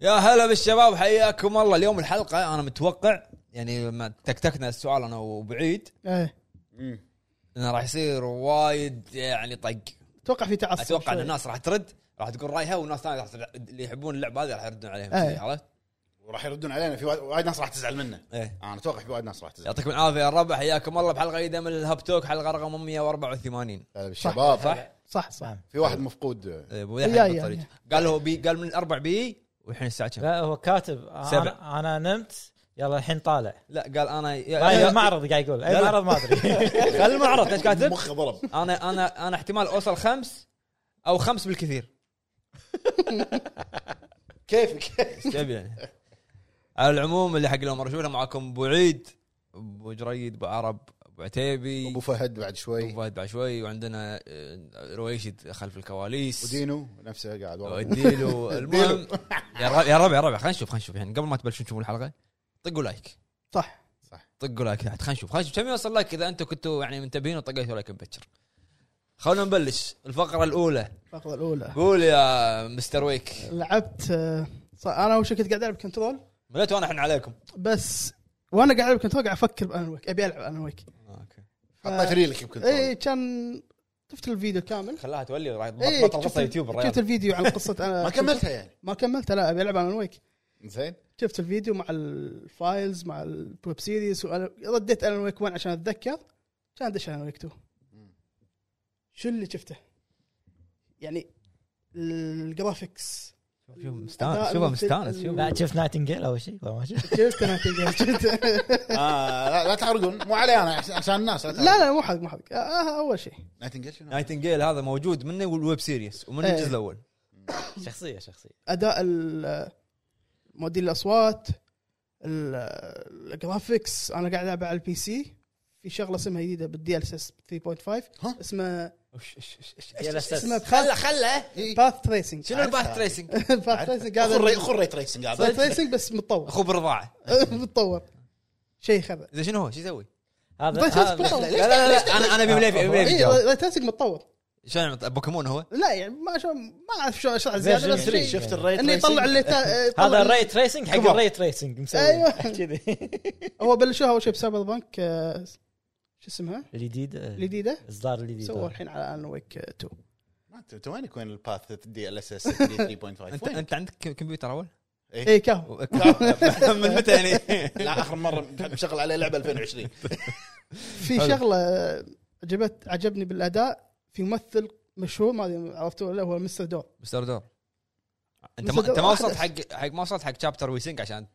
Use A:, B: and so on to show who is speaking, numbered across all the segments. A: يا هلا بالشباب حياكم الله اليوم الحلقه انا متوقع يعني ما تكتكنا السؤال انا وبعيد
B: ايه
A: انه راح يصير وايد يعني طق
B: اتوقع في تعصب
A: اتوقع ان
B: شوي.
A: الناس راح ترد راح تقول رايها والناس ثانيه راح ترد- اللي يحبون اللعبه هذه راح يردون عليهم
B: إيه.
A: كذي، عرفت؟
C: وراح يردون علينا في وايد- وايد ناس راح تزعل منه
A: ايه
C: انا اتوقع في وايد ناس راح تزعل
A: يعطيكم العافيه يا الربع حياكم الله بحلقه جديده من الهاب توك حلقه رقم 184
C: هلا بالشباب
A: صح؟
B: صح
A: نعم.
B: صح
C: في واحد مفقود
A: إيه، ابو
B: إيه. يا-
A: يحيى
B: يا-
A: بالطريق
B: يا.
A: قال هو بي قال من الاربع بي والحين الساعه كم؟
D: لا هو كاتب
A: سبع.
D: انا انا نمت يلا الحين طالع
A: لا قال انا يا-
D: اي
B: طيب،
A: يا-
D: المعرض قاعد يقول
A: لا،
D: اي
A: لا.
D: معرض ما ادري
A: خل المعرض ايش كاتب؟
C: مخه ضرب
A: انا انا انا احتمال اوصل خمس او خمس بالكثير
C: كيفك
A: ايش تبي يعني على العموم اللي حق اليوم رجوله معاكم ابو عيد ابو جريد ابو عرب ابو عتيبي
C: ابو
A: ابو
C: فهد بعد شوي
A: فهد بعد شوي وعندنا آه، رويشد خلف الكواليس
C: ودينو نفسه قاعد ورا
A: وديلو المهم
C: ديلو.
A: يا ربع يا ربع يا ربع خلينا نشوف خلينا نشوف يعني قبل ما تبلشون تشوفون الحلقه طقوا لايك
B: صح
A: طقوا لايك خلينا نشوف خلينا نشوف كم يوصل لايك اذا انتم كنتوا يعني منتبهين وطقيتوا لايك مبكر خلونا نبلش الفقره الاولى
B: الفقره الاولى
A: قول يا مستر ويك
B: لعبت آه، صح، انا اول شيء كنت قاعد العب كنترول
A: مليت وانا احنا عليكم
B: بس وانا قاعد العب كنترول قاعد افكر بان ويك ابي العب ان ويك
A: اوكي
C: حطيت ريلك بكنترول
B: اي إيه، كان شفت الفيديو كامل
A: خلاها تولي راح
B: إيه،
A: تبطل قصه
B: شفت-
A: يوتيوب
B: شفت
A: الريال
B: الفيديو عن قصه انا
C: ما كملتها يعني
B: ما كملته لا ابي العب ان ويك
C: زين
B: شفت الفيديو مع الفايلز مع الويب سيريز وأنا- رديت ان ويك 1 عشان اتذكر كان دش ان ويك 2 شو اللي شفته؟ يعني الجرافكس
A: شوف مستانس شوفه مستانس شوفه
D: لا شفت نايتنجيل اول شيء ولا ما شفت
B: شفت انا كذا، شفت
C: آه لا, لا تحرقون مو علي انا عش- عشان الناس لا
B: لا لا مو حق مو حق آه اول شي
C: نايتنجيل شنو؟
A: نايتنجيل هذا موجود منه والويب سيريس ومن
B: إيه.
A: الجزء الاول
D: شخصيه شخصيه
B: اداء ال- موديل الاصوات ال- الجرافكس انا قاعد العب على البي سي في شغله اسمها جديده بالدي ال اس 3.5
C: ها؟
B: اسمه اسمه
D: يلا
A: خله خله
B: باث تريسنج
A: شنو الباث تريسنج؟
B: باث تريسنج
C: خري
B: قاعد
C: خري تريسنج هذا
B: باث تريسنج بس متطور
A: اخو بالرضاعه
B: متطور طيب، شيء خرع
A: زين شنو هو؟ شو يسوي؟
D: هذا
B: بس-
D: هذا-
B: بس-
A: لا لا لا انا انا ابي بليفي ابي بليفي
B: اي
A: جواب.
B: باث تريسنج إيه، متطور
A: شلون طيب، بوكيمون هو؟
B: لا يعني ما شو ما اعرف شو اشرح زياده
D: فيرجن
B: بس شيء-
D: 3
C: شفت الري
B: انه يطلع اللي
D: هذا الري تريسنج حق
C: كبر.
D: الري تريسنج مسوي
B: أيوة.
D: كذي
B: هو بلشوها اول شيء بسايبر بانك آه، شو اسمها
D: الجديد
B: الجديده
D: اصدار الجديد
B: سووا الحين على ان ويك 2
C: ما أنت- انت وينك وين الباث دي ال اس اس 3.5
A: انت
C: وينك؟
A: انت عندك كم- كمبيوتر اول؟ إيه.
B: اي كهو
A: من متى يعني؟
C: لا اخر مره مشغل عليه لعبه 2020
B: في شغله آه، عجبت عجبني بالاداء في ممثل مشهور ما أدري عرفتوه ولا لا، هو مستر دور
A: مستر دور انت
B: مستر
A: ما
B: دور
A: انت ما وصلت حق
B: أحدث.
A: حق ما وصلت حق شابتر ويسنج عشان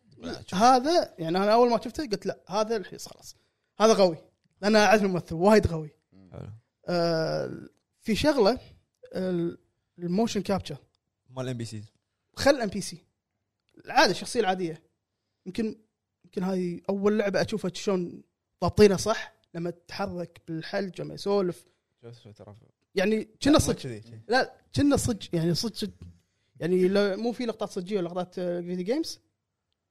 B: هذا يعني انا اول ما شفته قلت لا هذا الحين خلاص هذا قوي لان أنا اعرف الممثل وايد قوي
A: حلو.
B: آه، في شغله ال- الموشن كابتشر
A: مال ام بي سي
B: خل ام بي سي العاده الشخصيه العاديه يمكن يمكن هاي اول لعبه اشوفها شلون ضابطينها صح لما تتحرك بالحلج لما يسولف يعني كنا صدق
A: كذي
B: لا كنا صدق يعني صدق صدق يعني لو مو في لقطات صجيه ولقطات آه، فيديو جيمز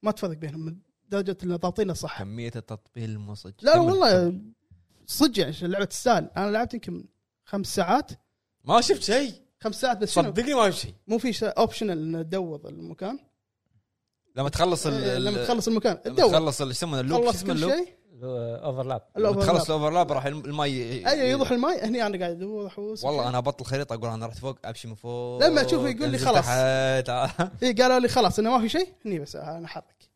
B: ما تفرق بينهم من درجه ان ضابطينها صح
A: كميه التطبيل مو صدق
B: لا
A: كمل.
B: والله صدق يعني اللعبه تستاهل انا لعبت يمكن خمس ساعات
A: ما شفت شيء
B: خمس ساعات بس شنو؟
A: صدقني ما شفت شيء
B: مو في اوبشنال ان تدور المكان
A: لما تخلص ال-
B: آه، لما
A: ال-
B: تخلص المكان
A: لما
B: تدور
A: تخلص ال- شو يسمونه اللوب شو
B: خلص
A: اسمه
B: كل
A: اللوب
B: شيء
D: اوفرلاب
A: لما
B: الأوفرلاب.
A: تخلص الاوفرلاب راح الم- الماي
B: ايوه يوضح الماي هني انا قاعد ادور احوس
A: والله انا ابطل خريطه اقول انا رحت فوق امشي من فوق آه،
B: لما أشوفه يقول لي
A: أنزل
B: خلاص.
A: تحت.
B: اي إيه، قالوا لي خلاص انه ما في شيء هني بس آه، انا احرك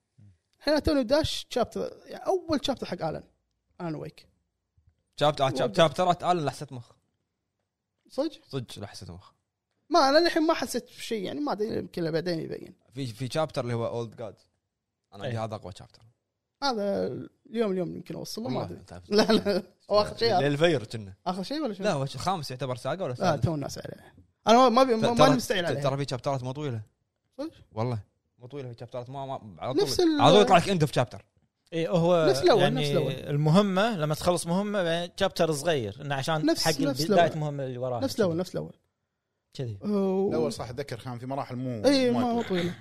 B: الحين توني داش شابتر يعني اول شابتر حق الن الن ويك
A: شابتر شاب- شابترات الن لحسه مخ
B: صدق
A: صدق لحسه مخ
B: ما انا للحين ما حسيت بشيء يعني ما ادري يمكن إلا بعدين يبين
A: في في شابتر اللي هو اولد جاد انا عندي
D: أي.
A: هذا اقوى شابتر
B: هذا اليوم اليوم يمكن اوصل له ما
A: والله
B: ادري
A: تعرف.
B: لا لا هو اخر شيء هذا.
A: للفير كنا
B: اخر شيء ولا شو؟
A: لا هو خامس يعتبر ساقه ولا
B: لا
A: سادس؟
B: آه، تو الناس عليه انا ما- ما بي- ما
A: ترى-
B: ماني مستعجل عليه
A: ترى في شابترات مو طويله
B: صدق؟
A: والله مو طويله في شابترات ما, ما على طول
B: نفس ال-
A: على طول يطلع لك اند اوف شابتر
D: اي هو
B: نفس الأول،
D: يعني
B: نفس الأول.
D: المهمه لما تخلص مهمه بعدين شابتر صغير انه عشان
B: نفس-
D: حق
B: نفس
D: بدايه
B: الأول.
D: المهمه اللي وراها
B: نفس الاول نفس الاول
D: كذي
B: أو-
C: الاول صح اتذكر كان في مراحل مو
B: اي إيه، ما
C: وايد
B: هو طويله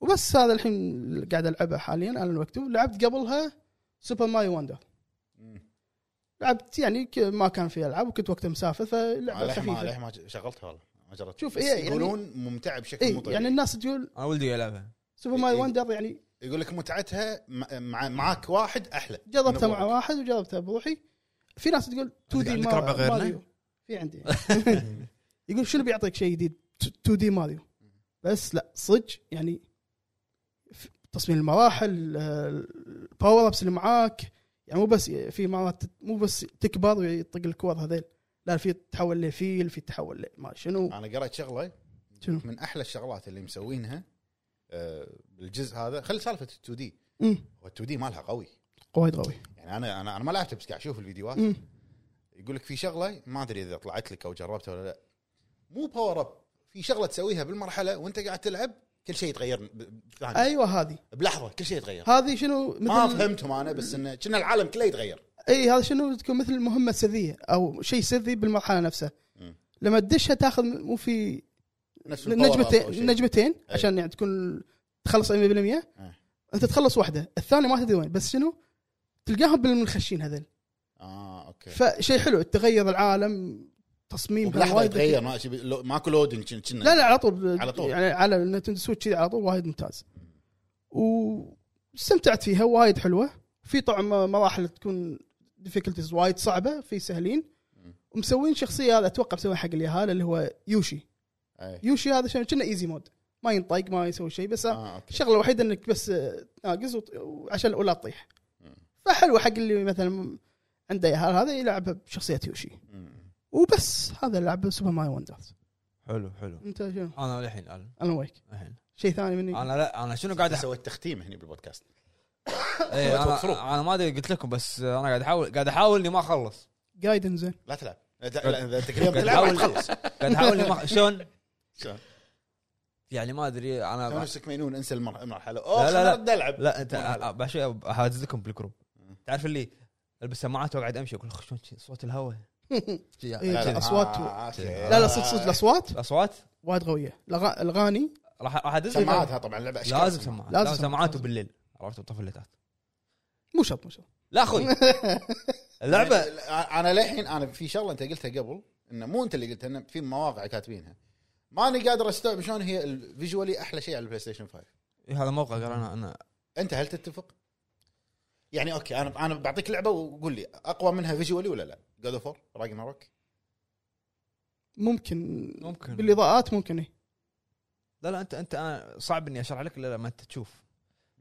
B: وبس هذا الحين اللي قاعد العبه حاليا انا الوقت لعبت قبلها سوبر ماري وندر
C: مم.
B: لعبت يعني ك- ما كان في العاب وكنت وقتها مسافر فلعبه
C: عليه ما
B: خفيفه
C: عليه ما شغلتها والله ما جربت
B: شوف،
C: بس
B: إيه، يعني-
C: يقولون ممتعه بشكل مو
B: اي
C: طبيعي
B: يعني الناس تقول
A: انا ولدي يلعبها
B: سوبر ماريو وندر يعني
C: يقول لك متعتها مع- مع معاك واحد احلى
B: جربتها مع
C: نبوك.
B: واحد وجربتها بروحي في ناس تقول 2 دي
E: عندك ربع غيرنا؟
B: ماريو في عندي يقول شو اللي بيعطيك شيء جديد 2 دي ماريو بس لا صدق يعني في تصميم المراحل آه، الباور ابس اللي معاك يعني مو بس في مرات مو بس تكبر ويطق الكور هذيل لا في تحول لفيل في تحول ما شنو
C: انا قرأت شغله
B: شنو
C: من احلى الشغلات اللي مسوينها آه، بالجزء هذا خلي سالفه 2 دي
B: مم،
C: هو 2 دي مالها قوي
B: وايد قوي
C: يعني انا انا انا ما لعبت بس قاعد اشوف الفيديوهات
B: مم،
C: يقول لك في شغله ما ادري اذا طلعت لك او جربتها ولا لا مو باور اب في شغله تسويها بالمرحله وانت قاعد تلعب كل شيء يتغير ب- ب- ثانية.
B: ايوه هذه
C: بلحظه كل شيء يتغير
B: هذه شنو
C: ما
B: مثل
C: فهمتهم انا بس انه كنا العالم كله يتغير
B: اي هذا شنو تكون مثل مهمه سريه او شيء سري بالمرحله نفسها
C: مم.
B: لما تدشها تاخذ مو في
C: نفس الpower up أو شيء.
B: نجمتين نجمتين عشان يعني تكون تخلص 100%
C: أي.
B: انت تخلص واحده الثانيه ما تدري وين بس شنو تلقاهم بالمنخشين هذول
C: اه اوكي
B: فشيء حلو تغير العالم تصميم
C: بلحظه
B: وايد
C: يتغير ما شي- لو- ماكو لودن كنا كنا
B: لا لا على طول
C: نعم. على طول.
B: يعني على النتندو سويتش كذي على طول وايد ممتاز واستمتعت فيها وايد حلوه في طبعا مراحل تكون ديفيكولتيز وايد صعبه في سهلين ومسوين شخصيه هذا اتوقع مسوين حق اليهال اللي هو يوشي
C: أي.
B: يوشي هذا شنو كنا ايزي مود ما ينطق ما يسوي شيء بس
C: آه، أوكي.
B: الشغله الوحيده انك بس آه، تناقز وط- وعشان الاولى تطيح
C: مم.
B: فحلوه حق اللي مثلا عنده يهال هذا يلعبها بشخصيه يوشي
C: مم.
B: وبس هذا لعب سوبر ماي وندرز
E: حلو حلو
B: انت شنو؟
A: انا للحين ألم،
B: انا ويك
A: الحين
B: شيء ثاني مني
A: انا لا انا شنو قاعد
C: أنت
A: أح-
C: سويت تختيم هني بالبودكاست
A: إيه، انا انا ما ادري قلت لكم بس انا قاعد احاول قاعد احاول اني ما اخلص
B: جايدن زين
C: لا تلعب لا لا- لا، اذا تقريبا تلعب
A: قاعد
C: راح تخلص
A: قاعد احاول اني ما شلون
C: شلون؟
A: يعني ما ادري
C: تو
A: انا
C: نفسك مجنون انسى المر- المرحله اوه
A: لا، لا، لا.
C: لا ارد العب
A: لا انت
C: مرحلة.
A: بحاجزكم بالكروب تعرف اللي البس سماعات واقعد امشي اقول شلون صوت الهواء
B: إيه.
C: لا، لا.
B: أصوات.
C: آه، أوكي.
B: لا لا صدق صدق الاصوات
A: اصوات
B: وايد قويه الأغا- الاغاني
A: راح راح ادز لي-
C: سماعاتها طبعا لعبه أشكال
A: لازم
C: سماعات.
A: سماعات
B: لازم
A: لازم
B: سماعات.
A: سماعات وبالليل عرفت بطفي الليتات
B: مو شرط مو شرط
A: لا اخوي اللعبه
C: يعني انا للحين انا في شغله انت قلتها قبل انه مو انت اللي قلتها انه في مواقع كاتبينها ماني قادر استوعب شلون هي الفيجولي احلى شيء على البلاي ستيشن 5
A: إيه، هذا موقع قال انا انا
C: انت هل تتفق؟ يعني اوكي انا انا بعطيك لعبه وقول لي اقوى منها فيجولي ولا لا؟ جود اوف 4 راجناروك
B: ممكن
A: ممكن.
B: بالاضاءات ممكن إيه. اي
A: لا لا انت انت أنا صعب اني اشرح لك الا لما انت تشوف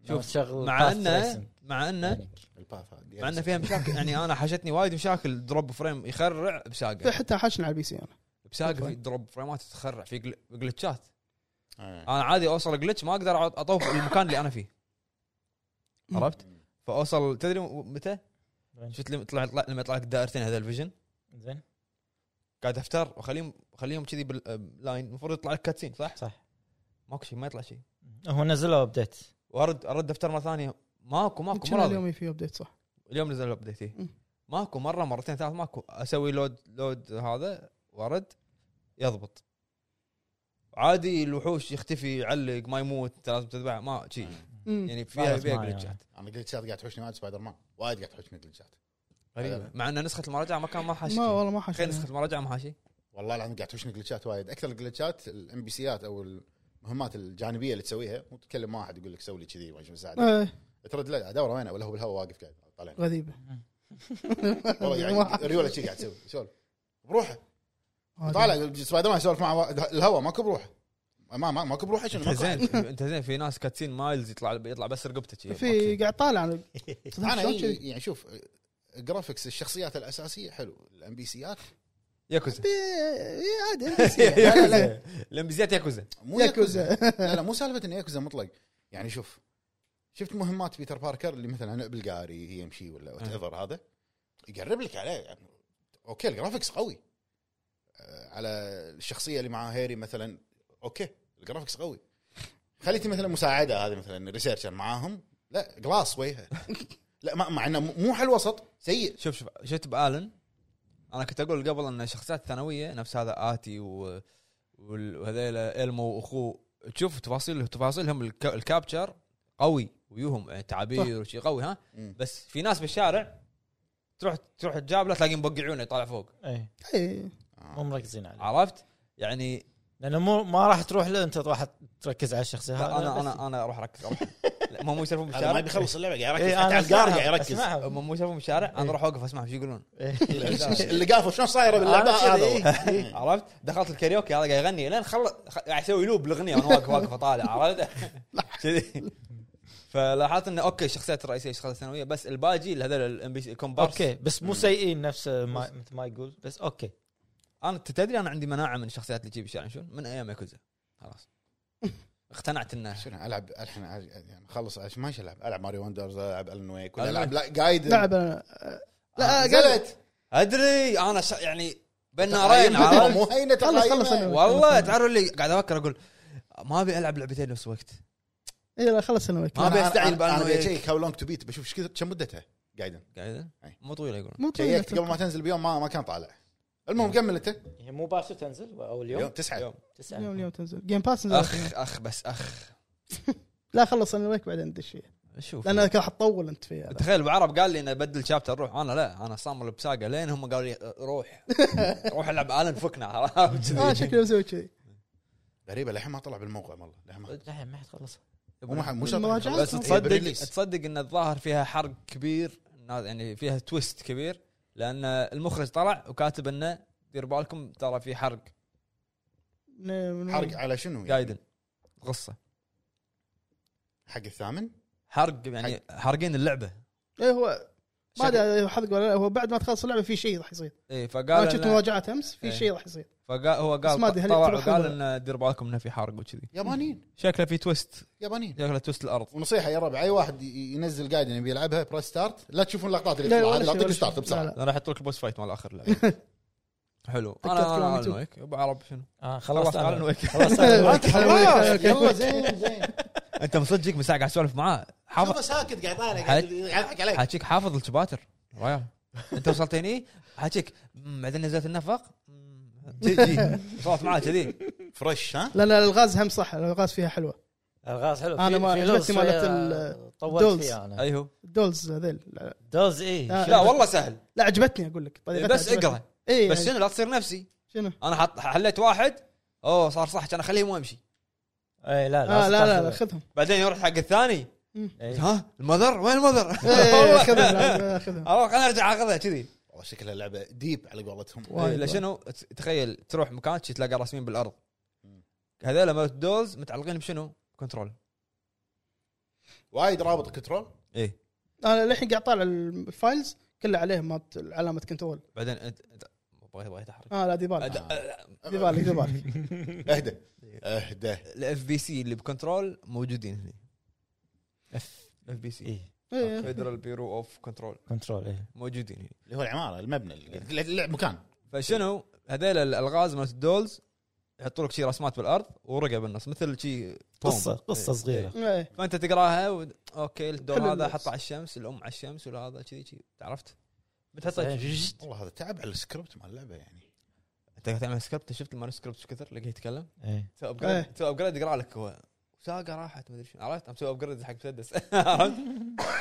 A: شوف،
D: شغل
A: مع
D: fast
A: انه
D: racing.
A: مع انه
C: الباث هذا.
A: مع انه فيها مشاكل يعني انا حاشتني وايد مشاكل دروب فريم يخرع بساقه
B: حتى حاشنا على البي سي انا
A: بساقه في دروب فريمات تخرع في جل- جلتشات
C: آه.
A: انا عادي اوصل جلتش ما اقدر أعط- اطوف المكان اللي انا فيه عرفت؟ فاوصل تدري متى؟ شفت لما طلع طلع- لما طلع لك دائرتين هذا الفيجن
D: زين
A: قاعد افتر واخليهم خليهم كذي باللاين المفروض يطلع لك كاتسين صح؟
D: صح
A: ماكو شيء ما يطلع شيء
D: هو نزلوا ابديت
A: وارد ارد افتر مره ثانيه ماكو ماكو
B: يمكن
A: مره اليوم,
B: اليوم في ابديت صح
A: اليوم نزل الابديت إيه.
B: مم.
A: ماكو مره مرتين ثلاث ماكو اسوي لود لود هذا وارد يضبط عادي الوحوش يختفي يعلق ما يموت أنت لازم تذبحه ما
C: آه.
A: شيء
B: مم.
A: يعني فيها
D: ما
A: فيها
D: يعني.
A: جلتشات
C: انا جلتشات قاعد تحوشني وايد سبايدر مان وايد قاعد تحوشني جلتشات
A: غريبه مع ان نسخه المراجعه ما كان ما حاشي
B: ما
A: شيء.
B: والله ما
A: تخيل نسخه
B: حاشنا
A: المراجعه ما حاشي
C: والله العظيم قاعد تحوشني جلتشات وايد اكثر الجلتشات الام بي سيات او المهمات الجانبيه اللي تسويها مو تكلم واحد يقول لك سوي لي كذي وما شو مساعدك
B: إيه،
C: ترد لا دوره وينه ولا هو بالهواء واقف قاعد طالعين
B: غريبه
C: والله يعني ريولا شي قاعد تسوي سولف بروحه
B: هذا.
C: طالع يقول سبايدر مان يسولف مع وا- الهواء ماكو بروحه ما ما ماكو بروحه شنو
A: انت
C: ماكو
A: زين انت زين في ناس كاتسين مايلز يطلع يطلع بس رقبته شي.
B: في قاعد طالع انا
C: انا
B: شلون
C: يعني-
B: كذي؟
C: يعني شوف جرافيكس الشخصيات الاساسيه حلو الام بي سيات
A: ياكوزا
B: بي- إيه، عادي NPC. لا، لا، لا.
A: ياكوزا لمبيزيات ياكوزا
C: مو
B: ياكوزا.
C: ياكوزا لا لا مو سالفه انه ياكوزا مطلق يعني شوف شفت مهمات بيتر باركر اللي مثلا بالقاري يمشي ولا وات ايفر هذا يقرب لك عليه يعني اوكي الجرافيكس قوي آه، على الشخصيه اللي معاه هيري مثلا اوكي الجرافيكس قوي خليتي مثلا مساعده هذه مثلا ريسيرشر معاهم لا جلاس وجهه لا مع- مع انه مو حل وسط سيء
A: شوف شوف شفت بالن انا كنت اقول قبل ان الشخصيات الثانويه نفس هذا اتي و... وال- وهذيلا المو واخوه تشوف تفاصيل تفاصيلهم الك... الكابتشر قوي ويوهم يعني تعابير وشي قوي ها
C: مم.
A: بس في ناس بالشارع تروح تروح تجابله تلاقيه مبقع عيونه يطالع فوق
D: اي
C: آه.
B: إيه.
A: آه.
D: مو مركزين عليه
A: عرفت؟ يعني
D: لانه مو ما راح تروح له انت راح تركز على الشخصيه هذا
A: لا، انا انا انا اروح اركز أروح. لا، ما مو يسولفون
E: هذا ما
A: بالشارع
E: بيخلص اللعبه قاعد يركز
D: إيه،
E: حتى
D: انا
E: على الجار
D: أسمعها-
E: قاعد يركز
D: أسمعها.
A: ما مو يسولفون بالشارع انا اروح اوقف اسمعهم شو يقولون
C: اللي قافوا شلون صايره باللعبه هذا هو.
A: عرفت دخلت الكاريوكي هذا قاعد يغني لين خلص قاعد يسوي لوب الاغنيه وانا واقف واقف اطالع عرفت كذي فلاحظت انه اوكي الشخصيات الرئيسيه الشخصيات الثانويه بس الباجي هذول الام بي سي كومبارس
D: اوكي بس مو سيئين نفس ما مثل ما يقول بس اوكي
A: انا أنت تدري انا عندي مناعه من الشخصيات اللي تجيب يعني شلون من ايام ياكوزا خلاص اقتنعت انه
C: شنو العب الحين أج- يعني خلص أش- ما إيش العب العب ماري وندرز العب الن ويك ولا
A: ألن
C: العب لا جايد
B: لعب أنا- لا قلت
C: نزلت
A: ادري انا ش... يعني بين نارين عرفت؟
C: مو هينه
B: خلص- خلص
C: تقايمها.
B: أنا.
A: والله تعرف اللي قاعد افكر اقول ما ابي العب لعبتين نفس الوقت
B: اي لا خلص انا وياك
A: ما ابي
C: أنا-
A: استعين
C: أنا- انا
A: بانه
C: بشيك هاو لونج تو بيت بشوف ايش كثر كم مدتها قاعدين
A: قاعد
C: أي.
A: مو طويله يقولون
B: مو طويل
C: شيكت قبل ما تنزل بيوم ما ما كان طالع المهم كمل انت
D: هي يعني مو باسو تنزل او
C: يوم
D: اليوم
C: تسعة
A: يوم.
D: تسعة
B: اليوم اليوم تنزل جيم باس نزل
A: اخ اخ بس اخ
B: لا خلص انا وياك بعدين ندش فيه
A: شوف
B: لان كذا حتطول انت فيه هذا.
A: تخيل بعرب قال لي انه بدل شابتر روح انا لا انا صامل بساقه لين هم قالوا لي روح روح العب الن فكنا عرفت كذي.
B: اه شكله مسوي كذي
C: غريبه للحين ما طلع بالموقع والله للحين ما-
D: الحين ما حد خلصها
C: مو مح- مو شرط
B: المراجعات
A: بس
B: ما-
C: إيه،
A: تصدق
C: بالريليس.
A: تصدق ان الظاهر فيها حرق كبير يعني فيها تويست كبير لان المخرج طلع وكاتب انه دير بالكم ترى في حرق
B: من- من-
C: حرق على شنو يعني؟
A: قايدن غصه
C: حق الثامن
A: حرق يعني حارقين اللعبه
B: ايه هو ما
A: شكل-
B: ادري حرق ولا لا هو بعد ما تخلص اللعبه في شيء راح يصير
A: ايه
B: انا
A: فقال
B: شفت
A: إنه-
B: مراجعات امس في
A: إيه.
B: شيء راح يصير
A: فقال هو
B: بس ما أدري
A: قال
B: هل
A: طلع
B: يقترحون
A: وقال
B: ولا
A: انه دير بالكم انه في حرق وكذي
C: يابانيين
A: شكله في تويست
C: يابانيين
A: شكله تويست الارض
C: ونصيحه يا ربع اي واحد ي- ينزل قايد يبي يلعبها بريس ستارت لا تشوفون اللقطات اللي
B: لا،
C: تطلع
B: ولا
C: هذه
B: شيء،
C: اعطيك
B: ولا شيء.
C: ستارت بسرعه
B: لا،
A: انا راح اطلق بوس فايت مال اخر اللعبه حلو انا
B: تذكرت
A: انا
B: كلام
A: ألن
B: يوتيوب.
A: ويك ابو عرب شنو
D: اه خلصت
A: خلصت الن
D: انا
A: ويك
D: خلصت أنا وياك.
C: خلاص يلا زين زين
A: انت مصدق من ساعه قاعد اسولف معاه حافظ
E: شوفه ساكت قاعد طالع قاعد قاعد يضحك عليك
A: حاجيك حافظ الشباتر ريال انت وصلت هني حاجيك مم، بعدين نزلت النفق مم، جي جي صوت معاه كذي
C: فريش ها
B: لان الغاز هم صح الغاز فيها حلوه
D: الغاز حلو
B: أنا
D: في-
B: ما
D: في
B: عجبتني
D: لغز
B: مالت
D: شوية
B: ال- آه.
D: طولت
B: دولز.
D: فيها انا
A: ايهو
B: الدولز هذيل لا,
D: دوز إيه. اي
B: لا.
A: أيوه. لا والله سهل
B: لا عجبتني اقول لك طريقتها
A: بس
B: عجبتني.
A: اقرا
B: اي
A: بس
B: بس
A: شنو لا تصير نفسي
B: شنو
A: انا حط حليت واحد اوه صار صح كان اخليه ما يمشي
D: اي إيه، لا
B: آه لا لا لا
D: خذ
B: خذهم
A: بعدين يروح حق الثاني
D: إيه.
A: ها المذر وين المذر؟
B: إيه،
A: والله.
B: خذهم لا، آه، خذهم
A: اروح خليني ارجع اخذها كذي
C: والله شكلها لعبه ديب على قولتهم
B: وايد.
A: لا شنو إيه، ت- تخيل تروح مكان شي تلاقى راسمين بالارض هذول مالت دولز متعلقين بشنو؟ كنترول
C: وايد رابط كنترول
A: ايه
B: انا للحين قاعد طالع الفايلز كلها عليهم مالت علامه كنترول
A: بعدين انت أنت- بغيت بغيت احرق
B: اه لا ديبال
C: أد-
B: ديبالك ديبالك
C: اهدى اهدى
A: الاف بي سي اللي بكنترول موجودين هنا اف اف بي سي
D: اي
B: إيه.
A: فيدرال بيرو اوف كنترول
D: كنترول اي
A: موجودين هنا
C: اللي هو العماره المبنى اللي- اللي- مكان
A: فشنو هذيل الالغاز مالت الدولز يحطوا لك شي رسمات بالارض ورقه بالنص مثل شي توم.
D: قصه قصه
A: إيه.
D: صغيره
B: إيه.
A: فانت تقراها و... اوكي الدور
B: حلو
A: هذا
B: اللبس.
A: حطه على الشمس الام على الشمس ولا هذا كذي كذي عرفت؟ بتحطه
D: صحيح.
C: والله هذا تعب على السكريبت مال اللعبه يعني
A: انت قاعد تعمل سكريبت شفت المانوسكريبت ايش كثر لقيت يتكلم
D: إيه.
A: سوى
B: إيه.
A: ابجريد سوى ابجريد يقرا لك هو ساقه راحت مدري شنو عرفت؟ مسوي ابجريد حق مسدس عرفت؟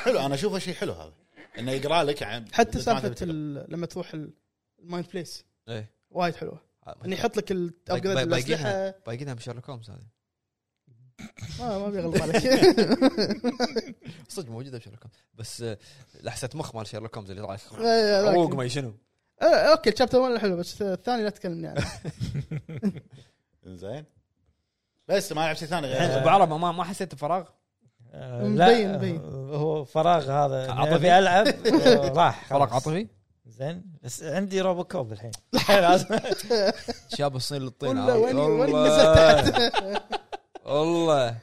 C: حلو انا اشوفه شيء حلو هذا انه يقرا لك يعني
B: حتى
C: مثل ما أنت
B: سالفه
C: بتقول.
B: ال- لما تروح ال- المايند بليس
A: ايه
B: وايد حلوه انه يحط لك الابجريد
A: بايقينها-
B: الاسلحه
A: بايقينها بشارلوك هومز هذه
B: آه، ما ما بيغلط عليك إيه،
A: صدق موجوده بشارلوك هومز بس آه، لحسه مخ مال شارلوك هومز اللي طالع لك
B: إيه، ذاك.
A: روق ما شنو
B: آه، اوكي الشابتر 1 حلو بس الثاني لا تكلمني عنه
C: زين بس ما لعب شيء ثاني
A: الحين
C: غير
A: ابو عرب ما ما حسيت بفراغ
D: آه،
B: مبين-
D: لا،
B: مبين.
D: هو فراغ هذا
A: عاطفي.
D: ابي العب آه، راح خلاص.
A: فراغ عاطفي
D: زين بس عندي روبو كوب الحين لازم
A: شاب الصين للطين
B: والله
A: عرفت؟
B: وين- وين
A: والله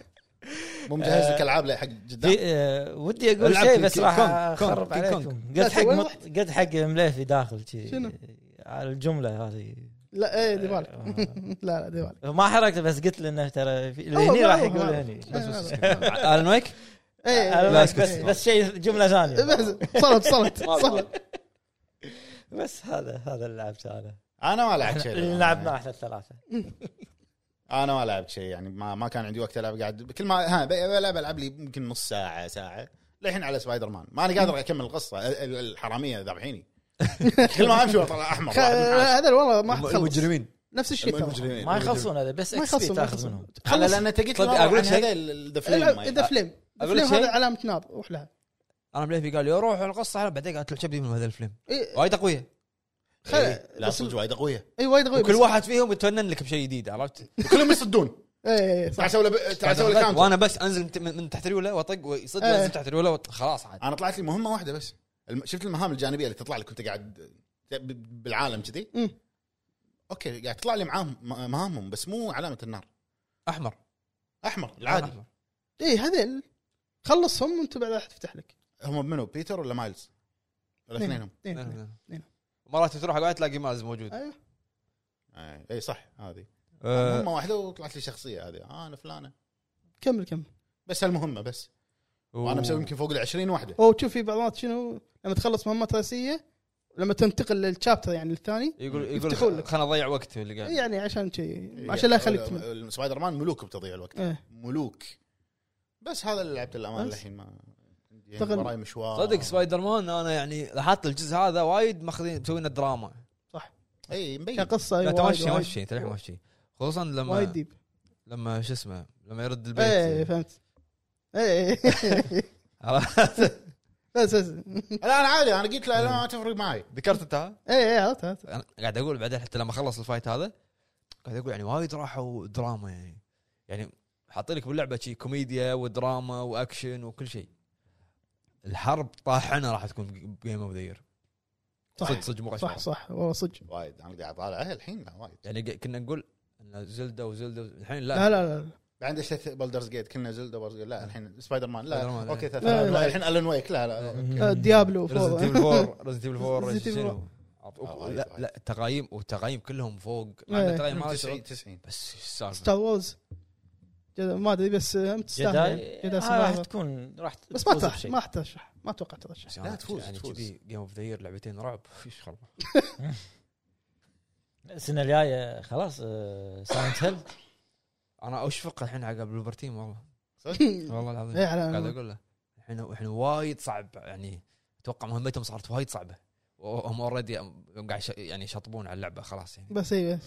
C: مو مجهز لك العاب لا حق جدا
D: في- آه، ودي اقول
A: العب
D: شيء
A: كينج
D: بس
A: كونغ.
D: راح
A: كونغ،
D: اخرب
A: كينج كونغ.
D: عليكم
B: لا،
D: قد حق
B: وين
D: مط-
B: رحت؟
D: قد حق مليفي داخل شي
B: شنو؟
D: على الجمله هذه
B: لا ايه ديبالك
A: آه.
B: لا لا ديبالك
D: ما حركته بس قلت له انه ترى في- اللي
B: أول
D: هني
B: ما
D: راح
B: أروح
D: يقول
B: أنا.
D: هني
B: إيه، هذا.
A: الن ويك
B: ايه
D: أنا
A: لا،
D: بس بس,
A: اسكت.
D: بس شيء جمله ثانيه
B: إيه، بس صلت صلت صلت
D: بس هذا هذا اللي لعبته انا
C: انا ما لعبت
A: إيه.
C: شيء
D: اللي لعبناه احنا الثلاثه
C: انا ما لعبت شيء يعني ما ما كان عندي وقت العب قاعد كل ما ها ب- بلعب العب لي يمكن نص ساعه ساعه للحين على سبايدر مان ما انا قادر اكمل القصه ال- ال- الحراميه ذابحيني كل ما امشي اطلع احمر
B: خ-
C: واحد منحاش.
B: هذا والله ما حد خلص
A: المجرمين
B: نفس الشيء ترى
C: المجرمين.
D: ما يخلصون هذا بس
B: ما
D: اكس بي
B: يخلصون، ما
D: تاخذ
B: يخلصون.
D: منهم
C: على لان انت قلت
A: طيب،
C: لي
A: أقول لك
C: عن
A: شيء.
C: هذا ذا
B: لا، ذا
C: فليم
B: فليم ذا
A: أقول لك
B: فليم
A: شيء؟
B: هذا علامه نار روح لها
A: انا مليفي قال لي روح القصه على بعدين قالت له شبدي من هذا الفيلم
B: إيه،
A: وايد قويه
B: خل-
C: آه، إيه، لا
B: بس-
C: صدق وايد قويه
B: اي وايد غير
A: وكل واحد فيهم يتفنن لك بشيء جديد عرفت؟
C: كلهم يصدون
B: اي
C: تعال سوي له- تعال سوي له كاونتر
A: وانا بس انزل من- من تحت الوله واطق ويصد
B: إيه.
A: وانزل تحت الوله وط- خلاص عاد
C: انا طلعت لي مهمه واحده بس الم- شفت المهام الجانبيه اللي تطلع لك كنت قاعد ب- بالعالم كذي
B: مم.
C: اوكي قاعد تطلع لي معاهم م- مهامهم بس مو علامه النار
A: احمر
C: احمر العادي
A: أحمر.
B: اي إيه، هذيل خلصهم وانت بعدها راح تفتح لك
C: هم منو بيتر ولا مايلز؟ الاثنين هم
B: اثنين، اثنين. نعم.
A: إيه. مرات تروح قاعد تلاقي ماز موجود
B: ايوه
C: آه، اي صح هذه
B: آه.
A: أه،
C: مهمه واحده وطلعت لي شخصيه هذه آه انا فلانه
B: كمل كمل
C: بس هالمهمه بس وانا مسوي يمكن فوق ال 20 واحده
B: او تشوف في بعض المرات شنو لما تخلص مهمات رئيسيه لما تنتقل للشابتر يعني الثاني
A: يقول
B: يفتحون
A: يقول
B: لك.
A: خلنا نضيع وقت اللي قال
B: يعني عشان شيء عشان لا يخليك تمل.
C: ال- سبايدر مان ملوك بتضيع الوقت
B: إيه.
C: ملوك بس هذا اللي لعبته للامانه
B: بس.
C: الحين ما عندي يعني
B: تغن-
C: وراي مشوار
A: صدق سبايدر مان انا يعني لاحظت الجزء هذا وايد ماخذين مسوينا دراما
C: اي مبين
B: كقصه
A: إيه. لا
B: وايد-
A: تمشي
B: وايد-
A: ماشي تروح ماشي خصوصا
B: وايد
A: لما
B: ديب
A: لما شو اسمه لما يرد
B: اي
A: البيت
B: فهمت اي
A: عرفت؟
B: بس بس
C: لا انا عادي انا قلت له لا ما تفرق معي
A: ذكرت انت ها؟
B: اي اي إيه، عرفت عرفت
A: انا قاعد اقول بعدين حتى لما خلص الفايت هذا قاعد اقول يعني وايد راحوا دراما يعني يعني حاطين لك باللعبه شي كوميديا ودراما واكشن وكل شيء الحرب طاحنه راح تكون بجيم اوف ذا يير صدق صدق مو
B: صح
A: غشاش
B: صح والله صدق
C: وايد انا قاعد اطالعها الحين لا وايد
A: يعني ق- كنا نقول ان زلده وزلده الحين لا
B: لا لا لا
C: بعد اشتريت بولدرز جيت كنا زلدا بولدرز جيت لا الحين سبايدر مان لا
A: سبايدر مان،
C: اوكي
A: إيه.
C: ثلاث
B: لا،
C: ألعاب.
B: لا.
C: لا الحين الن ويك لا لا
B: آه،
A: يعني
B: ديابلو
A: ريزنت ايفل 4 ريزنت ايفل 4
B: Resident Evil
A: شنو؟
C: آه، وايد،
A: لا
C: وايد.
A: لا التقايم والتقايم كلهم فوق
B: إيه.
A: مع التقايم ما
C: 90
A: شغل
C: 90
A: بس إيش السالفه
B: ستار وورز ما ادري بس هم تستاهل يعني.
D: جداي
B: جداي
D: آه، راح
B: سماها.
D: تكون راح
B: بس ما
D: تفوز
B: ترشح
D: بشيء.
B: ما ترشح ما اتوقع ترشح
A: بس يعني-
C: تفوز،
A: يعني
C: تفوز.
A: كذي جيم اوف ذا يير لعبتين رعب ايش خربه
D: السنه الجايه خلاص آه، ساينت هيل
A: انا اشفق الحين على بلوبرتين والله والله
B: اي
C: إيه،
A: العظيم قاعد
B: إيه، على
A: اقول له احنا احنا وايد صعب يعني اتوقع مهمتهم صارت وايد صعبه وهم اوريدي قاعد يش- يعني يشطبون على اللعبه خلاص يعني
B: بس اي بس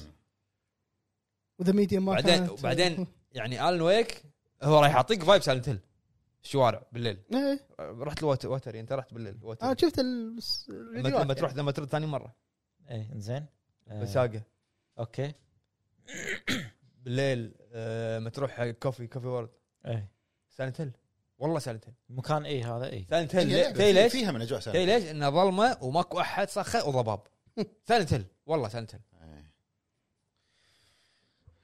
B: وذا ميديا ما
A: بعدين-
B: كانت-
A: وبعدين- يعني الن ويك هو راح يعطيك فايب سايلنت هيل الشوارع بالليل
B: ايه
A: رحت الوتر وتر انت رحت بالليل
C: آه،
A: وتر
B: انا آه، شفت ال-
A: لما,
B: الفيديوهات
A: لما تروح لما ترد ثاني مره
D: اي زين آه،
A: بساقه
D: اوكي
A: بالليل آه، لما تروح حق كوفي كوفي وورد
D: اي
A: إيه. سايلنت هيل والله سايلنت هيل
D: مكان اي هذا إيه. اي
A: سايلنت هيل ليه- تدري
C: في-
A: ليش؟
C: فيها من اجواء
A: تدري
C: سنة.
A: ليش؟ انه ظلمه وماكو احد صخه وضباب سايلنت هيل والله سايلنت هيل
C: إيه.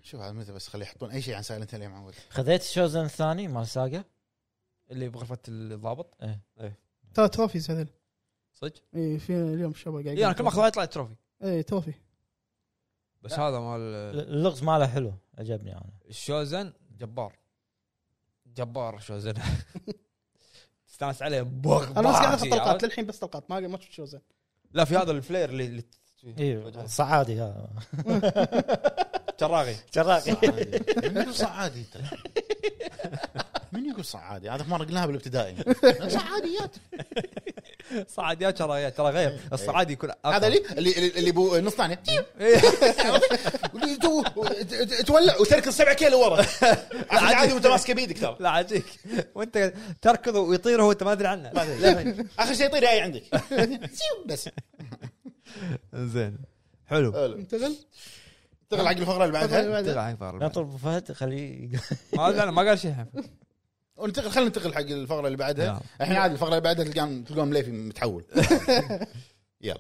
C: شوف هذا متى بس خليه يحطون اي شيء عن سايلنت هيل يا معود
D: خذيت الشوزن الثاني مال ساقا
A: اللي بغرفه الضابط
B: ترى تروفيز هذول
A: صدق؟
B: اي في اليوم الشباب
C: إيه،
B: قاعد
A: اي انا إيه، كل ما اخذ واحد يطلع تروفي
B: اي تروفي
A: بس هذا مال
D: اللغز ماله حلو عجبني انا
A: الشوزن جبار جبار شوزن تستانس عليه بغ
B: انا بس قاعد
A: بغ
B: اخذ
A: شي،
B: طلقات
A: عرفت؟
B: للحين بس طلقات ما ما شفت شوزن
A: لا في هذا الفلير اللي اللي
C: إيه.
D: اي إيه، صعادي هذا
A: تراغي
D: جراقي
C: عادي. من يقول صعادي انت من يقول صعادي هذا مره قلناها بالابتدائي صعاديات
A: صعد يا ترى يا ترى غير الصعاد يكون أقوى.
C: إيه. هذا اللي اللي اللي بو نص ثانيه
A: إيه.
C: واللي تو- ت- تولع وتركض سبعة كيلو ورا عادي عادي وانت ماسكه بيدك ترى
A: لا عجيك وانت تركض ويطير هو انت ما ادري عنه
C: ما أدري، للحين. اخر شيء يطير جاي عندك سيو، بس
A: زين حلو
B: انتقل
C: تغل حق الفقره اللي بعدها
B: بعدين.
A: طلع هاي فار.
D: نطلب أبو فهد خليه
A: ما أدري، ما قال شيء الحين.
C: وننتقل خلينا ننتقل حق الفقره اللي بعدها
A: يلا.
C: الحين عادي الفقره اللي بعدها تلقاهم تلقاهم مليفي متحول يلا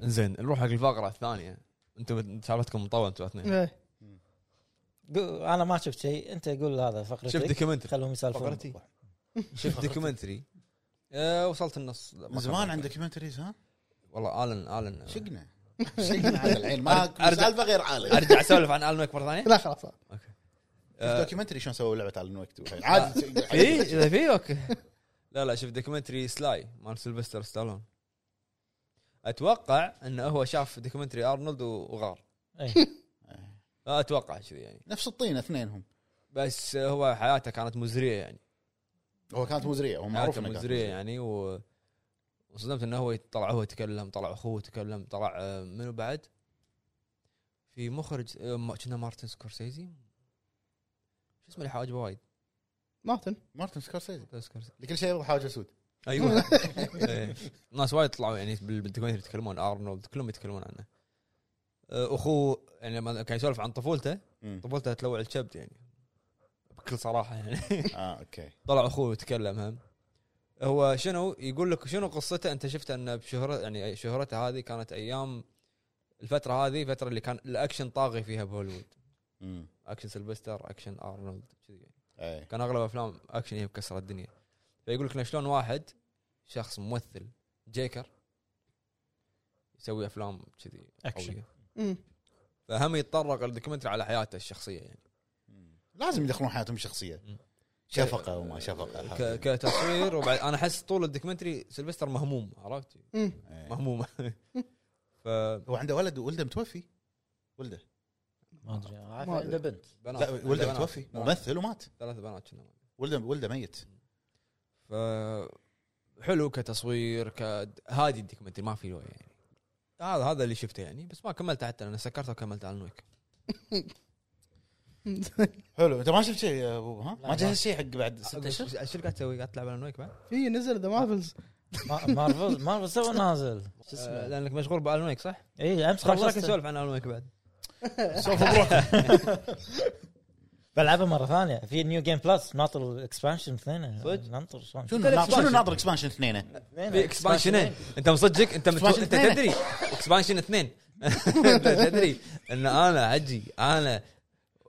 A: زين نروح حق الفقره الثانيه انتم سالفتكم مطوله انتم الاثنين
B: إيه.
D: قو- انا ما شفت شيء انت قول هذا
A: شفت
D: فقرتك
A: دوكيومنتري
D: خلهم يسالفون
A: فقرتي. شفت دوكيومنتري آه، وصلت النص لا، ما
C: من زمان
A: كملت.
C: عن دوكيومنتريز ها
A: والله الن الن
C: شقنا شقنا على العين ما
A: أرجع- أرجع.
C: سالفه غير عالم
A: ارجع اسولف عن الن ويك مره ثانيه
B: لا خلاص
A: آه،
C: دوكيومنتري شلون سووا لعبه على الوقت عادي
A: في اذا في اوكي إيه، لا لا شفت دوكيومنتري سلاي مال سيلفستر ستالون اتوقع انه هو شاف دوكيومنتري ارنولد وغار
D: إيه.
A: لا اتوقع كذي يعني
C: نفس الطين اثنينهم
A: بس هو حياته كانت مزريه يعني
C: هو كانت مزريه هو معروف
A: حياته
C: انه كانت
A: مزريه يعني و وصدمت انه هو طلع هو يتكلم طلع اخوه يتكلم طلع آه، منو بعد؟ في مخرج آه، ما- كنا مارتن سكورسيزي شو اسمه اللي حواجبه وايد
B: مارتن
C: مارتن سكورسيزي
A: مارتن سكورسيزي
C: لكل شيء يبغى حاجه سود
A: ايوه إيه. ناس وايد طلعوا يعني بال- بالدوكيومنتري يتكلمون ارنولد كلهم يتكلمون عنه آه، اخوه يعني لما كان يسولف عن طفولته طفولته تلوع الكبد يعني بكل صراحه يعني
C: اه اوكي
A: طلع اخوه يتكلم هم هو شنو يقول لك شنو قصته انت شفت انه بشهرة يعني شهرته هذه كانت ايام الفتره هذه الفتره اللي كان الاكشن طاغي فيها بهوليوود
C: امم
A: اكشن سلفستر اكشن ارنولد كذي يعني.
C: اي
A: كان اغلب افلام اكشن هي مكسره الدنيا فيقول لك إنه شلون واحد شخص ممثل جيكر يسوي افلام كذي
D: أكشن.
A: قوية.
B: مم.
A: فهم يتطرق الدوكيومنتري على حياته الشخصيه يعني
C: لازم يدخلون حياتهم الشخصيه
A: مم.
C: شفقه وما شفقه
A: ك- كتصوير وبعد انا احس طول الدوكيومنتري سلفستر مهموم عرفت
B: مم.
C: إيه.
A: مهمومه فبنات
C: هو عنده ولد وولده متوفي ولده
D: ما ادري عارف
B: ما
D: عنده بنت
C: لا ولده متوفي ممثل ومات
A: نعم. ثلاث بنات كنا
C: ولده ولده ميت
A: ف حلو كتصوير ك هادي الدوكيومنتري ما في له يعني هذا هذا اللي شفته يعني بس ما كملته حتى انا سكرته وكملت على نويك
C: حلو انت ما شفت شيء يا ابو ها
D: لا،
C: ما جهز شيء حق بعد ست اشهر
A: ايش قاعد تسوي؟ قاعد تلعب على نويك بعد؟
B: في نزل ذا مارفلز
D: ما- مارفل مارفل تو نازل شو
A: آه،
D: اسمه
A: لانك مشغول بالون ويك صح؟
D: اي امس
A: خلاص رايك
D: خلصت
A: نسولف عن الون ويك بعد
C: سوف مبروك
D: بلعبها مره ثانيه في نيو جيم بلس ناطر الاكسبانشن اثنين
A: صدق؟
D: ننطر شلون
C: شنو نا- شنو ناطر اكسبانشن اثنين
A: في اكسبانشنين ايه، انت مصدق انت متو...
C: Expansion
A: انت
C: اثنين.
A: تدري اكسبانشن اثنين انت تدري ان انا حجي انا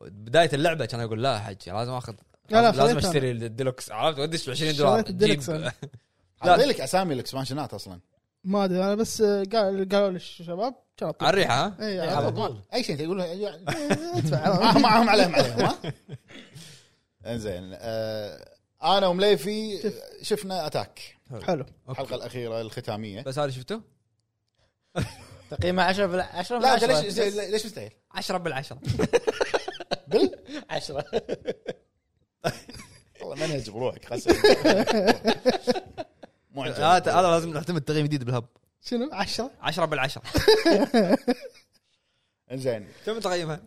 A: بدايه اللعبه كان اقول لا حجي لازم اخذ
B: لا، لا،
A: لازم
B: خليتها.
A: اشتري الديلوكس عرفت ودش ب 20 دولار
B: شريت الديلوكس
A: جيب.
B: أنا.
A: لا.
C: حاطين لك اسامي الاكسبانشنات اصلا
B: ما ادري انا بس آه، قال- قالوا لي الشباب كان
A: على الريحه ها
B: اي
D: على
B: على طول.
D: طول
C: اي شيء تقول
B: ادفع على طول.
C: معهم عليهم عليهم ها انزين آه، انا ومليفي شفنا اتاك
B: حلو
C: الحلقه الاخيره الختاميه
A: بس هذا شفته؟
D: تقييمه 10 بال 10
C: لا أنت ليش زين، ليش مستحيل
A: 10 بالعشرة
C: بال
D: 10
C: والله منهج بروحك قسم مو عجب.
A: هذا هذا لازم نعتمد تقييم جديد بالهب
B: شنو 10
A: 10 بالعشرة
C: انزين
A: كم تقييمها؟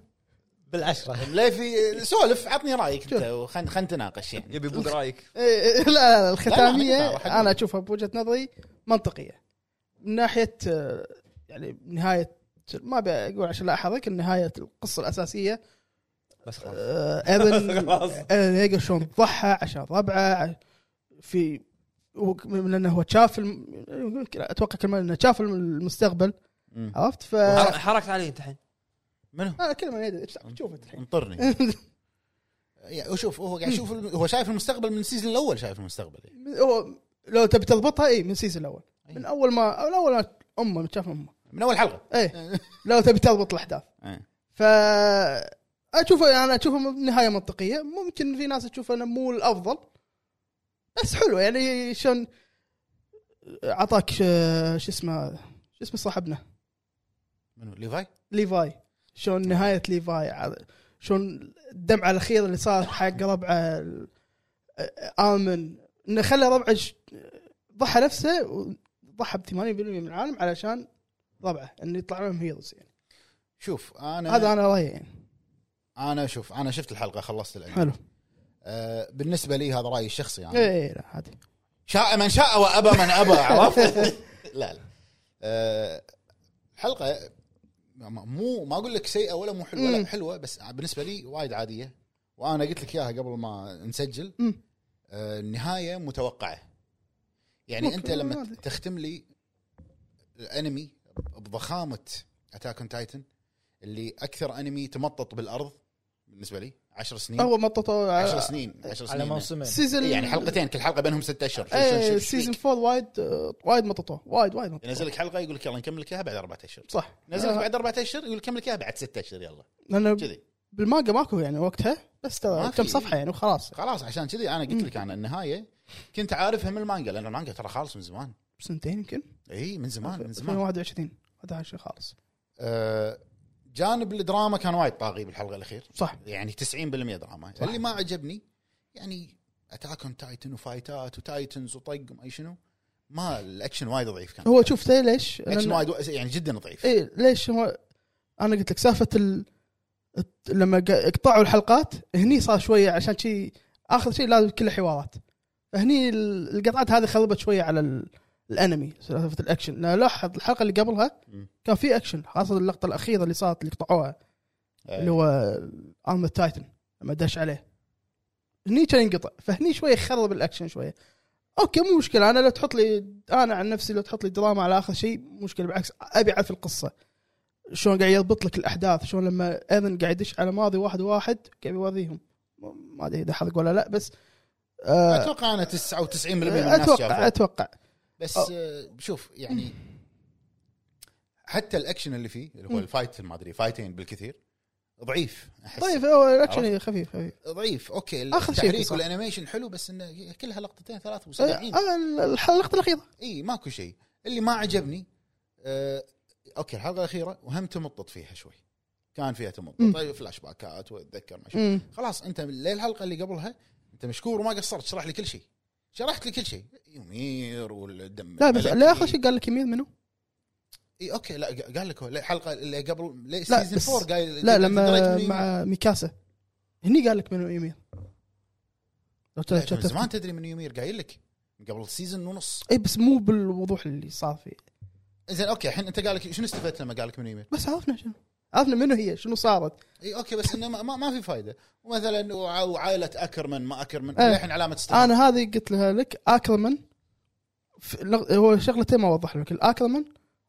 D: بال 10
C: مليفي سولف عطني رايك انت وخلنا خلنا نتناقش يعني
A: يبي بود رايك
B: إيه، لا لا لا،
C: لا، لا،
B: الختاميه
C: حق الله.
B: انا اشوفها بوجهه نظري منطقيه من ناحيه آه، يعني نهايه ما بقول عشان لا احرك نهايه القصه الاساسيه
A: بس خلاص
B: آه، ايرن
A: خلاص
B: ايرن يلقى شلون ضحى عشان ربعه ع- في هو- من انه هو شاف الم... اتوقع كلمه انه شاف المستقبل
C: مم.
B: عرفت ف
A: حرك- حركت علي انت الحين
C: منو؟
B: انا كلمه يدري شوفت الحين
C: انطرني يعني شوف هو قاعد يشوف الم- هو شايف المستقبل من السيزون الاول شايف المستقبل يعني.
B: من- هو لو تبي تضبطها اي من السيزون الاول
C: أي.
B: من اول ما من اول ما امه شاف امه
C: من اول حلقه
B: اي لو تبي تضبط الاحداث
C: إيه.
B: ف اشوفه انا اشوفه يعني، م- نهايه منطقيه ممكن في ناس تشوفه انه مو الافضل بس حلو يعني شلون اعطاك ش- شو اسمه شو اسمه صاحبنا
C: منو ليفاي؟
B: ليفاي شلون نهايه ليفاي ع- شلون الدمعه الاخيره اللي صار حق ربعه ال- امن انه خلى ربعه ش- ضحى نفسه وضحى ب 80% من العالم علشان ربعه انه يطلع لهم هيروز يعني
C: شوف انا
B: هذا انا رايي يعني
C: انا شوف انا شفت الحلقه خلصت الانمي
B: حلو إيه،
C: آه بالنسبه لي هذا رايي الشخصي يعني
B: اي إي، لا عادي
C: شاء من شاء وابى من ابى عرفت؟ لا لا آه، الحلقه م- مو ما اقول لك سيئه ولا مو حلوه لا
B: مم.
C: حلوه بس بالنسبه لي وايد عاديه وانا قلت لك اياها قبل ما نسجل
B: مم.
C: آه، النهايه متوقعه يعني
B: أوكي،
C: انت لما
B: عادي.
C: تختم لي الانمي بضخامه اتاك اون تايتن اللي اكثر انمي تمطط بالارض بالنسبه لي 10 سنين
B: هو آه، مططوا
C: 10
B: على
C: سنين 10 إيه. سنين
D: على موسمين
B: سيزون
C: يعني حلقتين كل حلقه بينهم ست اشهر شو- شو- شو-
B: ايه
C: شو-
B: سيزون 4 وايد آه، وايد مططوه وايد وايد مططوه
C: ينزل لك حلقه يقول لك يلا نكمل لك اياها بعد اربع اشهر
B: صح
C: نزل لك
B: آه،
C: بعد اربع اشهر يقول لك كمل لك اياها بعد ست اشهر يلا
B: لانه
C: كذي
B: بالمانجا ماكو يعني وقتها بس
C: ما
B: ترى
C: في.
B: كم صفحه يعني وخلاص
C: خلاص عشان كذي انا قلت لك انا النهايه كنت عارفها من المانجا لان المانجا ترى خالص من زمان
B: سنتين يمكن
C: اي من زمان من زمان
B: 2021 11 خالص
C: آه، جانب الدراما كان وايد طاغي بالحلقه الاخير
B: صح
C: يعني 90% دراما صح. اللي ما عجبني يعني اتاك اون تايتن وفايتات وتايتنز وطق ما أدري شنو ما الاكشن وايد ضعيف كان
B: هو شوف تي ليش؟
C: الاكشن
B: لأن-
C: وايد يعني جدا ضعيف
B: ايه إيه، ليش هو انا قلت لك سالفه ال... الت- لما ق- قطعوا الحلقات هني صار شويه عشان شي اخر شيء لازم كله حوارات فهني ال- القطعات هذه خربت شويه على ال... الانمي سالفه الاكشن لا لاحظ الحلقه اللي قبلها
C: مم.
B: كان في اكشن خاصه اللقطه الاخيره اللي صارت اللي قطعوها
C: آه،
B: اللي هو ارم تايتن لما دش عليه هني كان ينقطع فهني شوي خرب الاكشن شويه اوكي مو مشكله انا لو تحط لي انا عن نفسي لو تحط لي دراما على اخر شيء مو مشكله بالعكس ابي اعرف القصه شلون قاعد يربط لك الاحداث شلون لما ايفن قاعد يدش على ماضي واحد واحد قاعد يوريهم ما ادري اذا حرق ولا لا بس آه
C: اتوقع انا 99% من الناس
B: اتوقع
C: شافوه.
B: اتوقع
C: بس
B: أو-
C: آه، شوف يعني حتى الاكشن اللي فيه اللي هو الفايت ما ادري فايتين بالكثير ضعيف احس
B: طيب هو الاكشن خفيف خفيف
C: ضعيف اوكي
B: آخر شيء
C: التحريك
B: صح.
C: والانيميشن حلو بس انه كلها لقطتين ثلاث وسبعين
B: آه ال- اللقطه الاخيره
C: اي ماكو شيء اللي ما عجبني آه اوكي الحلقه الاخيره وهم تمطط فيها شوي كان فيها تمطط
B: مم.
C: طيب فلاش باكات واتذكر ما شاء
B: مم.
C: خلاص انت ليه الحلقه اللي قبلها انت مشكور وما قصرت شرح لي كل شيء شرحت لي كل شيء يمير والدم
B: لا بس
C: الملكي.
B: لا اخر شيء قال لك يمين منو؟
C: اي اوكي لا ق- قال لك هو لا، الحلقه اللي قبل لا
B: لا،
C: سيزون
B: بس-
C: 4 قايل
B: لا
C: دريت
B: لما
C: من-
B: مع ميكاسا هني قال لك منو يمين لو
C: لا،
B: تل-
C: أنت من
B: تل-
C: زمان تدري من يمير قايل لك قبل سيزون ونص
B: اي إيه، بس مو بالوضوح اللي صار فيه
C: زين اوكي الحين انت قال لك شنو استفدت لما قال لك من يمير؟
B: بس عرفنا شنو عرفنا منو هي شنو صارت
C: اي اوكي بس انه ما, ما, ما في فايده ومثلا وع- وعائله اكرمن ما اكرمن
B: إيه.
C: للحين علامه استفهام
B: انا هذه قلت لها لك اكرمان في- لغ- هو شغلتين ما وضح لك الاكرمان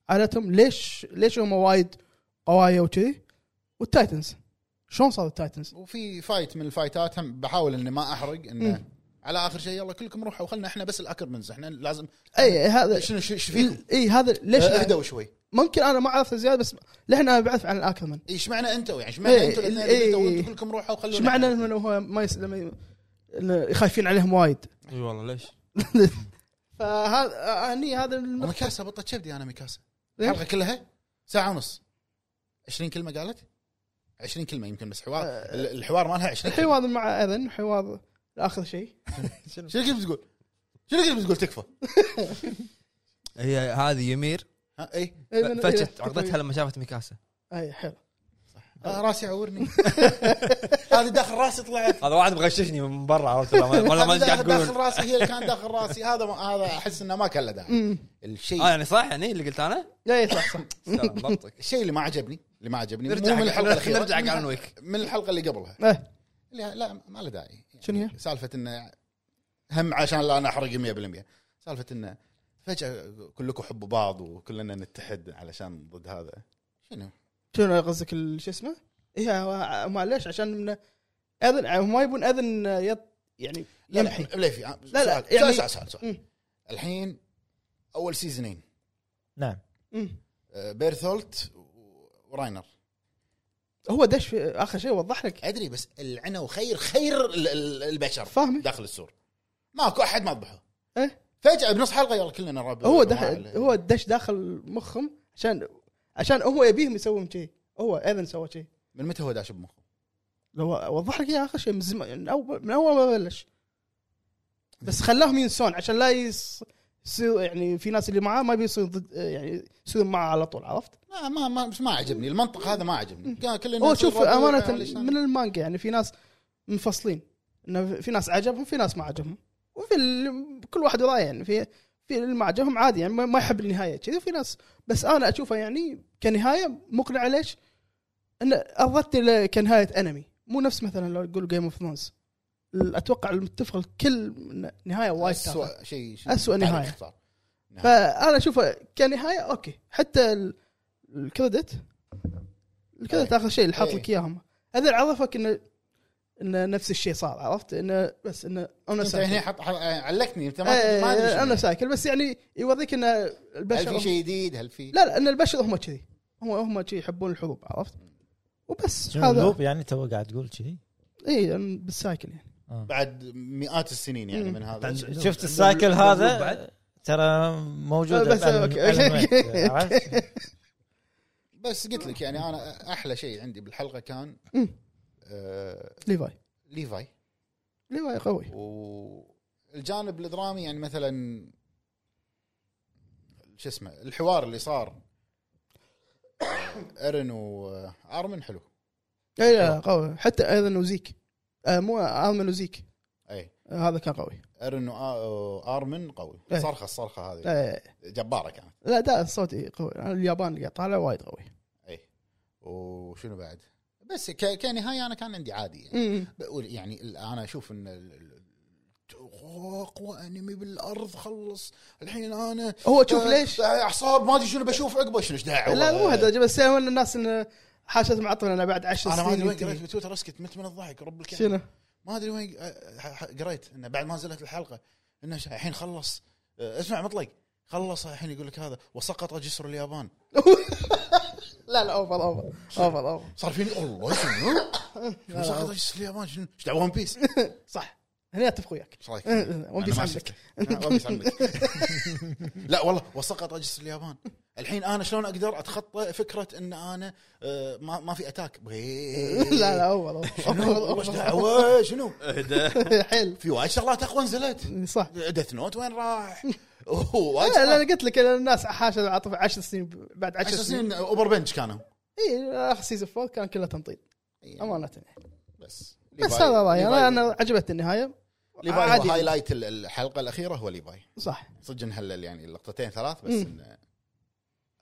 B: عائلتهم ليش ليش هم وايد قوايا وكذي والتايتنز شلون صار التايتنز؟
C: وفي فايت من الفايتات هم بحاول اني ما احرق انه
B: مم.
C: على اخر شيء يلا كلكم روحوا خلنا احنا بس الاكرمنز احنا لازم
B: اي إيه، هذا
C: شنو شنو شو فيكم؟
B: اي هذا ليش
C: آه، اهدوا شوي
B: ممكن انا ما اعرف زياده بس لحنا انا بعرف عن الاكرمان
C: ايش معنى انتوا يعني ايش معنى
B: إيه،
C: انتوا الاثنين
B: إيه.
C: اللي قلتوا انتوا كلكم روحوا خلونا
B: ايش معنى انه هو ما يس... لما ي- إنه خايفين عليهم وايد
A: اي والله ليش؟
B: فهذا آه، هني هذا النقطة.
C: مكاسه بطه كبدي انا مكاسه
B: إيه؟
C: الحلقه كلها ساعه ونص 20 كلمه قالت 20 كلمه يمكن بس حوار
B: آه.
C: ال- الحوار مالها 20 كلمه
B: حوار مع اذن حوار اخر شيء
C: شنو كنت بتقول؟ شنو كنت بتقول تكفى؟
A: هي هذه يمير
C: ها اي
A: فتشت عقدتها لما شافت ميكاسا
B: اي حلو
C: آه راسي عورني هذه داخل راسي طلعت
A: هذا واحد مغششني من برا عرفت ولا ما- ولا ما
C: هذه
A: إيش قاعد
C: داخل, داخل
A: تقولون
C: راسي هي اللي كان داخل راسي هذا ما هذا احس انه ما كان له داعي
B: أمم.
C: الشيء
A: اه يعني صح يعني اللي قلت انا؟
B: لا صح صح
A: سلام، ضبطك
C: الشيء اللي ما عجبني اللي ما عجبني
A: نرجع
C: مو من الحلقه الاخيره
A: نرجع
C: من-
A: جالن ويك
C: من الحلقه اللي قبلها
B: إيه.
C: لا لا ما له داعي يعني
B: شنو هي؟
C: سالفه انه هم عشان لا انا احرق 100% سالفه انه فجاه كلكم حبوا بعض وكلنا نتحد علشان ضد هذا شنو؟
B: شنو قصدك ال- شو اسمه؟ اي هو- معليش عشان من اذن هم ما يبون اذن يط يعني
C: لا لا
B: يمحي.
C: بليفي لا
B: لا،
C: لا
B: يعني-
C: آه، سؤال سؤال سؤال, سؤال.
B: مم.
C: الحين اول سيزونين
D: نعم
B: أمم.
C: آه، بيرثولت و- وراينر
B: هو دش في اخر شيء وضح لك
C: ادري بس العنو خير خير ال- ال- البشر
B: فاهمك.
C: داخل السور ماكو احد ما ذبحه
B: إيه.
C: فجاه بنص حلقه يلا كلنا رابع
B: هو دخل هو دش داخل مخهم عشان عشان هو يبيهم يسوون كذي هو اذن سوى كذي
C: من متى هو داش بمخه؟
B: لو وضح لك اياها اخر شيء من زمان من اول من اول ما بلش بس خلاهم ينسون عشان لا يص... يصير يعني في ناس اللي معاه ما بيصير ضد يعني يصير معاه على طول عرفت؟
C: ما ما ما, بس ما عجبني المنطق هذا ما عجبني كان كلنا
B: هو شوف
C: رابع
B: امانه
C: علشان-
B: من المانجا يعني في ناس منفصلين انه في ناس عجبهم في ناس ما عجبهم وفي ال... كل واحد ورايه يعني في في اللي ما عجبهم عادي يعني ما ما يحب النهايه كذي وفي ناس بس انا اشوفها يعني كنهايه مقنعه ليش؟ انه اردت ل- كنهايه انمي مو نفس مثلا لو تقول جيم اوف ثرونز اتوقع المتفق الكل إن نهايه وايد تافهه
C: اسوء شيء شيء-
B: أسوأ
C: تعرف
B: نهاية.
C: اختار.
B: فانا اشوفه كنهايه اوكي حتى ال- الكريدت الكريدت
C: إيه.
B: اخر شيء اللي حاط
C: إيه.
B: لك اياهم هذا عرفك انه انه نفس الشيء صار عرفت انه بس انه انا
C: انت هنا
B: سايكل
C: حط حط- علقتني انت يعني ما
B: إيه،
C: ما ادري شنو.
B: انا سايكل بس يعني يوريك انه البشر
C: هل في شيء جديد هل في
B: لا لا ان البشر هم كذي هم هم كذي يحبون الحروب عرفت وبس
D: شنو
B: هذا
D: اللوب يعني تو قاعد تقول كذي
B: اي بالسايكل يعني
C: بعد مئات السنين يعني
B: مم.
C: من هذا
A: عند-
C: الشيء.
D: شفت السايكل
A: عندهم لوب
D: هذا
A: بعد؟
D: ترى موجود
B: بس
D: بألم-
B: أوكي.
D: ألمات،
B: أوكي.
D: عرفت؟
C: بس قلت لك يعني انا احلى شيء عندي بالحلقه كان
B: مم.
C: آه
B: ليفاي
C: ليفاي
B: ليفاي قوي
C: والجانب الدرامي يعني مثلا شو اسمه الحوار اللي صار ارن وارمن آه، حلو
B: اي لا إيه، قوي حتى ايضا وزيك آه مو ارمن وزيك
C: اي
B: آه هذا كان قوي
C: ارن وارمن قوي
B: إيه.
C: صرخه الصرخه هذه
B: لا,
C: جباره كانت
B: لا ده صوتي قوي أنا اليابان اللي قاعد طالع وايد قوي
C: اي إيه. وشنو بعد بس ك- كنهايه انا كان عندي عادي يعني
B: مم.
C: بقول يعني ال- انا اشوف ان ال- ال- أوه، اقوى انمي بالارض خلص الحين انا
B: هو شوف
C: آه،
B: ليش
C: آه، اعصاب ما ادري شنو بشوف عقبه شنو إيش دعوه
B: لا مو هالدرجه بس هو إن الناس إن حاشت معطله انا بعد 10
C: انا ما ادري
B: سنين
C: وين
B: ينتهي.
C: قريت بتويتر اسكت مت من الضحك رب الكعبه
B: شنو؟
C: ما ادري وين آه، ح- ح- قريت انه بعد ما نزلت الحلقه انه ش- الحين خلص آه، اسمع مطلق خلص الحين يقول لك هذا وسقط جسر اليابان
B: لا لا اوفر اوفر اوفر اوفر
C: صار فيني الله شنو شنو سقط جسر اليابان شنو ايش دعوه ون بيس
B: صح هنا اتفق وياك أه،
C: ايش رايك؟
B: إيه، ون بيس
C: أنا ما
B: عندك
C: شفته. ون بيس عندك لا والله وسقط اجهزه اليابان الحين انا شلون اقدر اتخطى فكره ان انا آه، ما ما في اتاك
B: لا لا اوفر
C: شنو
B: اوفر
C: وش دعوه شنو
B: حلو
C: في وايد شغلات اقوى نزلت
B: صح
C: ديث نوت وين راح وايد
B: لا لا انا قلت لك أنا الناس حاشت عاطفه 10 سنين بعد 10
C: 10
B: سنين
C: سنين اوبر بنش كانوا
B: اي اخر سيزون 4 كان كله تمطيط امانه يعني
C: بس
B: بس
C: ليفاي-
B: هذا رايي انا
C: ليفاي-
B: انا عجبتني النهايه
C: ليفاي
B: عادي.
C: هو هايلايت ال- الحلقه الاخيره هو ليفاي
B: صح
C: صدق انهلل يعني لقطتين ثلاث بس
B: مم.
C: إنه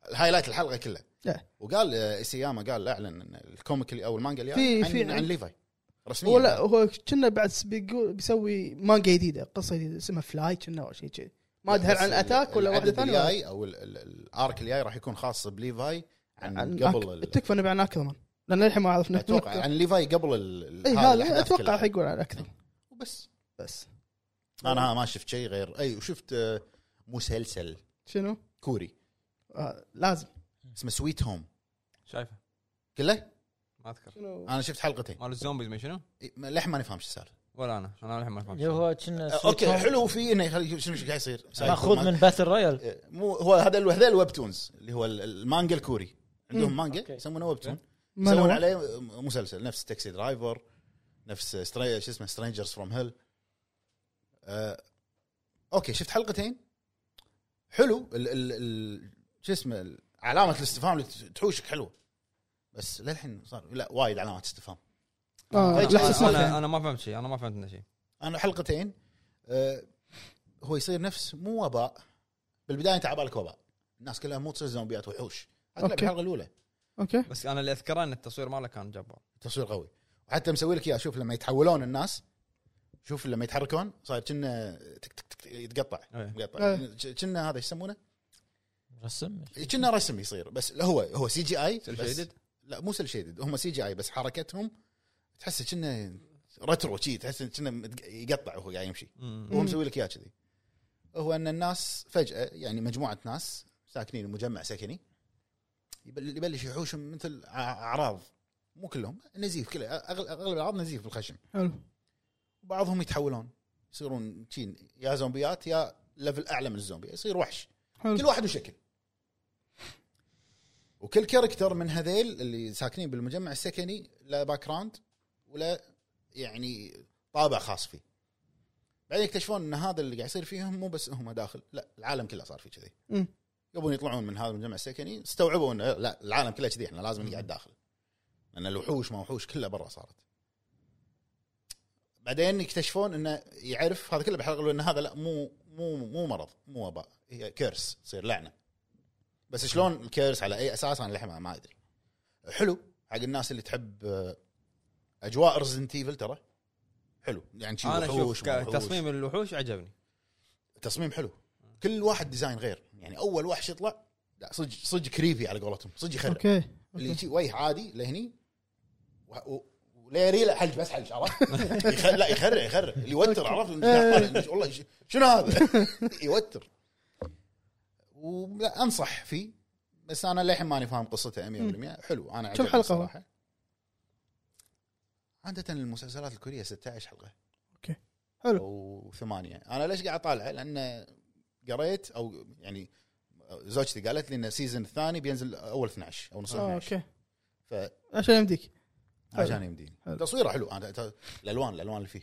C: الهايلايت الحلقه كلها
B: إيه.
C: وقال آه، اسياما قال اعلن ان الكوميك اللي- او المانجا اللي
B: في-
C: عن,
B: في-
C: عن ليفاي يعني. رسميا
B: ولا هو كنا بعد بيقول بيسوي مانجا جديده قصه جديده اسمها فلاي كنا او شيء كذي ما ادري هل
C: بس
B: عن
C: ال-
B: اتاك ولا
C: العدد
B: واحده ثانيه
C: الجاي او ال- ال- الارك الجاي راح يكون خاص بليفاي عن,
B: عن
C: قبل
B: قبل
C: ال- يعني
B: تكفى نبي عن اكثر من لان للحين ما عرفنا
C: اتوقع عن ليفاي قبل ال- ال-
B: اي
C: هذه
B: إيه، هذا
C: الأحداث
B: اتوقع
C: كلها.
B: حيقول عن اكثر
C: وبس
B: بس
C: انا ما شفت شيء غير اي وشفت آه، مسلسل
B: شنو؟
C: كوري
B: آه لازم
C: اسمه سويت هوم
A: شايفه
C: كله
A: ما اذكر
B: شنو؟
C: انا شفت حلقتين
A: مال الزومبيز ما شنو؟
C: إي، ما- للحين ما نفهم شو السالفه
A: ولا انا انا الحين ما فهمت
D: اللي هو كنا
C: آه، اوكي حلو في انه يخلي شنو ايش قاعد يصير
D: ماخوذ من باتل رويال
C: آه، مو هو هذا ال- هذا الويب تونز اللي هو ال- المانجا الكوري عندهم
B: مم.
C: مانجا
D: أوكي.
C: يسمونه ويب تون
B: ما
C: يسوون
B: نوع.
C: عليه م- مسلسل نفس تاكسي درايفر نفس ستري... شو اسمه سترينجرز فروم هيل اوكي أه، شفت حلقتين حلو ال... ال... ال... شو اسمه ال- علامه الاستفهام اللي ت- تحوشك حلوه بس للحين صار لا وايد علامات استفهام
B: آه،
A: أنا-
B: لا شو اسمه
A: انا
B: فين؟
A: انا ما فهمت شيء انا ما فهمت منه شيء
C: انا حلقتين آه، هو يصير نفس مو وباء بالبدايه انت على بالك وباء الناس كلها مو تصير زومبيات وحوش حتى
B: أوكي.
C: بالحلقه الاولى
B: اوكي
A: بس انا اللي اذكره ان التصوير ماله كان جبار
C: تصوير قوي وحتى مسوي لك اياه شوف لما يتحولون الناس شوف لما يتحركون صاير كنا تك تك تك يتقطع
A: إيه.
C: مقطع
B: إيه.
C: كنا هذا ايش يسمونه؟
D: رسم
C: كنا رسم يصير بس هو هو سي جي اي
A: سيل شيدد
C: لا مو سيل شيدد هم سي جي اي بس حركتهم تحس كنا رترو شي تحس كنا متق- يقطع وهو قاعد يمشي
A: مم.
C: هو
B: مم.
C: مسوي لك اياه كذي هو ان الناس فجاه يعني مجموعه ناس ساكنين مجمع سكني يبل- يبلش يحوشهم مثل أع- اعراض مو كلهم نزيف كله أغل- اغلب الاعراض نزيف بالخشم
B: حلو
C: بعضهم يتحولون يصيرون تشين يا زومبيات يا ليفل اعلى من الزومبي يصير وحش كل
B: حلو
C: واحد وشكل وكل كاركتر من هذيل اللي ساكنين بالمجمع السكني لا باك جراوند ولا يعني طابع خاص فيه بعدين يكتشفون ان هذا اللي قاعد يصير فيهم مو بس هم داخل لا العالم كله صار فيه كذي
B: مم.
C: يبون يطلعون من هذا المجمع السكني استوعبوا انه لا العالم كله كذي احنا لازم نقعد داخل لان الوحوش ما وحوش كلها برا صارت بعدين يكتشفون انه يعرف هذا كله بحلقه الأولى ان هذا لا مو مو مو مرض مو وباء هي كيرس تصير لعنه بس شلون الكيرس على اي اساس انا للحين ما- ما ادري حلو حق الناس اللي تحب آه، اجواء ريزنت ايفل ترى حلو يعني شي
A: انا اشوف
C: وحوش، مو وحوش.
A: تصميم الوحوش عجبني
C: تصميم حلو كل واحد ديزاين غير يعني اول وحش يطلع لا صدق صدق كريبي على قولتهم صدق يخرب
B: اوكي
C: اللي يجي وجه عادي لهني و- و- ولا يري لا حلج بس حلج عرفت؟ يخ- لا يخرع يخرع اللي يوتر عرفت؟
B: إيه.
C: إنه والله ش- شنو هذا؟ يوتر ولا انصح فيه بس انا للحين ماني فاهم قصته 100% حلو انا
B: كم
C: عجبني
B: حلقة هو؟
C: صراحة. عادة المسلسلات الكورية 16 حلقة
B: أوكي. حلو.
C: وثمانية انا ليش قاعد اطالعه؟ لان قريت او يعني زوجتي قالت لي ان السيزون الثاني بينزل اول 12 او نص
B: آه،
C: 12
B: اوكي
C: ف
B: عشان يمديك حلو.
C: عشان يمديني
B: حلو.
C: تصويره حلو انا ت- الالوان الالوان اللي فيه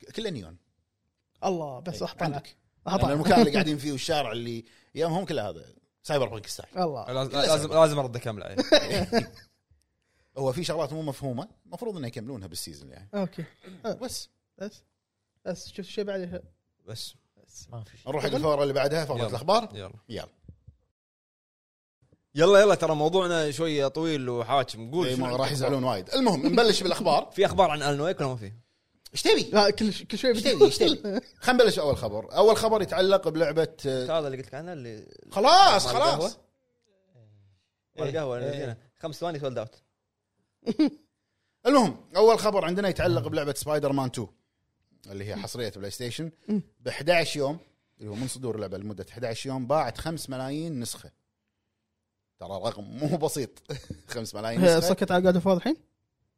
C: ك- كله نيون
B: الله بس راح
C: إيه،
B: طالع
C: عندك.
B: راح
C: لأن
B: طالع
C: المكان اللي قاعدين فيه والشارع اللي يمهم كله هذا سايبر بانك ستايل
B: الله
A: لازم لازم, لازم ارد اكمل عليه
C: هو في شغلات مو مفهومه المفروض انه يكملونها بالسيزون يعني
B: اوكي
C: بس
B: بس بس شفت شيء بعدها
A: بس
D: ما في شيء
C: نروح
B: طيب.
C: حق الفقره اللي بعدها فقره
A: يلا.
C: الاخبار
A: يلا
C: يلا
A: يلا يلا ترى موضوعنا شويه طويل وحاكم قول
C: إي،
A: شنو
C: إيه، ما
A: عندك
C: راح يزعلون وايد المهم نبلش بالاخبار
A: في اخبار عن النويك ولا ما في؟
C: ايش تبي؟
B: لا كل ش- كل شوي
C: ايش تبي؟ ايش تبي؟ خلينا نبلش اول خبر اول خبر يتعلق بلعبه آه،
A: هذا اللي قلت لك عنه اللي
C: خلاص
A: مال
C: خلاص
A: القهوة؟ مال القهوه اللي
D: إيه.
A: نزينا. خمس ثواني سولد اوت
C: المهم اول خبر عندنا يتعلق بلعبه سبايدر مان 2 اللي هي حصريه بلاي ستيشن ب 11 يوم اللي هو من صدور اللعبه لمده 11 يوم باعت 5 ملايين نسخه ترى رقم مو بسيط 5 ملايين
B: هي
C: نسخه
B: سكت على قاعد فاضي الحين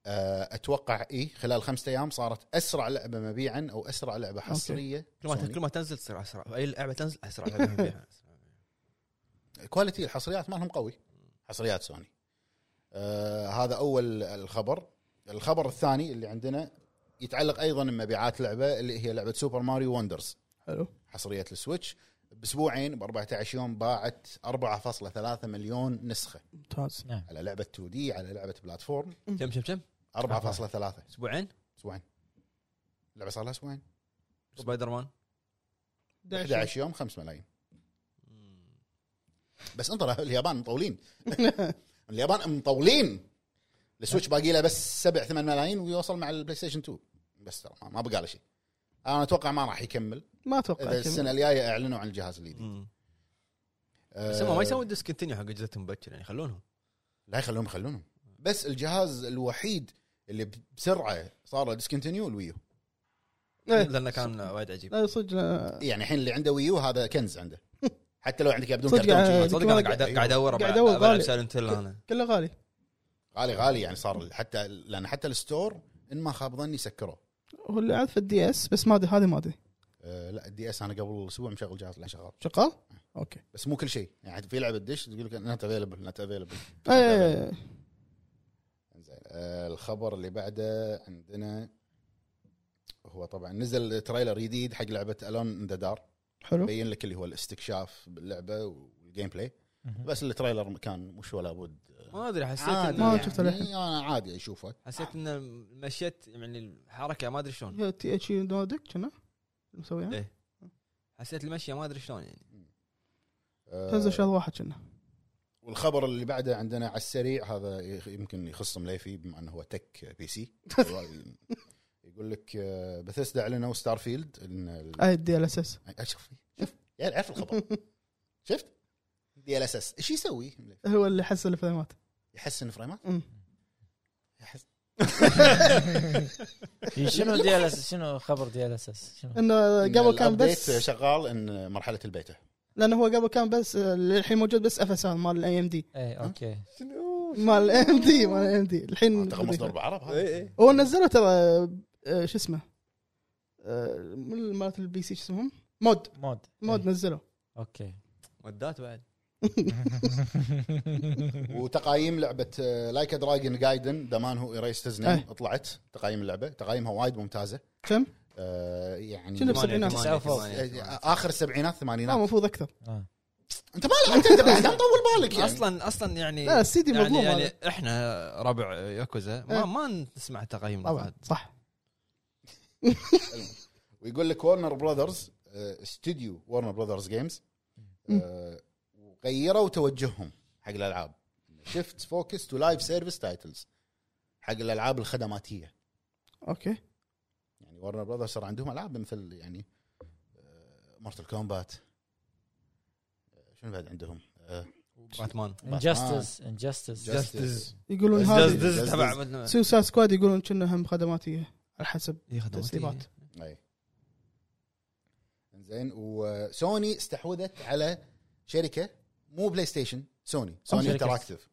C: آه، اتوقع اي خلال خمسة ايام صارت اسرع لعبه مبيعا او اسرع لعبه حصريه
A: كل ما
C: سوني.
A: كل ما تنزل تصير اسرع اي لعبه تنزل اسرع لعبة نبيعها.
C: كواليتي الحصريات مالهم قوي حصريات سوني آه هذا اول الخبر الخبر الثاني اللي عندنا يتعلق ايضا بمبيعات لعبه اللي هي لعبه سوبر ماريو وندرز
B: حلو
C: حصريه السويتش باسبوعين ب 14 يوم باعت 4.3 مليون نسخه
B: ممتاز
D: نعم.
C: على لعبه 2 دي على لعبه بلاتفورم
A: كم كم كم
C: 4.3
A: اسبوعين
C: اسبوعين اللعبه صار لها اسبوعين
A: سبايدر مان
C: 11 يوم 5 ملايين بس انظر اليابان مطولين اليابان مطولين السويتش باقي له بس 7 8 ملايين ويوصل مع البلاي ستيشن 2 بس ترى ما- ما بقى له شيء انا اتوقع ما راح يكمل
B: ما اتوقع
C: اذا
B: كذا.
C: السنه الجايه اعلنوا عن الجهاز الجديد
A: مم.
C: آه،
A: بس هم ما يسوون ديسكنتينيو حق اجهزتهم مبكر يعني خلونهم
C: لا يخلوهم يخلونهم بس الجهاز الوحيد اللي ب- بسرعه صار له ديسكونتينيو الويو
B: إيه. آه.
A: لانه كان وايد عجيب
B: لا صدق لا.
C: يعني الحين اللي عنده ويو هذا كنز عنده حتى لو عندك إياه بدون
B: صدق
C: كرتون
B: يعني.
A: صدق
B: كمان
A: انا قاعد
C: أيوه. قاعد-
A: قاعد ادور
B: قاعد أدور
A: بلعب
B: بالي.
A: سايلنت هيل انا
B: كله غالي
C: غالي غالي يعني صار حتى لان حتى الستور ان ما خاب ظني سكروه
B: هو اللي عاد في الدي اس بس ما ادري هذه ما ادري
C: آه، لا الدي اس انا قبل اسبوع مشغل جهاز لا شغال
B: شغال؟ اوكي
C: بس مو كل شيء يعني في لعبه دش تقول لك نت افيلبل نت افيلبل
B: ايه
C: زين آه، الخبر اللي بعده عندنا هو طبعا نزل تريلر جديد حق لعبه الون ذا دار
B: حلو
C: يبين لك اللي هو الاستكشاف باللعبه والجيم بلاي
D: مهم.
C: بس التريلر كان مش ولا بد
A: آه، ما ادري حسيت
C: عادي
A: إنه-
B: ما
C: يعني
B: شفته للحين.
C: انا عادي اشوفه
A: حسيت انه مشيت يعني الحركه ما ادري شلون
B: هي تي اتش نودك كنا مسويها
A: إيه. حسيت المشيه ما ادري شلون يعني
C: آه،
B: تنزل شهر واحد كنا
C: والخبر اللي بعده عندنا على السريع هذا يخ- يمكن يخص مليفي بما انه هو تك بي سي يقول لك آه، بثيسدا اعلنوا ستار فيلد ان ال-
B: اي الدي ال اس اس
C: شوف شوف يعني عرف الخبر شفت دي ال اس اس ايش يسوي؟
B: هو اللي حس الفريمات
C: يحسن فريمات
B: أمم.
C: يحس
D: شنو دي ال اس شنو خبر دي ال اس اس شنو
B: انه
C: إن
B: آه، قبل كان
C: الأبديت
B: بس
C: شغال ان مرحله البيتا
B: لانه هو قبل كان بس الحين موجود بس اف اس ار مال الاي ام دي
D: اي اوكي
B: مال الاي ام دي مال الاي ام دي الحين
C: اعتقد مصدر بعرب هذا
A: اي اي
B: هو نزلوا ترى آه، شو اسمه آه، مال- مالت البي سي شو اسمهم؟ مود
D: مود إيه،
B: مود
A: إيه.
D: إي،
B: نزلوا
D: اوكي
A: ودات بعد
C: وتقايم آه، لعبه لايك دراجون جايدن دمان هو ايريس تزنيم
B: أي.
C: طلعت تقايم اللعبه تقايمها وايد ممتازه
B: كم؟
C: آه، يعني
B: شنو بالسبعينات؟
A: ثمانية-
D: تسعة وفوق.
A: ثمانية- ثمانية.
C: آه، اخر السبعينات
A: إيه.
B: لا
C: الثمانينات
B: المفروض اكثر
D: آه.
C: انت ما انت أنت بس كم طول بالك يعني
A: اصلا اصلا يعني
B: لا السي دي
A: يعني,
B: مظلوم
A: يعني
B: هذا.
A: احنا ربع ياكوزا
B: إيه.
A: ما, ما نسمع تقييم
B: طبعا
A: بعد
B: صح
C: ويقول لك آه، ورنر براذرز استوديو ورنر براذرز جيمز آه، غيروا توجههم حق الالعاب شفت فوكس تو لايف سيرفيس تايتلز حق الالعاب الخدماتيه
B: اوكي
C: يعني ورنر براذرز صار عندهم العاب مثل يعني آه، مارتل كومبات آه، شنو بعد عندهم؟ آه،
A: باتمان
D: انجستس انجستس
A: جاستس
B: يقولون هذه
A: جاستس تبع
B: سوسا سكواد يقولون كنا هم خدماتيه على حسب
A: إيه، خدمات.
B: تسريبات
C: اي زين وسوني استحوذت على شركه مو بلاي ستيشن سوني سوني
D: شركة.
C: انتراكتيف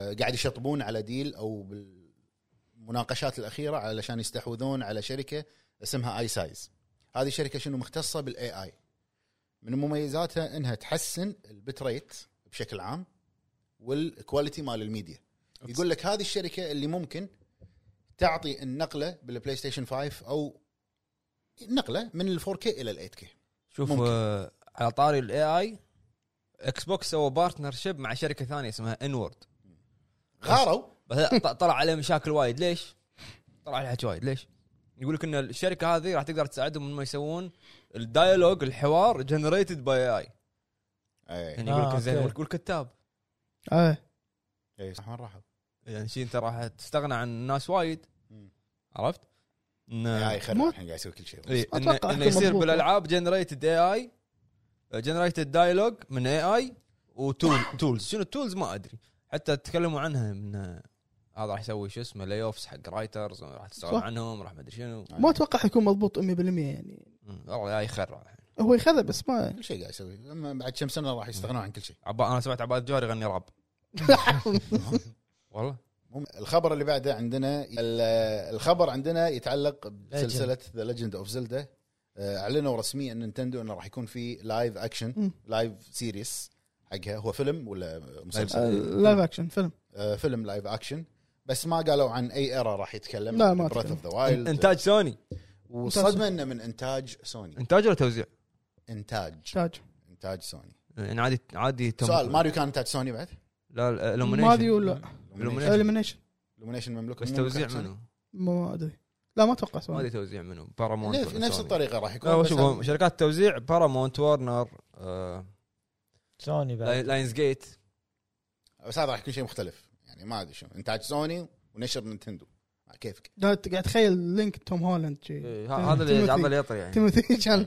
C: آه، قاعد يشطبون على ديل او بالمناقشات الاخيره علشان يستحوذون على شركه اسمها اي سايز هذه شركه شنو مختصه بالاي اي من مميزاتها انها تحسن البت ريت بشكل عام والكواليتي مال الميديا يقول لك هذه الشركه اللي ممكن تعطي النقله بالبلاي ستيشن 5 او نقله من ال 4K الى ال 8K
A: شوف
C: ممكن.
A: آه، على طاري الاي اي اكس بوكس سووا بارتنرشيب مع شركه ثانيه اسمها انورد
C: غاروا
A: بس ط- طلع عليه مشاكل وايد ليش؟ طلع عليه حكي وايد ليش؟ يقول لك ان الشركه هذه راح تقدر تساعدهم انهم يسوون الدايلوج الحوار جنريتد باي اي
C: اي
A: يعني يقول لك
D: آه،
A: زين
D: أوكي.
A: والكتاب
B: آه.
C: اي إيه، صح وين راحوا؟
A: يعني شي انت راح تستغنى عن الناس وايد
C: مم.
A: عرفت؟ إن-
C: اي خير
B: مو-
C: الحين قاعد يسوي كل شيء
A: إيه، انه
B: أتوقع
A: إن
B: أكيد
A: يصير
B: مضبوط.
A: بالالعاب جنريتد اي اي جنريتد دايلوج من اي اي وتول تولز شنو التولز ما ادري حتى تكلموا عنها من هذا راح يسوي شو اسمه لي اوفس حق رايترز راح تسولف
B: صح.
A: عنهم راح ما ادري شنو
B: ما اتوقع حيكون مضبوط 100% يعني
A: مم، والله اي خير الحين.
B: هو يخذه بس ما
C: كل شيء قاعد يسوي اما بعد كم سنه راح يستغنون عن كل شيء
A: عبا انا سمعت عباد جوهر يغني راب والله
C: مم. الخبر اللي بعده عندنا ال- الخبر عندنا يتعلق بسلسله ذا ليجند اوف زلدا اعلنوا رسميا نينتندو انه راح يكون في لايف اكشن
B: مم.
C: لايف سيريس حقها هو فيلم ولا مسلسل
B: لايف اكشن فيلم
C: آه، فيلم لايف اكشن بس ما قالوا عن اي ايرا راح يتكلم
B: لا، ما
C: براث اوف ذا
A: إن-
C: وايلد
A: انتاج سوني
C: والصدمه انه من انتاج سوني
A: انتاج ولا توزيع؟
C: انتاج
B: تاج
C: انتاج سوني
A: يعني عادي عادي تم-
C: سؤال ماريو كان انتاج سوني بعد؟
A: لا لا Illumination.
B: ماريو لا
A: Illumination.
B: اليمنيشن
C: الومنيشن مملوك
A: بس توزيع منو؟
B: ما ادري لا ما اتوقع
A: ما ادري
B: سؤال
A: توزيع منو بارامونت
C: طيب. نفس
A: ولا
C: نفس
A: سوني.
C: الطريقه راح يكون
A: لا
C: بس
A: شوف هم شركات التوزيع بارامونت وارنر آه،
D: سوني
A: لاي-
D: بعد
A: لاينز جيت
C: إيه. بس هذا راح يكون شيء مختلف يعني ما ادري شو انتاج سوني ونشر نينتندو آه، كيفك
B: لا، أنت قاعد تخيل لينك توم هولاند شي.
A: إيه، ه- هذا اللي
B: تيموثي-
A: هذا اللي يطري يعني
B: تيموثي كان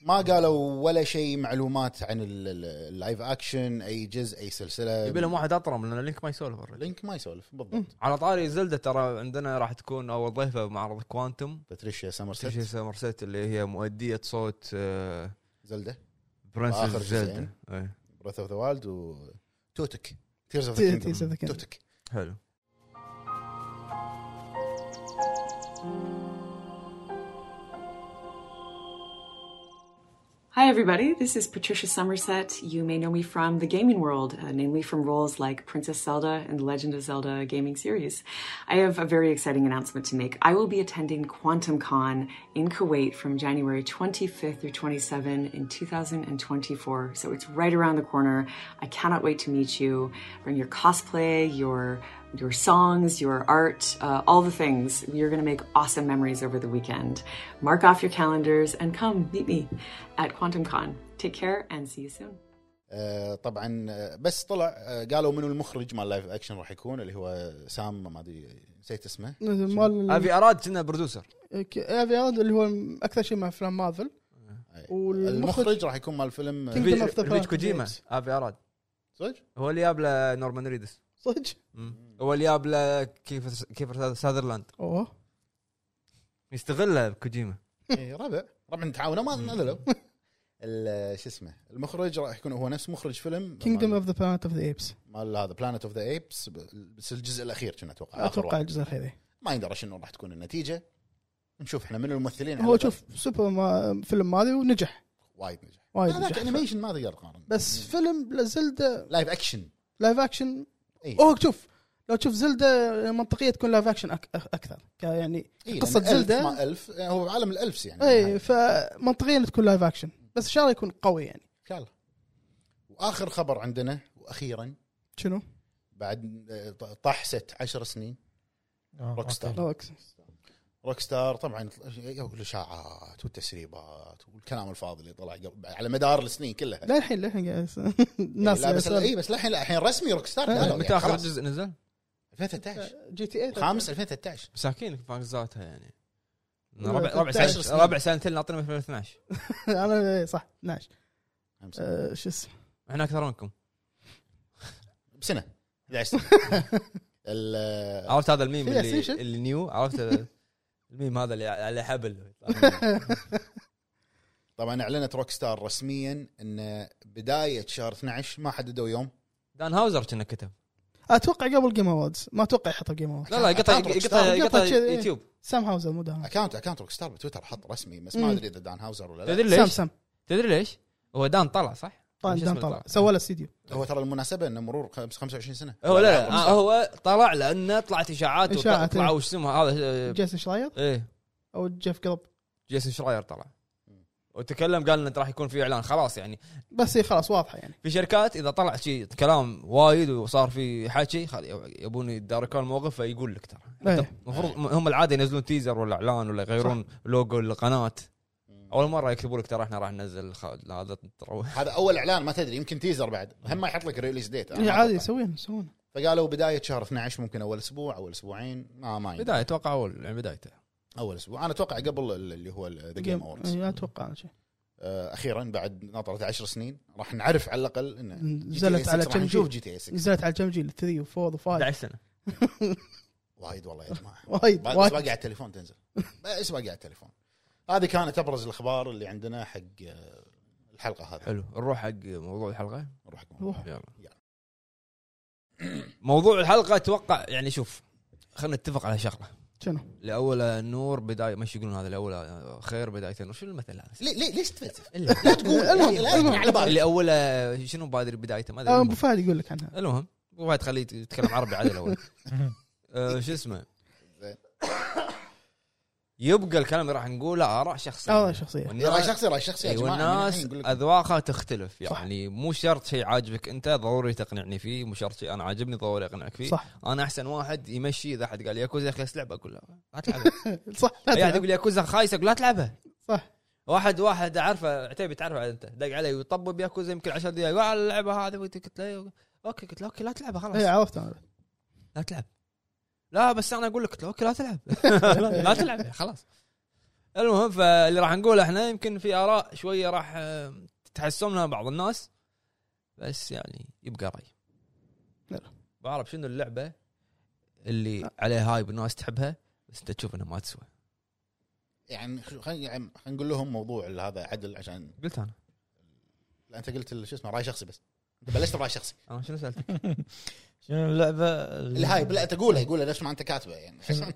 C: ما قالوا ولا شيء معلومات عن ال- ال- اللايف اكشن اي جزء اي
A: يبي لهم
C: سلسله
A: واحد اطرم لان لينك ما يسولف الرجل.
C: لينك ما يسولف بالضبط
A: على طاري زلدة ترى عندنا راح تكون اول ضيفه بمعرض كوانتم
C: باتريشيا
A: تشي
C: سامرسيت
A: سمرسيت اللي هي مؤدية صوت آه،
C: زلده
A: برنسس
C: آخر
A: زلدة
C: جزئين.
A: إيه،
C: براث اوف ذا وايلد وتوتك تيرز اوف
B: Tears
C: ذا
B: of the Kingdom.
C: توتك
A: حلو
F: Hi, everybody. This is Patricia Somerset. You may know me from the gaming world, uh, namely from roles like Princess Zelda and The Legend of Zelda gaming series. I have a very exciting announcement to make. I will be attending Quantum Con in Kuwait from January 25th through 27 in 2024. So it's right around the corner. I cannot wait to meet you. Bring your cosplay, your your songs, your art, uh, all the things. You're going to make awesome memories over the weekend. Mark off your calendars and come meet me at Quantum Con. Take care and see you soon.
C: آه، طبعا آه، بس طلع آه، قالوا منو المخرج مال لايف اكشن راح يكون اللي هو سام ما ادري نسيت اسمه
B: مال إيه،
A: افي اراد كنا برودوسر
B: ك- افي اراد اللي هو اكثر شيء مع افلام مارفل
C: أي.
B: والمخرج-
C: إيه. المخرج راح يكون مال فيلم آه،
B: Kingdom of the
A: ريج
B: Planet
A: كوجيما
B: of the
A: افي اراد
C: صدق؟
A: هو اللي جاب له نورمان ريدس
B: صدق
A: مم. هو اللي جاب له كيف كيف ساذرلاند
B: اوه
A: يستغله كوجيما
C: إيه، ربع ربع تعاونه ما نزلوا ال- آه، شو اسمه المخرج راح يكون هو نفس مخرج فيلم
B: كينجدم
C: مال-
B: اوف ذا بلانت اوف ذا ايبس
C: مال هذا بلانت اوف ذا ايبس بس الجزء الاخير كنا اتوقع آخر
B: اتوقع
C: واحد.
B: الجزء الاخيري
C: ما يندرى شنو راح تكون النتيجه نشوف احنا من الممثلين
B: هو شوف سوبر ما فيلم ماضي ونجح
C: وايد نجح
B: وايد
C: هذاك
B: نجح
C: انيميشن ما تقدر تقارن
B: بس فيلم لزلدة
C: لايف اكشن
B: لايف اكشن
C: إيه.
B: اوه شوف لو تشوف زلدة منطقيه تكون لايف اكشن أك أك- اكثر ك- يعني
C: إيه،
B: قصة إيه.
C: لأن ألف
B: زلدة.
C: ما ألف يعني هو عالم الالفس يعني
B: اي فمنطقيا إنه تكون لايف اكشن بس ان شاء الله يكون قوي يعني
C: ان شاء الله واخر خبر عندنا واخيرا
B: شنو؟
C: بعد آه، طحسه عشر سنين
D: آه،
C: روك ستار.
D: أوكي.
B: لا أكس.
C: روك ستار طبعا يو- الاشاعات والتسريبات والكلام الفاضي اللي طلع قبل على مدار السنين كلها يعني
B: لا الحين لا الحين قاعد- الناس
C: لا
B: قاعد
C: بس
B: تسأل.
C: اي بس الحين لا الحين رسمي روك ستار
B: إيه.
C: قالوا
A: متى
C: يعني
A: اخر
C: خلاص.
A: جزء آه، نزل؟
C: 2013
B: جي تي إيه؟ اي
C: خامس 2013
A: مساكين فانزاتها يعني
B: لا،
A: ربع ربع
B: 13
A: سنه
C: سنين.
A: ربع سنتين ناطرين 2012
B: انا إيه، صح 12
C: خامس.
B: آه، شو اسمه
A: احنا اكثر منكم
C: بسنه 11 سنه ال- آه،
A: عرفت هذا الميم
B: في
A: اللي
B: أسيشن؟
A: اللي نيو عرفت هذا- الميم هذا اللي على حبل
C: طبعا اعلنت روك ستار رسميا ان بدايه شهر 12 ما حددوا يوم
A: دان هاوزر كنا كتب
B: اتوقع قبل جيم اووردز ما اتوقع يحطها جيم اووردز
A: لا لا قطع
C: أعتقد
A: قطع
B: Rockstar
A: قطع
B: قطع كذي، إيه.
A: يوتيوب
B: سام هاوزر مو داهم
C: اكونت اكونت روك ستار بتويتر حط رسمي بس
B: مم.
C: ما ادري اذا دان هاوزر ولا لا
A: تدري
B: سام
A: ليش؟
B: سام
A: تدري ليش؟ هو دان طلع صح؟
B: طالع
A: شو
B: دام
A: اسمه
B: طلع سوى له استديو
C: هو ترى المناسبه انه مرور خمس- 25 سنه
A: هو لا لا آه، هو طلع لانه طلعت اشاعات
B: إشاعات،
A: وطلعوا وش اسمه هذا آه،
B: جيسون شلاير
A: ايه
B: او جيف قلب
A: جيسون شراير طلع وتكلم قال انه راح يكون في اعلان خلاص يعني
B: بس هي خلاص واضحه يعني
A: في شركات اذا طلع شيء كلام وايد وصار في حكي خل- يبون يتداركون الموقف فيقول لك ترى
B: إيه.
A: المفروض هم العاده ينزلون تيزر ولا اعلان ولا يغيرون لوجو القناه اول مره يكتبوا لك ترى احنا راح ننزل خ... لا، هذا ترى-
C: هذا اول اعلان ما تدري يمكن تيزر بعد هم ما يحط لك الريليز ديت أنا
B: هي
C: ما
B: إيه، عادي
C: أتوقع.
B: يسوون يسوون
C: فقالوا بدايه شهر 12 ممكن اول اسبوع اول اسبوعين ما ما يدري.
A: بدايه اتوقع اول يعني بدايته
C: اول اسبوع انا اتوقع قبل ال- اللي هو ذا جيم اووردز
B: إيه، اتوقع أنا شيء
C: اخيرا آه، بعد ناطره 10 سنين راح نعرف على الاقل انه
B: نزلت على
C: كم
B: كم
C: إيه نشوف
B: جيل
C: جي تي إيه اي 6
B: نزلت على كم جيل 3 و4 و5
A: 11 سنه
C: وايد والله يا جماعه
B: وايد
C: بعد بس
B: وايد
C: باقي على التليفون تنزل بس باقي على التليفون هذه كانت ابرز الاخبار اللي عندنا حق آه، الحلقه هذه
A: حلو نروح حق موضوع الحلقه
C: نروح حق
B: روح.
A: يلا
C: يلا.
A: موضوع الحلقه اتوقع يعني شوف خلينا نتفق على شغله
B: شنو؟
A: لاولها نور بدايه مش يقولون هذا لاولها خير بدايه نور شنو المثل هذا؟
C: ليه ليه ليش تفلسف؟
A: اللي-
C: لا تقول
B: المهم،
C: لا- لا
B: المهم.
C: على بالك
A: اللي اولها آه، شنو بادر بدايته ما ادري
B: آه، ابو
A: المهم.
B: فهد يقول لك عنها
A: المهم مو بعد تخليه يتكلم عربي على الاول آه، شو اسمه
C: زين.
A: يبقى الكلام اللي راح نقوله اراء شخصيه
B: آراء آه، شخصية.
A: والناس-
C: راي شخصي راي شخصي يا يعني
A: أيوة،
C: جماعه
A: والناس
C: أذ...
A: اذواقها تختلف يعني مو شرط شيء عاجبك انت ضروري تقنعني فيه مو شرط شيء انا عاجبني ضروري اقنعك فيه
B: صح
A: انا احسن واحد يمشي اذا احد قال ياكوزا خلاص لعبه اقول له لا تلعبها
B: صح لا
A: يعني
B: تلعب.
A: يقول ياكوزا خايسه اقول لا تلعبها
B: صح
A: واحد واحد اعرفه عتيبي تعرفه انت دق علي ويطبب ياكوزا يمكن 10 دقائق قال اللعبه هذه وأنت قلت له اوكي قلت له اوكي لا تلعبها
B: اي
A: خلاص
B: إيه، عرفت انا
A: لا تلعب لا بس انا اقول لك قلت له اوكي لا تلعب لا تلعب خلاص المهم فاللي راح نقوله احنا يمكن في اراء شويه راح آه، تحسمنا بعض الناس بس يعني يبقى راي
B: يلا.
A: بعرف شنو اللعبه اللي عليها هايب الناس تحبها بس انت تشوف انها ما تسوى
C: يعني خ- خلينا يعني خلينا نقول لهم موضوع هذا عدل عشان
A: قلت انا
C: لا، انت قلت ال- شو اسمه راي شخصي بس انت بلشت براي شخصي
A: انا شنو سالتك؟
D: شنو اللعبه
C: الهايب لا تقولها يقولها نفس ما انت كاتبه يعني عشان
D: شنو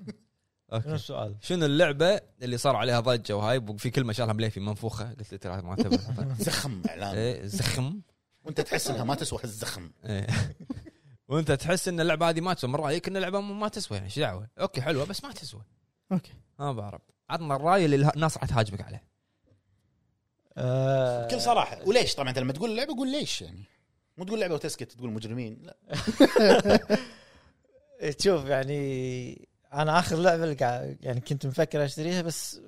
A: اوكي
D: السؤال؟
A: شنو اللعبه اللي صار عليها ضجه وهايب وفي كلمه شالها مليفي منفوخه قلت له ترى ما تبغى
C: زخم اعلان
A: إيه، زخم
C: وانت تحس انها ما تسوى الزخم
A: إيه. وانت تحس ان اللعبه هذه ما تسوى من رايك ان اللعبه ما تسوى يعني ايش دعوه اوكي حلوه بس ما تسوى
B: اوكي
A: ما بعرف عطنا الراي اللي اله- الناس راح تهاجمك عليه
D: آه،
C: بكل صراحه وليش طبعا انت لما تقول اللعبه قول ليش يعني مو تقول لعبه وتسكت تقول مجرمين لا
D: تشوف يعني انا اخر لعبه اللي قاعد يعني كنت مفكر اشتريها بس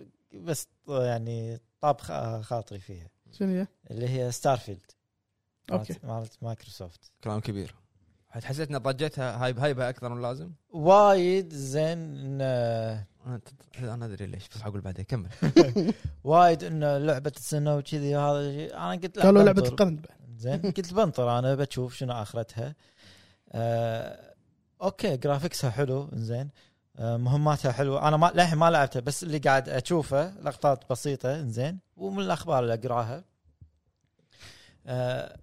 D: بس يعني طاب خ- خاطري فيها
B: شنو هي؟
D: اللي هي ستارفيلد
B: اوكي
D: مالت مايكروسوفت
A: كلام كبير حسيت ان ضجتها هايب هايبها اكثر من اللازم
D: وايد زين انه
A: انا انا ادري ليش بس حقول بعدين كمل
D: وايد انه لعبه السنه وكذي وهذا الشيء. انا قلت لا
B: قالوا لعبه
D: بنطر.
B: القرن بعد
D: زين قلت بنطر انا بشوف شنو اخرتها آه اوكي جرافيكسها حلو زين آه مهماتها حلوه انا ما للحين ما لعبتها بس اللي قاعد اشوفه لقطات بسيطه زين ومن الاخبار اللي اقراها آه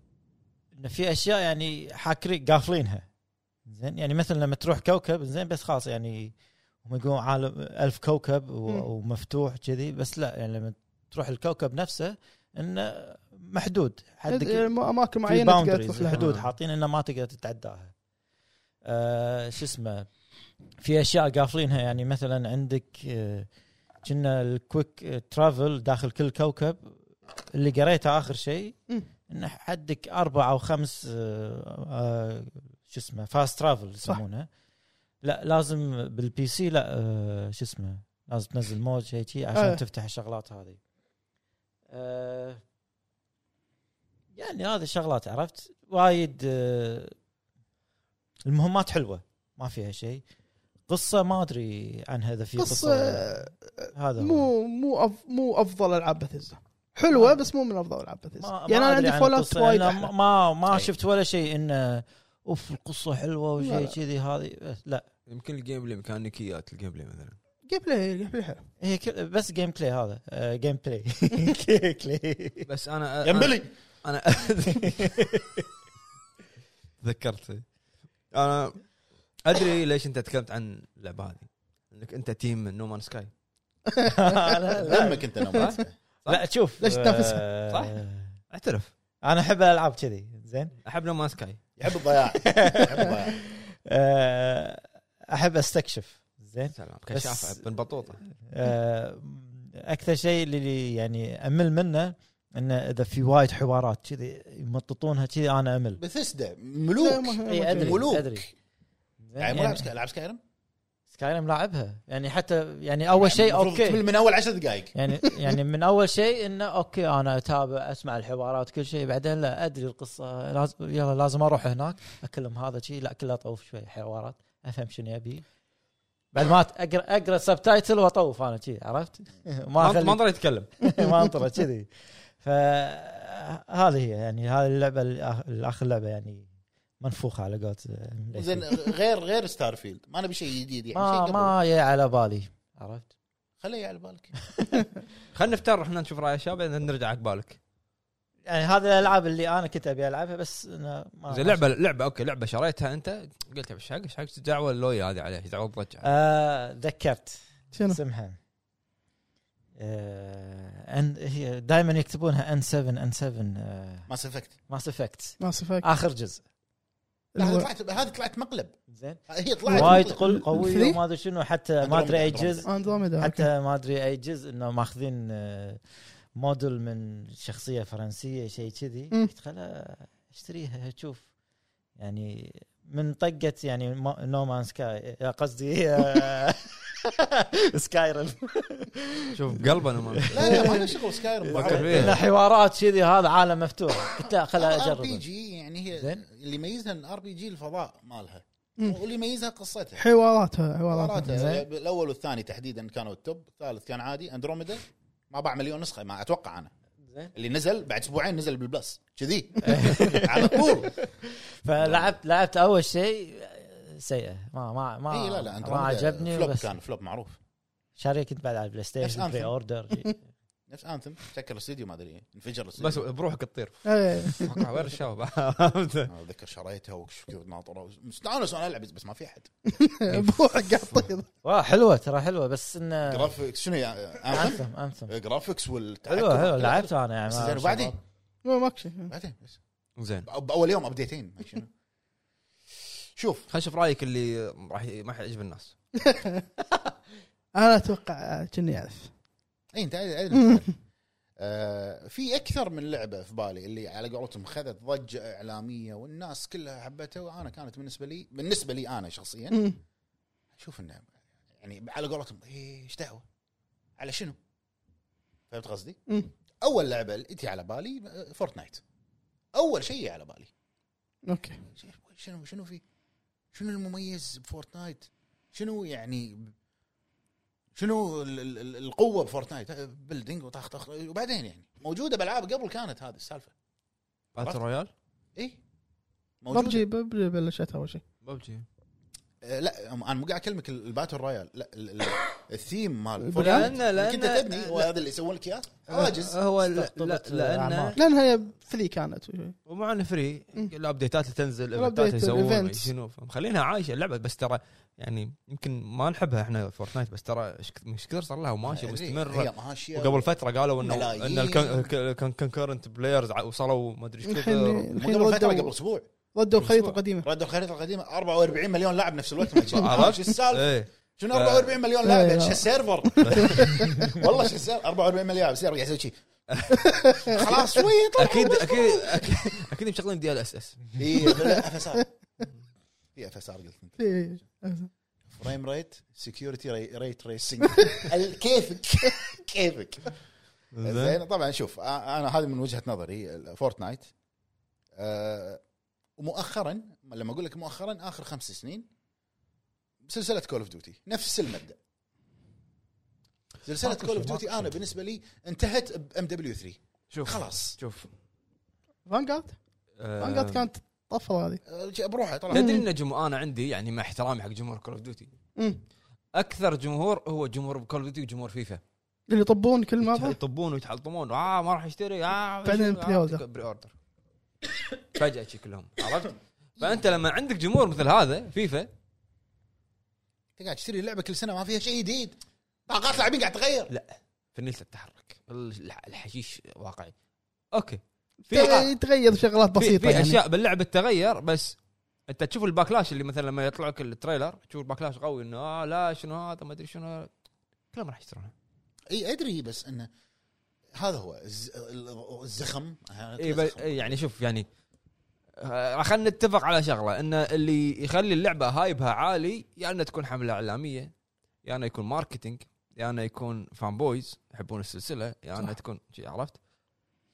D: ان في اشياء يعني حاكرين قافلينها زين يعني مثلا لما تروح كوكب زين بس خلاص يعني هم يقولون عالم ألف كوكب
B: مم.
D: و- ومفتوح كذي بس لا يعني لما تروح الكوكب نفسه انه محدود
B: إيه،
D: حدك
B: اماكن
D: في
B: معينه تقدر تروح
D: باوندريز
B: لها
D: حدود
A: آه.
D: حاطين انه ما تقدر تتعداها آه شو اسمه في اشياء قافلينها يعني مثلا عندك آه، كنا الكويك ترافل داخل كل كوكب اللي قريته اخر شيء
B: مم.
D: انه حدك اربع او خمس آه، آه، شو اسمه فاست ترافل يسمونها لا لازم بالبي سي لا آه، شو اسمه لازم تنزل موج شيء شي عشان
B: آه.
D: تفتح الشغلات هذه آه، يعني هذه الشغلات عرفت وايد آه، المهمات حلوه ما فيها شيء قصه ما ادري عنها اذا في قصه,
B: قصه
D: ولا- هذا هو.
B: مو مو أف مو افضل العاب بثزة حلوه بس مو من افضل العاب بثزة
D: ما-
B: يعني
D: ما
B: انا
D: أدري
B: عندي
D: عن
B: فول اوت
D: القصة،
B: وايد
D: يعني
B: أحلى. طيب.
D: ما ما, ما
C: أي.
D: شفت ولا شيء آه، انه اوف القصه حلوه
B: لا،
D: وشيء
B: لا.
D: كذي هذه بس لا
A: يمكن الجيم بلاي ميكانيكيات الجيم بلاي مثلا
B: جيم بلاي جيم بلاي حلو
D: هي كل- بس جيم بلاي هذا آه، جيم بلاي كلي
A: بس انا
C: ينبلي
A: انا تذكرت انا ادري ليش انت تكلمت عن اللعبه هذه انك انت تيم من نومان سكاي
D: لا, لا,
C: دمك انت نومات
D: لا شوف
B: ليش تنافسها؟
D: آه،
A: صح؟ اعترف
D: انا احب الالعاب كذي زين
A: احب نومان سكاي
C: يحب الضياع يحب الضياع
D: آه، احب استكشف زين
A: سلام
D: بس-
A: كشافه بن بطوطه
D: آه، اكثر شيء اللي يعني امل منه انه اذا في وايد حوارات كذي يمططونها كذي انا امل
C: بثسدا
B: لا،
C: ملوك
B: ما-
D: اي ادري
C: ملوك.
D: ادري
C: يعني مو
D: يعني
C: لعب سكاي لعب سكايرم
D: سكايرم لاعبها يعني حتى يعني اول شيء
C: المفروض تكمل
D: اوكي
C: من اول عشر دقائق
D: يعني يعني من اول شيء انه اوكي انا اتابع اسمع الحوارات كل شيء بعدين لا ادري القصه لازم يلا لازم اروح هناك اكلم هذا شيء لا كله اطوف شوي حوارات افهم شنو ابي بعد ما اقرا اقرا سبتايتل واطوف انا شي عرفت؟
A: ما ما
D: ما اخلي
A: أقدر يتكلم
D: ما انطره كذي فهذه هي يعني هذه اللعبه الأخ- الاخر لعبه يعني منفوخه على قولت
C: زين غير غير ستار فيلد ما نبي شيء جديد يعني شيء
D: ما
C: قبل.
D: آه، ما جاي على بالي عرفت؟
C: خليه على بالك
A: خلينا نفتر احنا نشوف راي الشباب بعدين نرجع عق بالك
D: يعني هذه الالعاب اللي انا كنت ابي العبها بس أنا ما
A: زين لعبه لعبه اوكي لعبه شريتها انت قلت ايش حق ايش حق دعوه اللويا هذه عليه دعوه الضجه
D: آه، ذكرت
B: شنو؟
D: اسمها آه، ان هي دائما يكتبونها ان 7 ان 7
C: ما سفكت
D: ماس افكت
B: ما صفاك
D: اخر جزء
C: هذه طلعت هذه طلعت مقلب
D: زين
C: هي طلعت
D: وايد
C: مقلب.
D: قل قويه
B: الثري؟
D: وما ادري شنو حتى ما ادري اي جزء
B: اندروميدا
D: حتى ما ادري اي جزء انه ماخذين آه، موديل من شخصيه فرنسيه شيء كذي
B: مم.
D: قلت خلا اشتريها شوف يعني من طقه يعني نومان سكاي آه، قصدي آه، سكايرن
A: شوف قلبنا ما
C: لا لا ما له شغل سكايرم
A: فكر فيها.
D: حوارات كذي هذا عالم مفتوح قلت لا خلا
C: ار بي
D: اجرب
C: جي يعني هي
D: زين.
C: اللي يميزها الار بي جي الفضاء مالها
B: مم.
C: واللي يميزها قصتها
B: حواراتها حواراتها
C: حواراتها
D: زين.
C: الاول والثاني تحديدا كانوا التوب الثالث كان عادي اندروميدا ما باع مليون نسخه ما اتوقع انا
D: زين.
C: اللي نزل بعد اسبوعين نزل بالبلس كذي على طول
D: فلعبت لعبت اول شيء سيئه ما ما ما
C: اي إيه، لا لا
D: آه، ما
C: اندروميدا
D: عجبني
C: فلوب
D: بس
C: كان فلوب معروف
D: شاريه كنت بعد على البلاي
C: نفس
D: ستيشن
C: Anthem.
D: بري اوردر
C: نفس انثم سكر الاستديو ما ادري انفجر
A: بس
C: الاستديو
A: بروحك تطير
B: إيه.
A: وقع وين الشباب
C: أنا اتذكر شريتها وش كذا ناطره مستانس وانا العب بس ما في احد
B: إيه، بروحك قاعد تطير
D: واه حلوه ترى حلوه بس انه
C: جرافيكس شنو هي أنثم؟
D: انثم انثم
C: جرافيكس والتحكم
D: حلوه حلوه لعبت انا يعني
C: بس
D: مع
C: زين،
D: الشباب.
C: وبعدين
B: ما ماك شيء
C: بعدين بس
A: زين
C: بأ- باول يوم ابديتين ما شنو. شوف
A: خلينا نشوف رايك اللي راح ي- ما يعجب الناس
B: انا اتوقع كني اعرف
C: اي انت عادي- عادي. آه، في اكثر من لعبه في بالي اللي على قولتهم خذت ضجه اعلاميه والناس كلها حبتها وانا كانت بالنسبه لي بالنسبه لي انا شخصيا
B: مم.
C: اشوف انه يعني على قولتهم إيه، ايش دعوه؟ على شنو؟ فهمت قصدي؟
B: مم.
C: اول لعبه اللي تي على بالي آه، فورتنايت اول شيء على بالي
B: اوكي
C: شنو- شنو شنو في شنو المميز بفورتنايت شنو يعني شنو ال- ال- ال- القوه بفورتنايت بيلدينج وطخ طخ وبعدين يعني موجوده بالعاب قبل كانت هذه إيه؟ السالفه
A: باتل رويال
C: اي موجوده
B: ببجي ببجي بلشت اول شيء
A: ببجي
C: آه لا انا مو قاعد اكلمك ال- الباتل رويال لا ال- ال- الثيم مال
A: لأن-
C: فورتنايت
A: لأن-
C: كنت تبني وهذا اللي يسوون لك اياه عاجز
A: هو لا
D: استقطبت
A: لا- لانه
D: الأعمار.
B: لانها هي فري كانت وشي.
A: ومع انه فري
B: مم.
A: الابديتات اللي تنزل الايفنتات
B: الأبديت،
A: يسوون
B: الإيفنتس.
A: شنو مخلينها عايشه اللعبه بس ترى يعني يمكن ما نحبها احنا فورتنايت بس ترى إيش كث- ايش كثر صار لها وماشيه
C: يعني هي
A: مستمره
C: ماشيه
A: وقبل فتره قالوا انه ان
C: ملايين.
A: الكونكرنت بلايرز وصلوا ما ادري ايش
D: آه،
A: كذا
B: الحين الحين
C: قبل فتره قبل
B: ردوا
C: اسبوع
B: ردوا الخريطه القديمه
C: ردوا الخريطه القديمه 44 مليون لاعب نفس الوقت ما يجي.
A: عرفت؟
C: شو السالفه
A: ايه
C: شنو
A: ف-
C: 44 مليون لاعب
B: إيه،
C: يعني شو
B: لا.
C: السيرفر والله شو السيرفر 44 مليون لاعب السيرفر قاعد يسوي شي خلاص شوي طلع
A: اكيد اكيد أكيد- اكيد مشغلين دي ال اس اس
C: اي إيه، لا، اف اس ار اي اف اس ار قلت انت
B: إيه.
C: فريم ريت سكيورتي ريت ريسنج كيفك كيفك زين طبعا شوف أ- انا هذه من وجهه نظري فورتنايت أه، ومؤخرا لما اقول لك مؤخرا اخر خمس سنين سلسله كول اوف ديوتي نفس المبدا سلسله
A: ماكو
C: كول
A: شيء،
C: اوف ديوتي
A: ماكو
C: انا
A: شيء.
C: بالنسبه لي انتهت بام دبليو 3
A: شوف
C: خلاص.
A: شوف
B: فانجارد
A: آه،
B: فانجارد كانت طفره هذه
C: أه، جا- بروحه طلع
A: تدري ان جمهور انا عندي يعني مع احترامي حق جمهور كول اوف ديوتي
B: مم.
A: اكثر جمهور هو جمهور كول اوف ديوتي وجمهور فيفا
B: اللي يطبون كل مره
A: يطبون ويتحلطمون اه ما راح اشتري اه
B: بعدين
A: آه،
B: بري أوردر.
A: بري اوردر فجاه شي كلهم عرفت؟ فانت لما عندك جمهور مثل هذا فيفا
C: انت قاعد تشتري لعبه كل سنه ما فيها شيء جديد طاقات لاعبين قاعد تتغير
A: لا فنيلة تتحرك الح- الحشيش واقعي اوكي في
B: ت- تغير شغلات
A: في,
B: بسيطه
A: في
B: يعني.
A: اشياء باللعبه تتغير بس انت تشوف الباكلاش اللي مثلا لما آه، يطلع لك التريلر تشوف الباكلاش قوي انه اه لا شنو هذا ما ادري شنو كلهم راح يشترونه
C: اي ادري بس انه هذا هو الز- ال- الزخم
A: إي بل-
C: الزخم.
A: إي يعني شوف يعني آه، خلينا نتفق على شغله ان اللي يخلي اللعبه هايبها عالي يا يعني انها تكون حمله اعلاميه يا يعني انه يكون ماركتينج يا يعني انه يكون فان بويز يحبون السلسله يا يعني انها تكون شي عرفت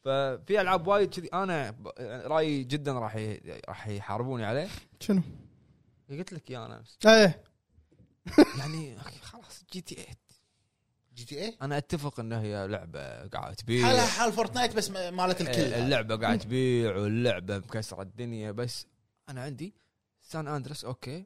A: ففي العاب وايد كذي انا ب- رايي جدا راح ي- راح يحاربوني عليه
B: شنو؟
A: إيه، قلت لك يا انا أمس.
B: ايه
A: يعني أخي خلاص جي تي إيه. 8
C: جي تي اي
A: انا اتفق انها هي لعبه قاعده
C: حالها
A: تبيع
C: حال فورتنايت بس م- مالت الكل
A: اللعبه قاعده إيه، تبيع واللعبه مكسره الدنيا بس انا عندي سان اندرس اوكي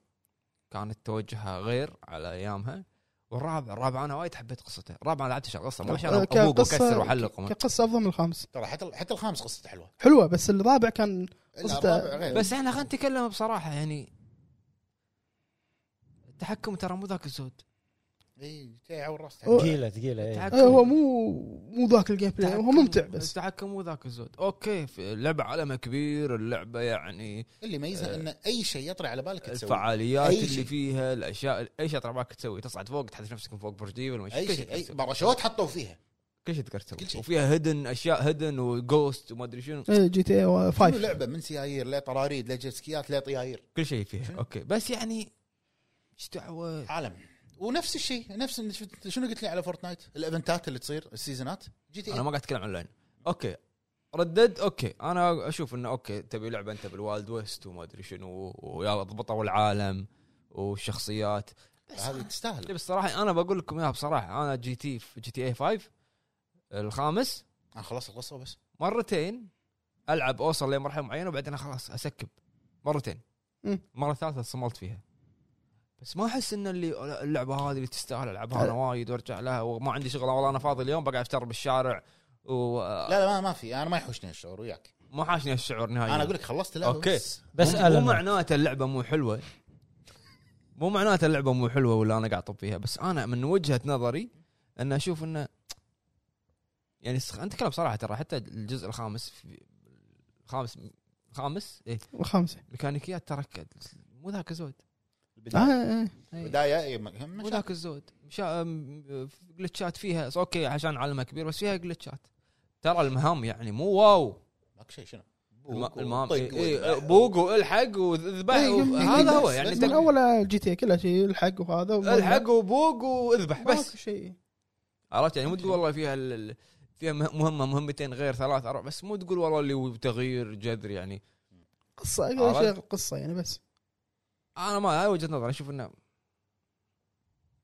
A: كانت توجهها غير على ايامها والرابع الرابع انا وايد حبيت قصته الرابع انا لعبت شغل قصه ما شاء الله ابوق
B: آه، كقصة-
A: وكسر وحلق وما-
B: كقصه افضل من الخامس
C: ترى حتى حتى الخامس قصته حلوه
B: حلوه بس الرابع كان
C: لا،
B: قصته-
C: الرابع غير.
A: بس احنا خلينا نتكلم بصراحه يعني التحكم ترى مو ذاك الزود
C: اي جي تي اي عور راس
B: أوه.
D: ثقيله ثقيله إيه.
A: التحكم-
B: آه، هو مو مو ذاك الجيم بلاي هو
A: التحكم-
B: ممتع بس
A: التحكم مو ذاك الزود اوكي في اللعبه عالمها كبير اللعبه يعني
C: اللي يميزها ان اي شيء يطري على بالك تسويه
A: الفعاليات
C: أي
A: اللي
C: شيء.
A: فيها الاشياء اي شيء ترى بالك تسوي تصعد فوق تحذف نفسك من فوق برج ديفل ولا
C: اي
A: كل
C: شيء اي
A: تقدر تسوي.
C: باراشوت حطوا فيها
A: كل شيء تقدر تسوي
C: كل شيء. إيه.
A: وفيها هدن اشياء هدن وجوست وما ادري شنو
B: ايه جي تي اي
C: كل
B: 5
C: لعبه من سيايير لا طراريد لا جيسكيات لا طيايير
A: كل شيء
C: إيه.
A: فيها اوكي بس يعني ايش دعوه
C: عالم ونفس الشيء نفس شفت- شنو قلت لي على فورتنايت الايفنتات اللي تصير السيزونات جي تي إيه.
A: انا
C: اي
A: ما قاعد اتكلم عن اونلاين اوكي ردد اوكي انا اشوف انه اوكي تبي لعبه انت بالوايلد ويست وما ادري شنو ويلا ضبطوا العالم والشخصيات
C: هذه
A: لا،
C: تستاهل
A: بس صراحه انا بقول لكم اياها بصراحه انا جي تي جي تي اي 5 الخامس
C: انا خلصت القصه بس
A: مرتين العب اوصل لمرحله معينه وبعدين خلاص اسكب مرتين
B: مم.
A: مره ثالثه صملت فيها بس ما احس ان اللي اللعبه هذه اللي تستاهل العبها انا وايد وارجع لها وما عندي شغل والله انا فاضي اليوم بقعد افتر بالشارع وما
C: لا لا ما, ما في انا ما يحوشني الشعور وياك
A: حاشني الشعور نهائيا
C: انا اقول لك خلصت اللعبه
A: طيب. أوكي.
C: بس
D: بس
A: مو, مو
D: ألم.
A: معناته اللعبه مو حلوه مو معناته اللعبه مو حلوه ولا انا قاعد اطب فيها بس انا من وجهه نظري ان اشوف انه يعني سخ- انت كلام صراحه ترى حتى الجزء الخامس في- الخامس الخامس ايه
B: الخامسه
A: ميكانيكيات ترى ك- مو ذاك الزود
B: آه،
C: البدايه
B: آه، آه.
A: إيه.
C: البداية إيه، ما-
A: مو
C: مشاكل.
A: ذاك الزود مشا... م- جلتشات فيها بس اوكي عشان عالمها كبير بس فيها جلتشات ترى المهام يعني مو واو
C: ماك شيء شنو بوق
A: الم- المهام
C: وطق
A: إيه، إيه،
C: وذبح.
A: بوق والحق واذبح
B: إيه،
A: و-
B: يم-
A: هذا هو
B: بس-
A: يعني
B: بس
A: تك-
B: من اول جي تي كلها شيء الحق وهذا وما-
A: الحق وبوق واذبح
B: ماكو
A: بس
B: شيء
A: عرفت يعني مو تقول والله فيها ال- ال- فيها مه- مهمه مهمتين غير ثلاث اربع بس مو تقول والله اللي تغيير جذري يعني
B: قصه اقل شيء
A: عرفت؟
B: قصه يعني بس
A: انا ما هاي وجهه نظري اشوف انه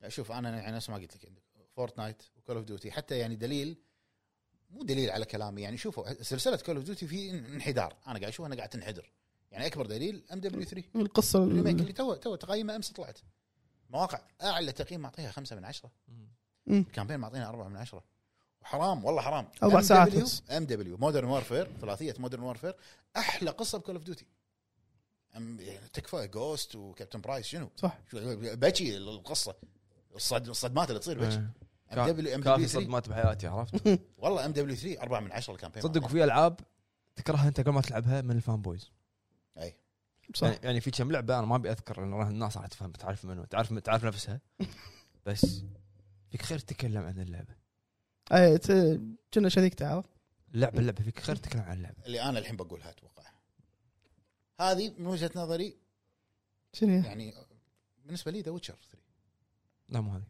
C: لا، شوف انا يعني نفس ما قلت لك عندك فورتنايت وكول اوف ديوتي حتى يعني دليل مو دليل على كلامي يعني شوفوا سلسله كول اوف ديوتي في انحدار انا قاعد اشوف انا قاعد تنحدر يعني اكبر دليل ام دبليو 3
B: القصه
C: الريميك
B: ال-
C: اللي تو تو تقييمه امس طلعت مواقع اعلى تقييم معطيها خمسة من عشرة
A: إيه.
B: مم.
C: الكامبين معطينا أربعة من عشرة وحرام والله حرام
B: أربع ساعات بس.
C: ام دبليو مودرن وارفير ثلاثيه مودرن وارفير احلى قصه بكول اوف ديوتي يعني تكفى جوست وكابتن برايس شنو
B: صح
C: شو- بكي القصه الصد- الصدمات اللي تصير بكي ام دبليو ام
A: كافي
C: دبليو 3
A: آه. صدمات بحياتي عرفت
C: والله ام دبليو 3 4 من 10 الكامبين
A: صدق في العاب تكرهها انت قبل ما تلعبها من الفان بويز
C: اي
B: صح
A: يعني, يعني في كم لعبه انا ما ابي اذكر لان راح الناس راح تفهم تعرف منه تعرف تعرف نفسها بس فيك خير تتكلم عن اللعبه
B: اي إيه، ت- كنا شريك تعرف
A: اللعبه اللعبه فيك خير تتكلم عن اللعبه
C: اللي انا الحين بقولها اتوقع هذه من وجهه نظري
B: شنو هي؟
C: يعني بالنسبه لي ذا ويتشر 3
A: لا مو هذه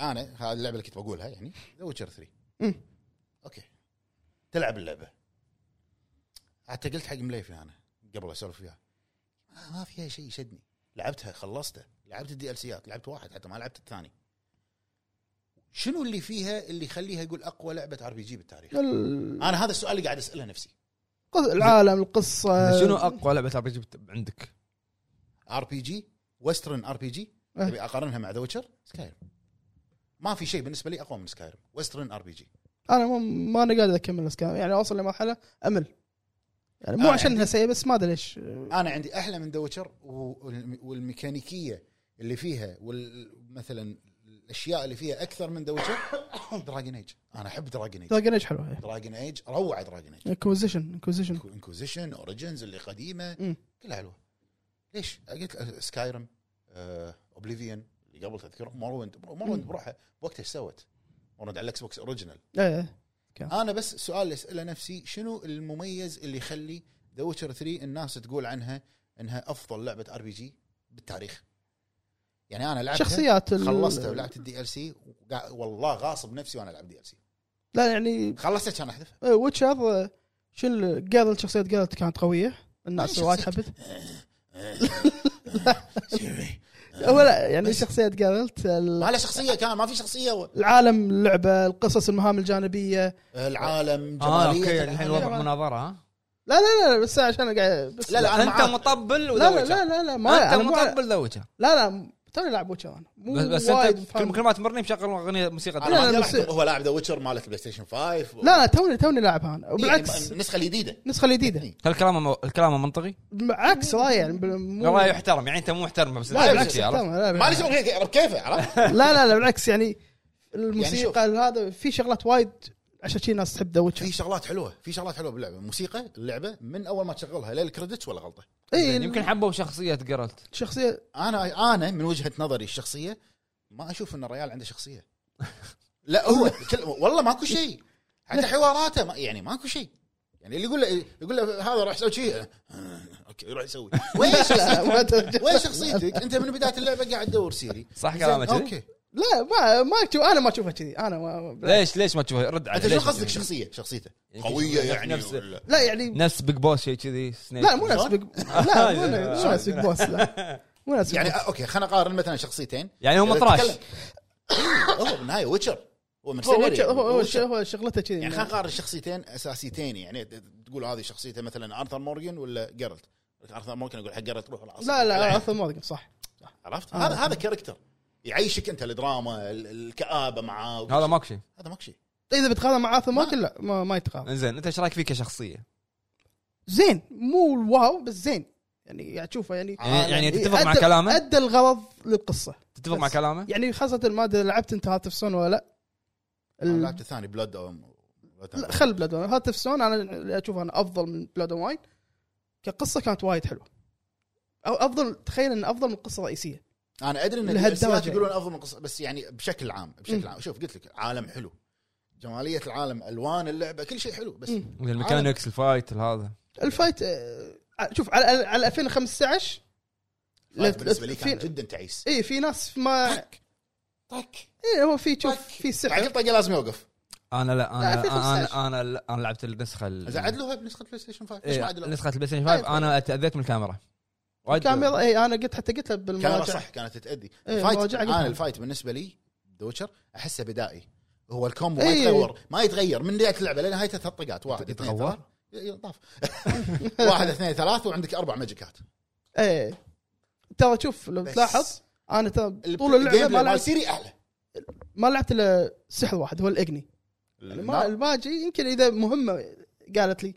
C: انا هذه اللعبه اللي كنت بقولها يعني ذا ويتشر 3
B: مم.
C: اوكي تلعب اللعبه حتى قلت حق مليفي انا قبل اسولف وياه ما- ما فيها شيء شدني لعبتها خلصته لعبت الدي ال سيات لعبت واحد حتى ما لعبت الثاني شنو اللي فيها اللي يخليها يقول اقوى لعبه ار بي جي بالتاريخ
B: ال-
C: انا هذا السؤال اللي قاعد اساله نفسي
B: قص- العالم القصه
A: شنو اقوى لعبه ار بي جي عندك؟
C: ار بي جي وسترن ار بي جي
B: أه.
C: ابي اقارنها مع ذا ويتشر سكايرم ما في شيء بالنسبه لي اقوى من سكايرم وسترن ار بي جي
B: انا ما ما انا قادر اكمل بس كان- يعني اوصل لمرحله امل يعني مو
C: أنا
B: عشان انها
C: عندي-
B: سيئه بس ما ادري ليش
C: انا عندي احلى من ذا ويتشر والميكانيكيه اللي فيها مثلا الاشياء اللي فيها اكثر من ذا ويتشر دراجن ايج انا احب دراجن ايج
B: دراجن ايج حلوه
C: دراجن ايج روعه دراجن ايج
B: انكوزيشن انكوزيشن
C: انكوزيشن اوريجنز اللي قديمه
B: مم.
C: كلها حلوه ليش؟ قلت سكايرم اوبليفيون اللي قبل تذكر موروند موروند بروحها بوقتها ايش سوت؟ اوريدي على الاكس بوكس اوريجنال
B: ايه
C: انا بس سؤال اللي اساله نفسي شنو المميز اللي يخلي ذا ويتشر 3 الناس تقول عنها انها افضل لعبه ار بي جي بالتاريخ يعني انا لعبتها
B: شخصيات ال-
C: خلصتها ولعبت الدي ال سي والله غاصب نفسي وانا العب دي ال سي
B: لا يعني
C: خلصتها كان احذف
B: ويتشر شو ال- قال شخصيه قالت كانت قويه الناس
C: يعني
B: وايد
C: شخصية-
B: حبت هو لا يعني شخصيه قالت
C: ما له شخصيه كان ما في شخصيه و-
B: العالم اللعبه القصص المهام الجانبيه
C: العالم
A: اه
C: جماليه
A: اوكي
C: العالم.
A: الحين الوضع مناظره ها
B: لا لا لا بس عشان قاعد بس
C: لا لا انا
A: انت
C: معاك
A: مطبل
B: لا
A: ولا
B: لا لا
A: وجه؟
B: لا لا ما
A: انت
B: أنا مو-
A: مطبل ذا وجه.
B: لا لا توني العب ويتشر انا مو
A: بس, بس
B: وايد
A: انت
B: فاهم.
A: كل كل ما تمرني مشغل اغنيه موسيقى
C: أنا
B: لا،
C: ما
B: لا،
C: أدري
B: بس-
C: هو لاعب ذا ويتشر مالت بلاي ستيشن 5
B: لا لا توني توني لاعبها
C: إيه،
B: انا وبالعكس
C: النسخه الجديده
B: النسخه الجديده
C: إيه.
A: هل كلامه مو- الكلام منطقي؟
B: بالعكس رايي يعني بال- مو-
A: والله يحترم يعني انت مو محترم بس
B: لا
A: أنت
B: بالعكس
A: شي، عرفت؟
B: تمام، لا
C: ما لي
B: بالعكس.
C: شغل فيها، عرفت كيفه عرفت؟
B: لا لا لا بالعكس يعني
C: يعني شوف.
B: الموسيقى هذا في شغلات وايد عشان شي ناس تحب ذا
C: في
B: ويتشر
C: شغلات حلوه في شغلات حلوه باللعبه الموسيقى اللعبه من اول ما تشغلها للكريدتس ولا غلطه
B: إيه، يعني
A: زين، يمكن حبوا شخصيه جرالت
B: شخصيه
C: انا انا من وجهه نظري الشخصيه ما اشوف ان الريال عنده شخصيه لا هو كل- والله ماكو شيء حتى حواراته ما يعني ماكو شيء يعني اللي يقول له يقول له هذا راح يسوي شيء اوكي روح يسوي وين
B: لا
C: شخصيتك؟
B: ما ترجع.
C: وين شخصيتك؟ انت من بدايه اللعبه قاعد تدور سيري
A: صح
C: زين،
A: كلامك إيه؟ كذي؟
C: اوكي
B: لا ما ما أشوف- انا ما اشوفها كذي انا ما لا,
A: ليش ليش ما تشوفها رد علي
C: انت شو
A: ليش
C: قصدك
A: ما تشوفها؟
C: شخصيه شخصيته
A: يمكن
C: قويه
A: شخصية
C: يعني
A: نفس-
C: ولا-
B: لا يعني
A: نفس بيج بوس شيء كذي سنيك
B: لا يعني مو ناس بيج- لا مو ناس- مو ناس بيج بوس لا مو ناس
C: يعني
B: يعني
C: آه، اوكي خلينا نقارن مثلا شخصيتين
A: يعني هو
C: إذا
A: مطراش
C: تتكلم- هو بالنهايه ويتشر هو
B: هو
C: mercenary،
B: ويتشر- هو- هو
C: Witcher.
B: هو شغلته كذي
C: يعني
B: يعني.
C: خلينا نقارن شخصيتين اساسيتين يعني ت- تقول هذه شخصيته مثلا ارثر مورجن ولا جيرلت ارثر مورجن يقول حق جيرلت روح العصر
B: لا لا ارثر مورجن صح
C: عرفت
B: آه.
C: هذا هذا كاركتر يعيشك انت الدراما ال- الكابه معاه وكل
A: هذا
C: شيء.
A: ماكو شيء
C: هذا ماكو شيء
B: اذا بتقارن مع ارثر مورجن لا ما, ما يتقارن
A: انزين انت ايش رايك فيه كشخصيه؟
B: زين مو الواو بس زين يعني قاعد تشوفه يعني
A: يعني, يعني تتفق مع
B: أدى-
A: كلامه؟
B: ادى الغرض للقصه
A: تتفق مع
B: بس.
A: كلامه؟
B: يعني خاصه ما ادري لعبت انت هاتف سون ولا لا
C: أنا
B: ال...
C: لعبت الثاني بلاد او
B: لا خل بلاد وين هاتف سون انا اللي اشوفه انا افضل من بلاد واين كقصه كانت وايد حلوه او افضل تخيل ان افضل من قصه رئيسيه
C: انا ادري ان
B: لهالدرجة
C: الدرجات
B: يعني.
C: يقولون افضل من قصه بس يعني بشكل عام بشكل
B: مم.
C: عام شوف قلت لك عالم حلو جماليه العالم الوان اللعبه كل شيء حلو بس
B: مم.
A: الميكانكس الفايت هذا
B: الفايت آه، شوف على على- على 2015 لا-
C: بالنسبه لي كان
B: في- إيه،
C: جدا تعيس
B: اي في ناس ما
C: طق طق
B: اي هو في شوف
C: طق.
B: في
C: مع
B: سحر
C: كل طقه لازم يوقف
A: انا لا انا
B: لا، في
A: انا
B: 15.
A: انا, أنا, أنا لعبت النسخه ال-
C: اذا عدلوها بنسخه بلاي ستيشن 5 ليش
A: إيه،
C: ما عدلوها؟
A: نسخه البلاي ستيشن 5 انا تاذيت من الكاميرا وايد
B: طيب، الكاميرا اي انا إيه، قلت حتى قلت له
C: كاميرا
B: بالمراجعه
C: صح كانت تأدي
B: إيه،
C: الفايت
B: مراجعة قلتها.
C: انا الفايت بالنسبه لي دوتشر احسه بدائي هو الكومبو ما
B: إيه.
C: يتغير ما يتغير من بدايه اللعبه لنهايتها ثلاث طقات واحد اثنين
A: يتغور؟
C: ثلاث إيه، طاف واحد اثنين ثلاث وعندك اربع ماجيكات
B: ايه ترى شوف لو
C: بس
B: تلاحظ انا ترى
C: ال-
B: طول اللعبه
C: الجيم
B: ما
C: بلاي مال
B: لعبت
C: سيري اعلى
B: ما لعبت الا سحر واحد هو الاجني يعني ما
C: النار.
B: الباجي يمكن اذا مهمه قالت لي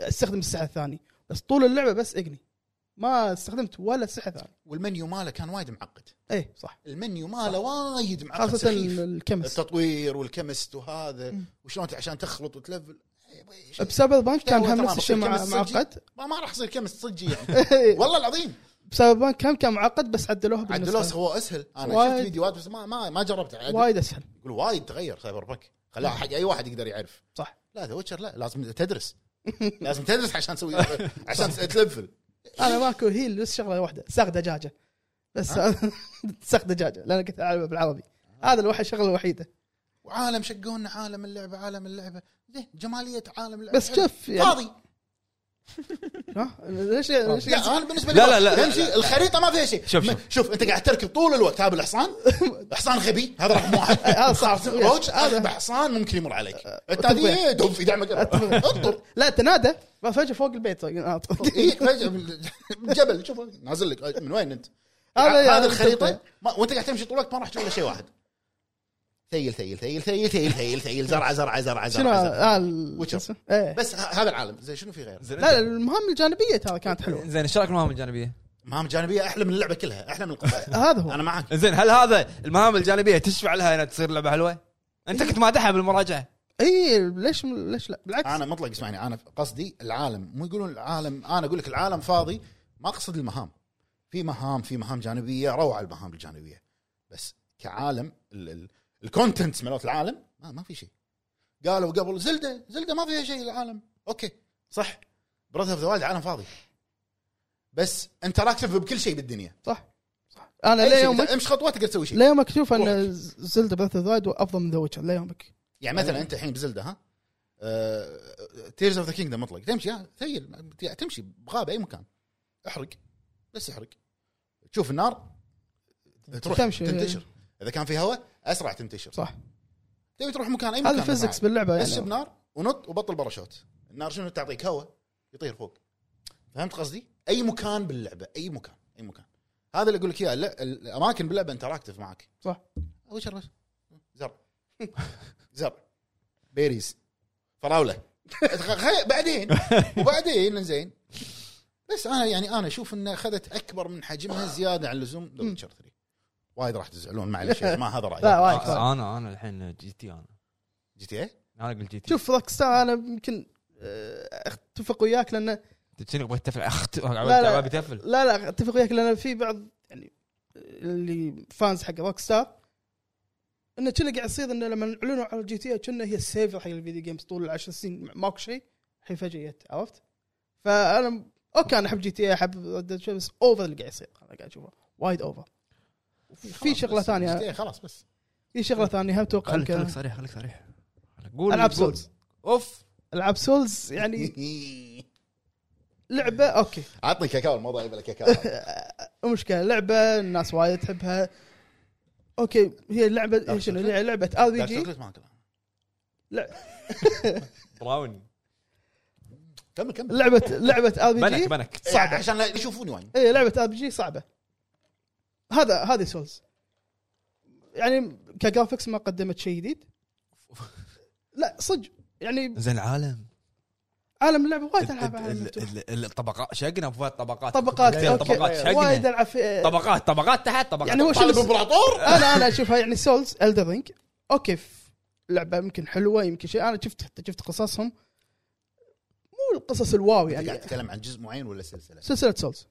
B: استخدم السحر الثاني بس طول اللعبه بس اجني ما استخدمت ولا سحر ثاني
C: والمنيو ماله كان وايد معقد
B: ايه صح
C: المنيو ماله وايد معقد
B: خاصه
C: سخيف.
B: الكمس
C: التطوير والكمست وهذا وشلون عشان تخلط وتلفل إيه، بي- شيء.
B: بسبب بانك كان
C: هو
B: هم
C: تمام،
B: نفس الشيء مع- إيه.
C: الكيمست صجي.
B: معقد
C: ما ما راح يصير كمست صجي يعني والله العظيم
B: بسبب بانك هم كان معقد بس عدلوها
C: عدلوه
B: بالنسخه
C: سووه اسهل انا
B: وايد.
C: شفت فيديوهات بس ما ما ما جربت
B: وايد اسهل
C: يقول وايد تغير سايبر بانك خلاها حق اي واحد يقدر يعرف
B: صح
C: لا ذا ويتشر لا لازم تدرس لازم تدرس عشان تسوي عشان تلفل
B: انا ماكو هيل بس شغله واحده ساق دجاجه بس ساق دجاجه لان كنت العبها بالعربي هذا الوحيد الشغله الوحيده
C: وعالم شقونا عالم اللعبه عالم اللعبه زين جماليه عالم اللعبه
B: بس شوف يعني
C: فاضي
B: ها ليش ليش
C: لا انا بالنسبه لي
A: لا، لا، لا، لا،
C: تمشي الخريطه ما فيها شيء
A: شوف،
C: ما-
A: شوف.
C: شوف انت قاعد تركب طول الوقت هذا الحصان حصان غبي هذا رقم واحد
B: هذا صح.
C: خلاص، روج هذا أه، حصان ممكن يمر عليك
B: أتفق.
C: التالي دب في دعمك اطر
B: لا تنادى فجاه فوق البيت طيب، ينعط.
C: يجيك فجاه من من الجبل أه، شوف نازل لك أه، من وين انت؟
B: هذا
C: هذا
B: يعني
C: الخريطه
B: تنطيع.
C: ما وانت قاعد تمشي طول الوقت ما راح تشوف الا شيء واحد ثيل ثيل ثيل ثيل ثيل ثيل ثيل زرعه زرعه زرعه
B: شنو
C: زرعه زرعة.
B: آه، ال-
C: ويتشر.
B: اسمه؟ ايه
C: بس ه- هذا العالم زين شنو في غيره؟
A: زين
B: لا
A: لا
B: المهام الجانبيه ترى كانت حلوه
A: زين ايش رايك بالمهام الجانبيه؟
C: مهام جانبيه احلى من اللعبه كلها احلى من القصه
B: هذا هو
C: انا معك
A: زين هل هذا المهام الجانبيه تشفع لها انها تصير لعبه حلوه؟ انت كنت مادحها بالمراجعه
B: اي إيه، ليش ليش لا بالعكس
C: انا مطلق اسمعني انا قصدي العالم مو يقولون العالم انا اقول لك العالم فاضي ما اقصد المهام في مهام في مهام جانبيه روعه المهام الجانبيه بس كعالم ال- ال- الكونتنتس مالت العالم ما, ما في شيء قالوا قبل زلده زلده ما فيها شيء العالم اوكي صح بريث اوف ذا وايلد عالم فاضي بس انتراكتف بكل شيء بالدنيا
B: صح صح انا
C: أي شيء
B: ليومك
C: بت- امشي خطوات تقدر تسوي شيء
B: ليومك تشوف
C: روحك.
B: ان زلدا بث ذايد افضل من ذا ويتشر ليومك
C: يعني مثلا انت الحين بزلده ها آه، تيرز اوف ذا كينجدم مطلق تمشي ها ثيل تمشي بغابه اي مكان احرق بس احرق تشوف النار تروح
B: تمشي.
C: تنتشر اذا كان في هواء اسرع تنتشر
B: صح
C: تبي تروح مكان اي مكان
B: هذا فيزكس
C: بالله
B: باللعبه
C: بس
B: يعني
C: بنار ونط وبطل باراشوت النار شنو تعطيك هواء يطير فوق فهمت قصدي؟ اي مكان باللعبه اي مكان اي مكان هذا اللي اقول لك اياه لا، الاماكن باللعبه انتراكتف معك
B: صح.
C: وش الرش؟ زرع زرع بيريز فراوله خي- بعدين وبعدين زين بس انا يعني انا اشوف انه اخذت اكبر من حجمها زياده عن اللزوم ذا ويتشر 3 وايد راح تزعلون معلش ما
B: لا
C: هذا رايي
B: وايد وايد.
A: آه، انا انا الحين جي تي انا
C: جي تي إيه؟ اي
A: انا اقول جي تي
B: شوف روك ستار انا يمكن آه، اتفق وياك لان
A: شنو ابغى اتفل أخت-
B: لا.
A: عبالي اتفل
B: لا لا اتفق وياك لان في بعض يعني اللي فانز حق روك ستار انه كنا قاعد يصير انه لما اعلنوا على جي تي إيه كنا هي السيفر حق الفيديو جيمز طول العشر سنين ماكو شيء الحين فجاه جت عرفت؟ فانا اوكي انا احب جي تي احب Red Dead Redemption، بس اوفر اللي قاعد يصير انا قاعد اشوفه وايد اوفر في شغله
C: جي تي إيه.
B: ثانيه
C: اي خلاص بس
B: في شغله ثانيه هم توقع
A: خليك خليك
B: يمكن-
A: صريح خليك صريح قول
B: العب
A: قول.
B: سولز
A: اوف
B: العاب سولز يعني لعبه اوكي
C: عطني كاكاو الموضوع يبي له كاكاو
B: مو مشكله لعبه الناس وايد تحبها اوكي هي لعبه هي شنو هي لعبه ار بي
C: دارك
B: جي
C: شوكليت ما أكله.
A: براون
C: كمل كمل
B: لعبه لعبه ار بي
A: بنك
B: جي
A: بنك
C: صعب عشان لا يشوفوني وين
B: اي لعبه ار بي جي صعبه هذا هذه سولز يعني كجرافكس ما قدمت شيء جديد لا صدق يعني
A: زين العالم
B: عالم اللعبه وايد العاب عالم
A: ال-
B: مفتوح.
A: ال- ال- الطبقات شقنا فوق طبقات
B: طبقات
A: زين
B: اوكي
A: طبقات
B: وايد
A: شقنا
B: العاب في-
A: طبقات طبقات تحت طبقات
B: يعني هو شنو
C: طالب امبراطور
B: انا انا اشوفها يعني سولز الدر رينج اوكي ف- لعبه يمكن حلوه يمكن شيء انا شفت حتى شفت قصصهم مو القصص الواو
C: يعني قاعد
B: يعني آه،
C: تتكلم عن جزء معين ولا سلسله
B: سلسله سولز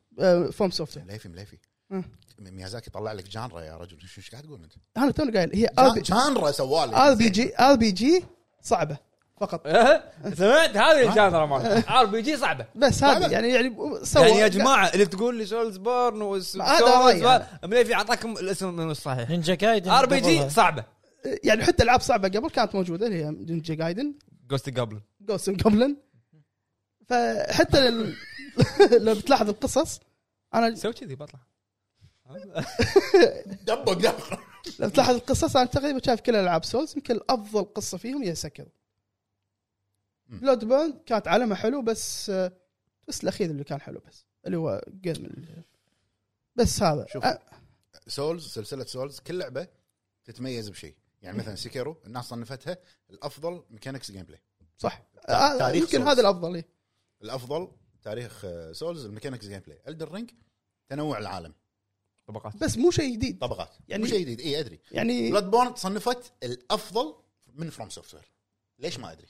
B: فوم سوفت
C: مليفي مليفي
B: مم.
C: ميازاكي طلع لك جانرا يا رجل شو ايش قاعد تقول انت؟
B: انا توني قايل هي
C: جان- جانرا سوالك
B: ار بي جي ار بي جي صعبه فقط
A: إيه؟ سمعت هذه الجانرا مالت ار بي جي صعبه
B: بس هذه يعني يعني سوى
A: يعني يا جماعه اللي تقول لي سولز بورن وس-
B: هذا
A: سولز
B: رأيي
A: بورن،
B: أنا.
A: مليفي اعطاكم الاسم الصحيح
D: نينجا جايدن
A: ار بي
D: قبلها.
A: جي صعبه
B: يعني حتى العاب صعبه قبل كانت موجوده اللي هي نينجا جايدن
A: جوست قبل
B: جوسن قبلن فحتى لل- لو بتلاحظ القصص انا
A: سوي كذي بطلع
C: دبق دبق
B: لو تلاحظ القصص انا تقريبا شايف كل العاب سولز يمكن افضل قصه فيهم هي سكر
C: مم.
B: بلود بيرن كانت عالمها حلو بس آه، بس الاخير اللي كان حلو بس اللي هو جيم ال- بس هذا
C: شوف.
B: آه،
C: سولز سلسله سولز كل لعبه تتميز بشيء يعني مثلا سيكيرو الناس صنفتها الافضل ميكانكس جيم بلاي
B: صح
C: تع-
B: آه،
C: تاريخ
B: يمكن
C: Souls.
B: هذا الافضل إيه.
C: الافضل تاريخ آه، سولز الميكانكس جيم بلاي الدر رينج تنوع العالم
A: طبقات
B: بس مو شيء جديد
C: طبقات
B: يعني-
C: يعني شيء جديد اي ادري
B: يعني
C: بلاد بورن تصنفت الافضل من فروم سوفت وير ليش ما ادري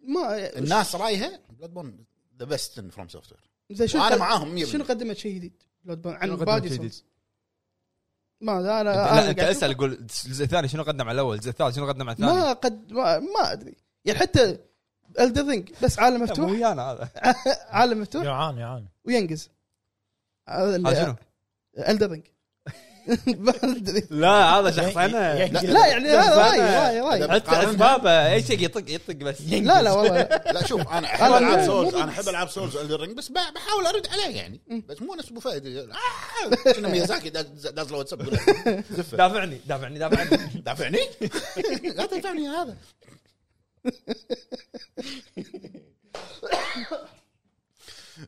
B: ما
C: الناس رايها بلاد بورن ذا بيست ان فروم سوفت وير
B: زي شنو
C: وانا
B: قد-
C: معاهم 100%
B: شنو قدمت شيء جديد بلود بيرن عن
A: شنو قدمت
B: باقي
A: شيء
B: Souls؟
A: جديد؟
B: ما لا انا أنا
A: لا
B: قاعد
A: انت
B: أشوف-
A: اسال قول الجزء الثاني شنو قدم على الاول الجزء الثالث شنو قدم على الثاني
B: ما قد ما, ما ادري يعني حتى الدرينج بس عالم
A: لا، مو
B: مفتوح
A: ويانا هذا
B: عالم مفتوح
D: يعان يعان
B: وينقز
A: هذا آه، شنو؟
B: الدرينج
A: لا هذا
D: ي-
A: شخصنا
D: ي-
B: لا يعني هذا راي راي راي
C: لا.
A: حتى اسبابه اي شيء يطق يطق بس
B: لا لا والله لا.
C: لا شوف انا احب
B: أنا
C: العاب
B: مو-
C: سولز
B: مو-
C: انا احب العاب سولز الرينج بس ب- بحاول ارد عليه يعني بس مو نفس ابو فهد آه، كنا ميازاكي داز داز له واتساب يقول له، زفه
A: دافعني دافعني دافعني
C: دافعني لا تدفعني يا هذا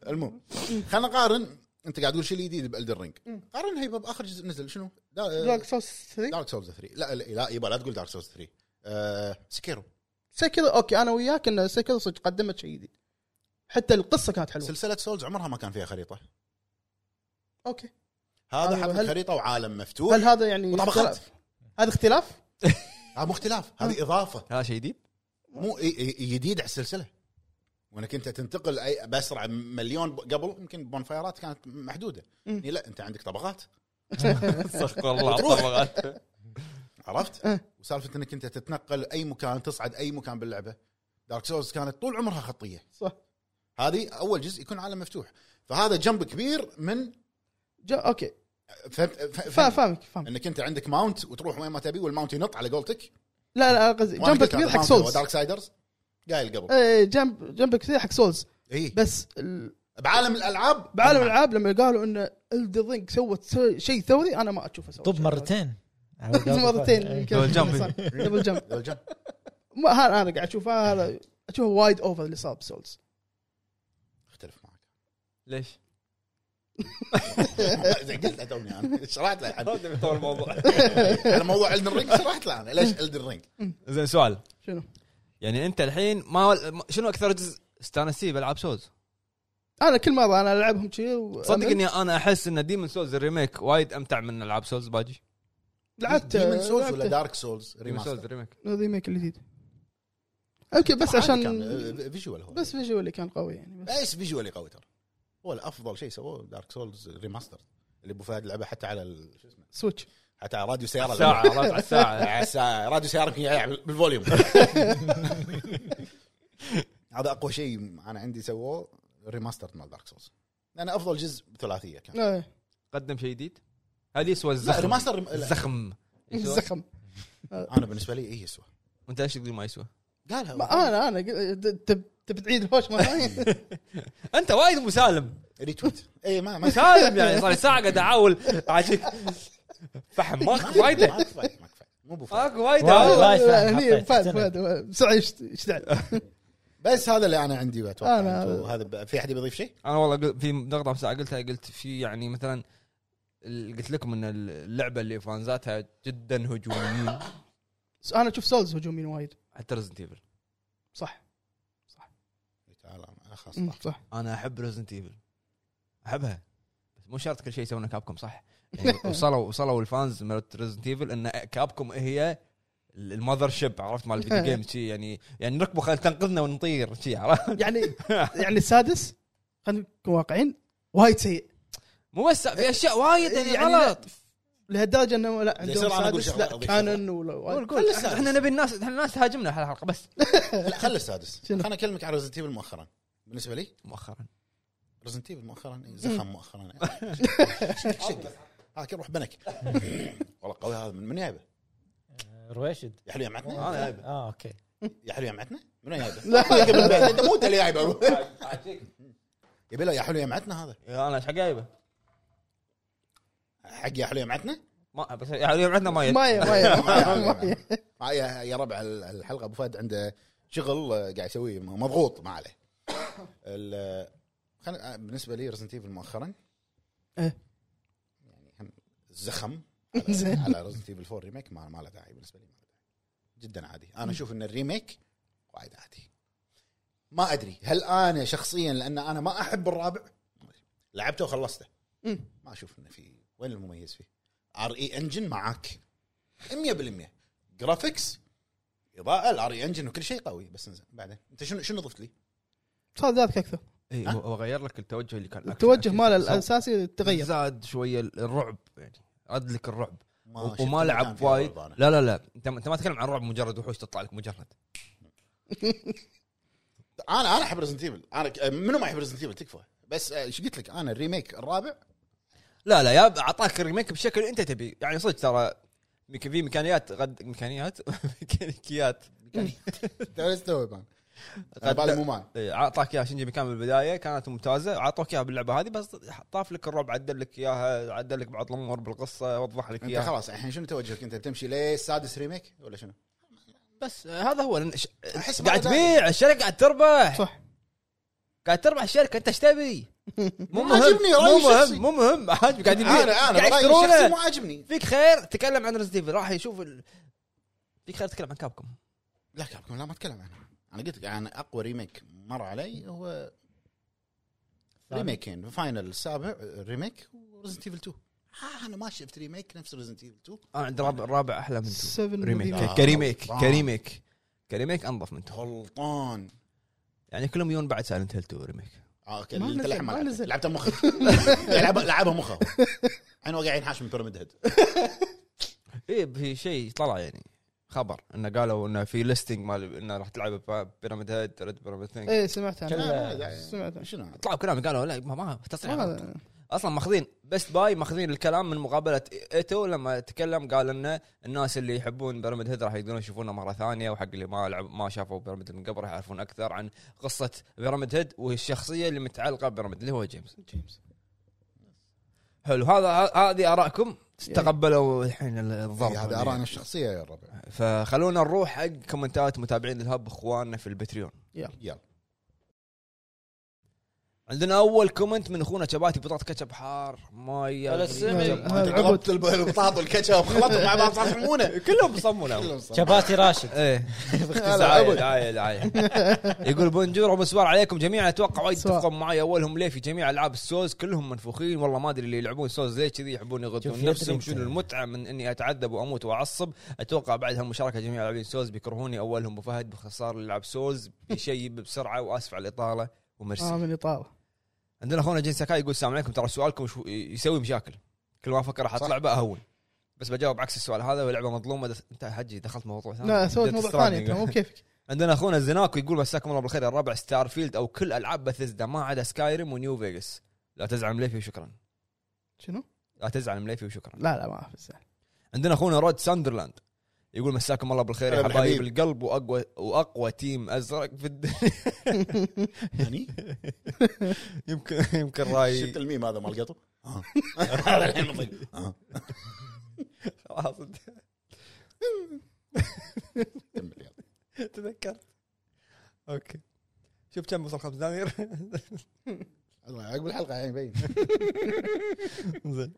C: المهم خلينا نقارن انت قاعد تقول شيء جديد بالدر رينج قارنها يبا باخر جزء نزل شنو؟
B: دارك سوس 3
C: دارك سولز 3 لا لا لا يبا لا تقول دارك سولز 3 آه، سكيرو
B: سكر اوكي انا وياك ان سكر صدق قدمت شيء جديد حتى القصه كانت حلوه
C: سلسله سولز عمرها ما كان فيها خريطه
B: اوكي
C: هذا
B: أيوة، هل-
C: حط
B: هل-
C: خريطه وعالم مفتوح
B: هل هذا يعني
C: وطبقات.
B: اختلاف؟ هذا اختلاف؟
C: هذا مو اختلاف هذه اضافه
A: هذا شيء جديد
C: مو إي- إي- جديد على السلسله وانك انت تنتقل اي باسرع مليون ب- قبل يمكن بونفايرات كانت محدوده
B: مم.
C: يعني لا انت عندك طبقات
A: صدق والله
C: وتروح.
A: طبقات
C: عرفت؟
B: إيه.
C: وسالفه انك انت تتنقل اي مكان تصعد اي مكان باللعبه دارك سولز كانت طول عمرها خطيه
B: صح
C: هذه اول جزء يكون عالم مفتوح فهذا جنب كبير من
B: جا اوكي
C: فهمت فهمت-
B: فا- فاهمك فاهمك
C: انك انت عندك ماونت وتروح وين ما تبي والماونت ينط على قولتك
B: لا لا قصدي جنب كبير حق سولز
C: دارك سايدرز قايل قبل إيه.
B: ايه جنب جنب كثير حق سولز
C: اي
B: بس ال-
C: بعالم الالعاب
B: بعالم الالعاب لما قالوا ان الدرينج سوت سو- شيء ثوري انا ما اشوفه سوى
D: طب
B: شيء
D: مرتين
B: ثوري. مرتين يمكن.
A: دبل جمب.
B: صح. دبل جمب
C: الالعاب
B: ما هذا انا قاعد اشوفه هذا اشوفه وايد اوفر اللي صار بسولز
C: اختلف معك
A: ليش؟
C: قلت له توني انا شرحت له الحين.
A: بطول الموضوع
C: على موضوع الدن رينج شرحت له انا ليش الدن رينج
A: زين سؤال
B: شنو؟
A: يعني انت الحين ما شنو اكثر جزء استانست فيه بالعاب سولز؟
C: أه،
B: انا كل مره انا العبهم كذي
A: صدق اني انا احس ان ديمن سولز الريميك وايد امتع من العاب سولز باجي
B: لعبت
C: ديمن سولز ولا
B: لعبت-
C: دارك سولز
A: ديمن سولز
C: ريماستر
A: الريميك
B: الريميك الجديد اوكي بس عشان
D: آه،
C: فيجوال آه، هو
B: بس فيجوال اللي كان قوي يعني بس
C: بس فيجوالي قوي ترى هو الافضل شيء سووه دارك سولز ريماستر اللي ابو فهد لعبه حتى على ال- شو اسمه
B: سويتش
C: حتى على راديو سياره
A: ساعة
C: لعبها.
A: ربع ساعة
C: على الساعة. راديو سياره يمكن يلعب بالفوليوم هذا اقوى شيء انا عندي سووه ريماستر مال دارك سولز لانه افضل جزء ثلاثيه كان
B: إيه.
A: قدم شيء جديد هذه يسوى
C: لا
A: الزخم
C: ريماستر ريم... لا.
A: الزخم يسوى
B: إيه، زخم
C: انا بالنسبه لي اي يسوى
A: وانت ليش تقول ما يسوى؟
C: قالها
B: ما انا انا قل- د- تب تب تعيد الهوش مره ثانيه
A: انت وايد مسالم
C: ريتويت اي إيه، ما ما
A: مسالم يعني صار لي ساعة قاعد احاول عاجيك فحم ماكو
C: ما
A: وايد
C: كفايت ما كفايت مو أبو
B: آه.
C: فهد.
A: ماكو وايد
D: واو. لا، يفهم،
B: هني
D: حطيت.
B: فهد فهد بسرعه يشت- يشتعل
C: بس هذا اللي انا عندي بتوقع
B: أنا-
C: أنتوا- هذا ب- في احد بيضيف شيء؟
A: انا والله قل- في نقطه بس قلتها قلت في يعني مثلا ال- قلت لكم ان اللعبه اللي فانزاتها جدا هجوميين
B: انا اشوف سولز هجومين وايد
A: حتى ريزنت ايفل
B: صح
C: تعال أنا خلاص
B: أمم،
C: طاح.
B: صح
A: انا احب ريزنت ايفل احبها بس مو شرط كل شيء يسوونه كابكم صح يعني وصلوا وصلوا الفانز مالت ريزنت ايفل ان كابكم هي المذر شيب عرفت مال الفيديو جيم شي يعني يعني ركبوا خل تنقذنا ونطير شي عرفت
B: يعني يعني السادس خلينا نكون واقعيين وايد سيء
A: مو بس في اشياء وايد
C: إيه،
A: يعني غلط
B: لهالدرجه انه لا
C: يصير
B: عندهم
C: أنا أقول
B: سادس
C: شغلة،
B: لا
C: أضيف
B: كانون ولا وايد.
A: قول قول احنا نبي الناس احنا الناس تهاجمنا هالحلقه بس
C: لا خلي السادس
B: شنو؟
C: خليني اكلمك عن ريزنت ايفل مؤخرا بالنسبه لي
A: مؤخرا
C: ريزنت ايفل مؤخرا إيه، زخم مؤخرا شق شق هاك روح بنك والله قوي هذا من من جايبه؟
D: رويشد
C: يا حلو يا معتنا
A: أنا جايبه.
D: اه اوكي
C: يا حلو يا معتنا من وين جايبه؟
B: لا لا
C: قبل البيت، انت مو انت اللي جايبه يبي له يا حلو يا معتنا هذا
A: انا ايش جايبه؟
C: حق يا حلو يا معتنا
A: ما بس يعني يوم عندنا ما
B: ماي ماي
C: ما- ما- طيب.
B: طيب.
C: يا يا ربع ال- الحلقه ابو فهد عنده شغل آه، قاعد يسويه م- مضغوط ما عليه ال- آه، خل- آه، بالنسبه لي ريزنت ايفل مؤخرا
B: إيه.
C: يعني هم زخم
B: زين.
C: على- على ريزنت ايفل 4 ريميك ما ما له داعي بالنسبه لي ما له داعي جدا عادي انا اشوف ان الريميك وايد عادي ما ادري هل انا شخصيا لان انا ما احب الرابع لعبته وخلصته
B: مم.
C: ما اشوف انه في وين المميز فيه ار اي انجن معاك 100% جرافيكس اضاءه الار اي انجن وكل شيء قوي بس انزين بعدين انت شنو شنو ضفت لي؟
B: صار ذاتك اكثر
A: اي إيه، هو هو غير لك التوجه اللي كان
B: التوجه ماله
A: الاساسي
B: الاساسي تغير
A: زاد شويه الرعب يعني عد لك الرعب
C: ما شفت
A: وما
C: مكان
A: لعب
C: فيه
A: وايد
C: رعب أنا.
A: لا لا لا انت انت ما تتكلم عن رعب مجرد وحوش تطلع لك مجرد
C: انا انا احب ريزنت ايفل انا ك- منو ما يحب ريزنت ايفل تكفى بس آه، ايش قلت لك انا الريميك الرابع
A: لا لا يا اعطاك الريميك بشكل انت تبي يعني صدق ترى مك- في ميكانيات غد ميكانيات ميكانيكيات
C: انت ولا تستوعب أنا. أنا بالي مو مان
A: إيه، اعطاك اياها شنجي ميكان بالبدايه كانت ممتازه اعطوك اياها باللعبه هذه بس طاف لك الرعب عدل لك اياها عدل لك بعض الامور بالقصه وضح لك
C: انت
A: اياها
C: خلاص الحين شنو توجهك انت بتمشي ليه السادس ريميك ولا شنو؟
A: بس آه، هذا هو لأن ش-
C: أحس ما
A: قاعد
C: له داعي.
A: تبيع الشركه قاعد تربح
B: صح.
A: قاعد تربح الشركه انت ايش تبي؟ مو مهم
C: عاجبني رأيي
A: مو مهم
C: شخصي.
A: مو مهم عاجب قاعد يبيع
C: انا انا
A: قاعد
C: رأيي الشخصي مو
A: يشترونه
C: عاجبني
A: فيك خير تكلم عن ريزنت راح يشوف ال... فيك خير تتكلم عن كابكم
C: لا كابكم لا ما اتكلم عنه انا قلت لك انا اقوى ريميك مر علي هو ريميكين فاينل السابع ريميك وريزنت ايفل 2 آه انا ما شفت ريميك نفس ريزنت ايفل 2
A: انا عند الرابع الرابع احلى من تو.
B: 7
A: ريميك
C: لا.
A: كريميك
C: طبعاً.
A: كريميك كريميك انظف من تو.
C: غلطان
A: يعني كلهم يون بعد سايلنت هيل 2 ريميك
C: اه اوكي
B: ما
C: انت
B: نزل،
C: للحين ما
B: ما
C: لعبته.
B: نزل.
C: لعبته مخه لعبها مخه الحين هو قاعد ينحاش من بيراميد هيد
A: اي إيه، في شيء طلع يعني خبر انه قالوا انه في ليستنج مال انه راح تلعب بيراميد هيد ريد بيراميد ثينج
B: اي سمعت
C: لا،
B: عنه
C: لا،
D: كله.
C: لا،
B: سمعت عنه.
C: آه، شنو هذا؟
A: طلعوا كلام قالوا لا ما ما تصريح غلط.
B: ما-
A: اصلا ماخذين بيست باي ماخذين الكلام من مقابله ايتو لما تكلم قال انه الناس اللي يحبون بيراميد هيد راح يقدرون يشوفونه مره ثانيه وحق اللي ما لعب ما شافوا بيراميد من قبل راح يعرفون اكثر عن قصه بيراميد هيد والشخصيه اللي متعلقه ببيراميد اللي هو جيمس
B: جيمس
A: حلو هذا ه- هذه ارائكم تقبلوا الحين ال- الضرب
C: إيه، هذه ارائنا الشخصيه يا الربع
A: فخلونا نروح حق كومنتات متابعين الهب اخواننا في البتريون
C: يلا
A: عندنا اول كومنت من اخونا شباتي بطاطا كاتشب حار ماي
D: على السمي.
B: هذا العبد.
C: ضربت البطاطا والكاتشب خلطهم مع بعض صار حمونه
A: كلهم بصمونه
C: كلهم صار.
D: شباتي راشد
A: ايه
C: هلا،
A: عايل
C: عبد.
A: عايل عايل يقول بونجور ومسوار عليكم جميعا اتوقع وايد
B: سوار.
A: تتفقون معي اولهم ليه في جميع العاب السوز كلهم منفوخين والله ما ادري اللي يلعبون سوز ليه كذي يحبون
D: شوف
A: يغطون
D: يدري
A: نفسهم
D: أنت.
A: شنو المتعه من اني اتعذب واموت واعصب اتوقع بعد هالمشاركه جميع لاعبين سوز بيكرهوني اولهم ابو فهد باختصار اللي يلعب سوز بشيء بسرعه واسف على الاطاله
B: اه
A: ومرسي
B: من الاطاله
A: عندنا اخونا جين ساكاي يقول السلام عليكم ترى سؤالكم شو يسوي مشاكل كل ما افكر احط
C: صح.
A: لعبه اهون بس بجاوب عكس السؤال هذا واللعبه مظلومه دس... انت حجي دخلت موضوع ثاني
B: لا سويت
A: Death
B: موضوع
A: Stranding.
B: ثاني انت مو بكيفك
A: عندنا اخونا زناكو يقول مساكم الله بالخير يا الربع ستار فيلد او كل العاب بثزدا ما عدا سكايرم ونيو فيجاس لا تزعل مليفي وشكرا
B: شنو؟
A: لا تزعل مليفي وشكرا
B: لا لا ما اعرف
A: عندنا اخونا رود ساندرلاند يقول مساكم الله بالخير يا
C: هلا
A: حبايب
C: بالحبيب.
A: القلب واقوى واقوى تيم ازرق في الدنيا
C: هني
A: يمكن يمكن
C: شفت
A: راي
C: الميم هذا مال قطو آه. هذا الحين مطلق آه.
A: خلاص
C: كمل يلا
A: تذكرت اوكي شوف كم وصل خمس دنانير
C: الله، عقب يعني الحلقه الحين يبين
A: زين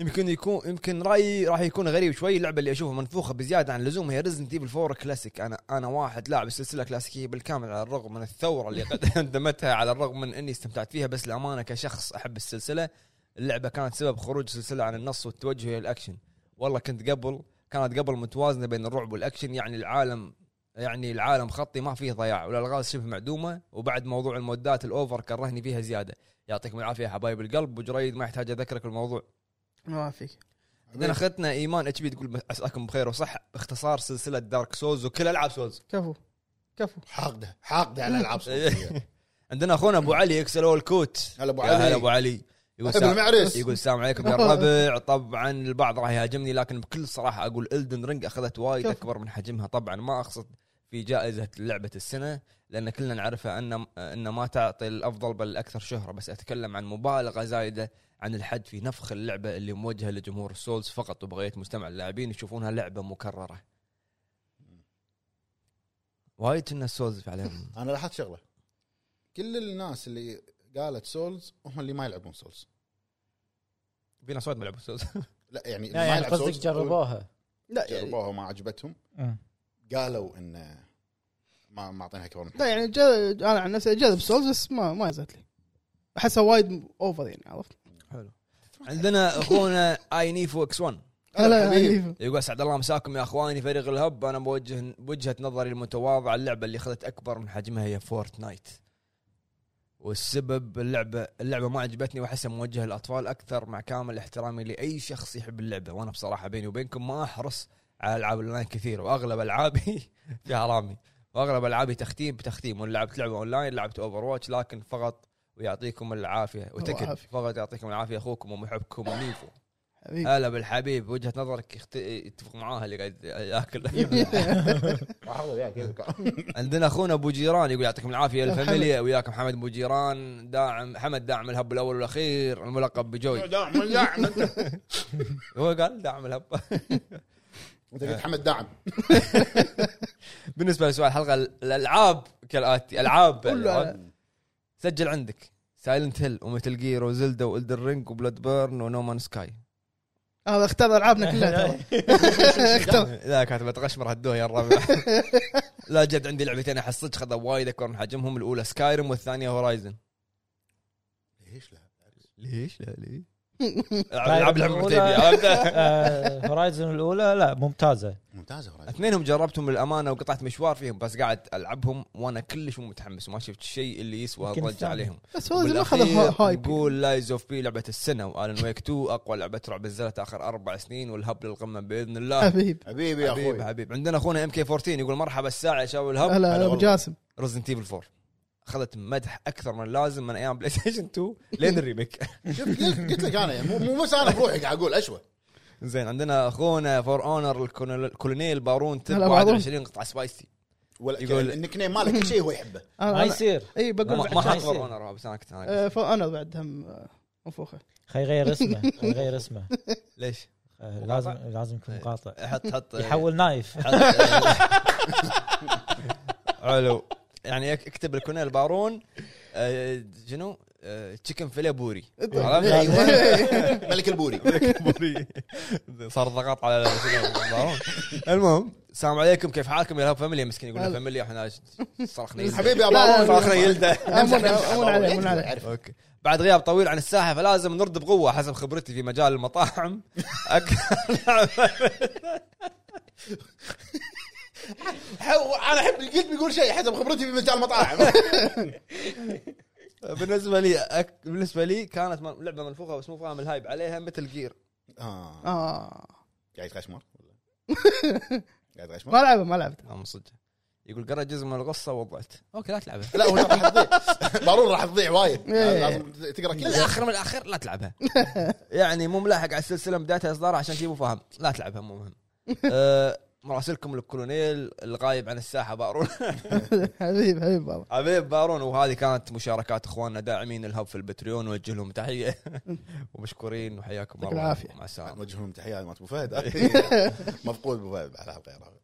A: يمكن يكون يمكن رايي راح يكون غريب شوي اللعبه اللي اشوفها منفوخه بزياده عن اللزوم هي ريزنت ايفل 4 كلاسيك انا انا واحد لاعب السلسله كلاسيكيه بالكامل على الرغم من الثوره اللي قد قدمتها على الرغم من اني استمتعت فيها بس الامانه كشخص احب السلسله اللعبه كانت سبب خروج السلسله عن النص والتوجه الى الاكشن والله كنت قبل كانت قبل متوازنه بين الرعب والاكشن يعني العالم يعني العالم خطي ما فيه ضياع والالغاز شبه معدومه وبعد موضوع المودات الاوفر كرهني فيها زياده يعطيكم العافيه يا حبايب القلب وجريد ما يحتاج اذكرك الموضوع
B: ما فيك
A: عندنا اختنا ايمان اتش بي تقول عساكم بخير وصح باختصار سلسله دارك سولز وكل العاب سولز
B: كفو كفو
C: حاقده حاقده على الالعاب صوتية.
A: عندنا اخونا ابو علي اكسل أول كوت
C: هلا ابو
A: يا هلا ابو
C: علي
A: علي يقول
C: أبو
A: سلام-
C: المعرس.
A: يقول السلام عليكم يا الربع طبعا البعض راح يهاجمني لكن بكل صراحه اقول الدن رينج اخذت وايد
B: شوف.
A: اكبر من حجمها طبعا ما اقصد في جائزه لعبه السنه لان كلنا نعرفها ان ان ما تعطي الافضل بل الاكثر شهره بس اتكلم عن مبالغه زايده عن الحد في نفخ اللعبه اللي موجهه لجمهور السولز فقط وبغيت مجتمع اللاعبين يشوفونها لعبه مكرره وايد كنا السولز عليهم
C: انا لاحظت شغله كل الناس اللي قالت سولز هم اللي ما يلعبون سولز
A: بينا صوت ملعب السولز
C: لا يعني اللي
D: لا
C: ما
D: يعني
C: يلعب
D: قصدك
C: سولز
D: جربوها
B: لا يعني
C: جربوها وما عجبتهم قالوا ان ما ما اعطيناها كبر من حجمها.
B: لا يعني جذب انا عن نفسي جذب سولز بس ما ما يزت لي احسها وايد اوفر يعني عرفت؟
A: حلو عندنا اخونا اي نيفو اكس 1
B: هلا
C: حبيب.
B: حبيبي.
A: يقول اسعد الله مساكم يا اخواني فريق الهب انا بوجه بوجهه نظري المتواضعه اللعبه اللي اخذت اكبر من حجمها هي فورتنايت والسبب اللعبه اللعبه ما عجبتني واحسها موجهه للاطفال اكثر مع كامل احترامي لاي شخص يحب اللعبه وانا بصراحه بيني وبينكم ما احرص على العاب الاونلاين كثير واغلب العابي يا حرامي واغلب العابي تختيم بتختيم وان لعبت لعبه اونلاين لعبت اوفر واتش لكن فقط ويعطيكم العافيه وتكن
B: يعافيك.
A: فقط يعطيكم العافيه اخوكم ومحبكم نيفو
B: حبيبي
A: هلا بالحبيب وجهه نظرك يخت... يتفق معاها اللي قاعد ياكل عندنا اخونا ابو جيران يقول يعطيكم العافيه
B: يا
A: الفاميليا وياك محمد ابو جيران داعم حمد داعم الهب الاول والاخير الملقب بجوي
C: داعم داعم انت
A: هو قال داعم الهب
C: أنت قلت حمد داعم
A: بالنسبه لسؤال الحلقه الالعاب كالاتي العاب
B: كلها.
A: سجل عندك سايلنت هيل ومتل جير وزلدا والدر رينج وبلاد بيرن ونومان سكاي
B: هذا اختار العابنا كلها ترى
A: لا كاتب تغشمر هدوه يا الربع لا جد عندي لعبتين احس صدق خذوا وايد اكبر من حجمهم الاولى سكايرم والثانيه هورايزن
C: ليش لا؟
A: ليش لا ليش؟
D: لا،
A: العب لعب
D: الأولى-
A: مرتين عرفت؟
D: آه، هورايزن الاولى لا ممتازه
C: ممتازه هورايزن
A: اثنينهم جربتهم للامانه وقطعت مشوار فيهم بس قاعد العبهم وانا كلش مو متحمس ما شفت شيء اللي يسوى
D: يمكن
A: الضجه
D: الثاني.
A: عليهم
B: بس هو ما اخذ هايب
A: نقول لايز اوف بي لعبه السنه والن ويك 2 اقوى لعبه رعب نزلت اخر اربع سنين والهب للقمه باذن الله
B: حبيب
C: حبيبي يا
A: حبيب
C: اخوي
A: حبيب عندنا اخونا ام كي 14 يقول مرحبا الساعه شاو الهب
B: هلا
C: هلا
B: ابو
C: والله.
B: جاسم
A: ريزنت ايفل 4 اخذت مدح اكثر من اللازم من ايام بلاي ستيشن 2 لين الريميك
C: شفت قلت قلت لك انا مو مو بس انا بروحي قاعد اقول اشوى
A: زين عندنا اخونا فور اونر الكولونيل الكولونيل بارون تب
B: هلا أبو عضو.
A: 21 قطعه سبايسي
C: ولا
A: يقول-
C: يقول النك نيم ماله كل شيء هو يحبه
D: ما يصير
B: اي بقول
A: ما ما
B: بعد
D: ما
A: حط
D: يصير.
A: فور اونر بس انا كنت أنا
B: آه، فانا بعد هم آه، منفوخه
D: خي يغير اسمه خي يغير اسمه
A: قلت. ليش؟
D: آه، لازم لازم يكون مقاطع
A: حط حط
D: يحول نايف
A: حط- حلو يعني اك- اكتب الكولونيل بارون آه، شنو؟ تشيكن فيلي بوري عرفت؟
C: إيه.
A: أيوة.
C: ايوه ملك البوري
A: بوري صار ضغط على بارون المهم السلام عليكم كيف حالكم يا هاب فاميلي مسكين يقول
B: هلا.
A: فاميلي احنا صرخنا يلده.
C: حبيبي يا
B: لا، لا،
C: بابا
B: لا.
A: صرخنا يلده
B: امون امون عليه امون عليه
C: أعرف.
A: اوكي بعد غياب طويل عن الساحه فلازم نرد بقوه حسب خبرتي في مجال المطاعم أك-
C: حو- انا احب قلت بيقول شيء حسب خبرتي في مجال المطاعم
A: بالنسبه لي أك... بالنسبه لي كانت من- لعبه منفوخه بس مو فاهم الهايب عليها مثل جير
C: آه،
B: اه
C: قاعد يتغشمر ولا؟ قاعد يتغشمر
B: ما لعبه ما لعبته
A: ام صدق يقول قرأ جزء من القصه وضعت اوكي لا تلعبها
C: لا هو راح تضيع ضروري راح تضيع وايد
B: إيه.
C: لازم تقرا
A: من
C: كل
A: الاخر من الاخر لا تلعبها يعني مو ملاحق على السلسله بدايه اصدارها عشان شي مو فاهم لا تلعبها مو مهم أه مراسلكم الكولونيل الغايب عن الساحه بارون
C: إيه.
B: حبيب حبيب بابا
A: حبيب بارون وهذه كانت مشاركات اخواننا داعمين الهب في البتريون نوجه لهم تحيه ومشكورين وحياكم
B: يعطيك
A: الله
B: العافية.
A: مع السلامه
C: نوجه لهم تحيه مات ابو فهد
B: إيه.
C: مفقود ابو فهد على الحلقه يا رب.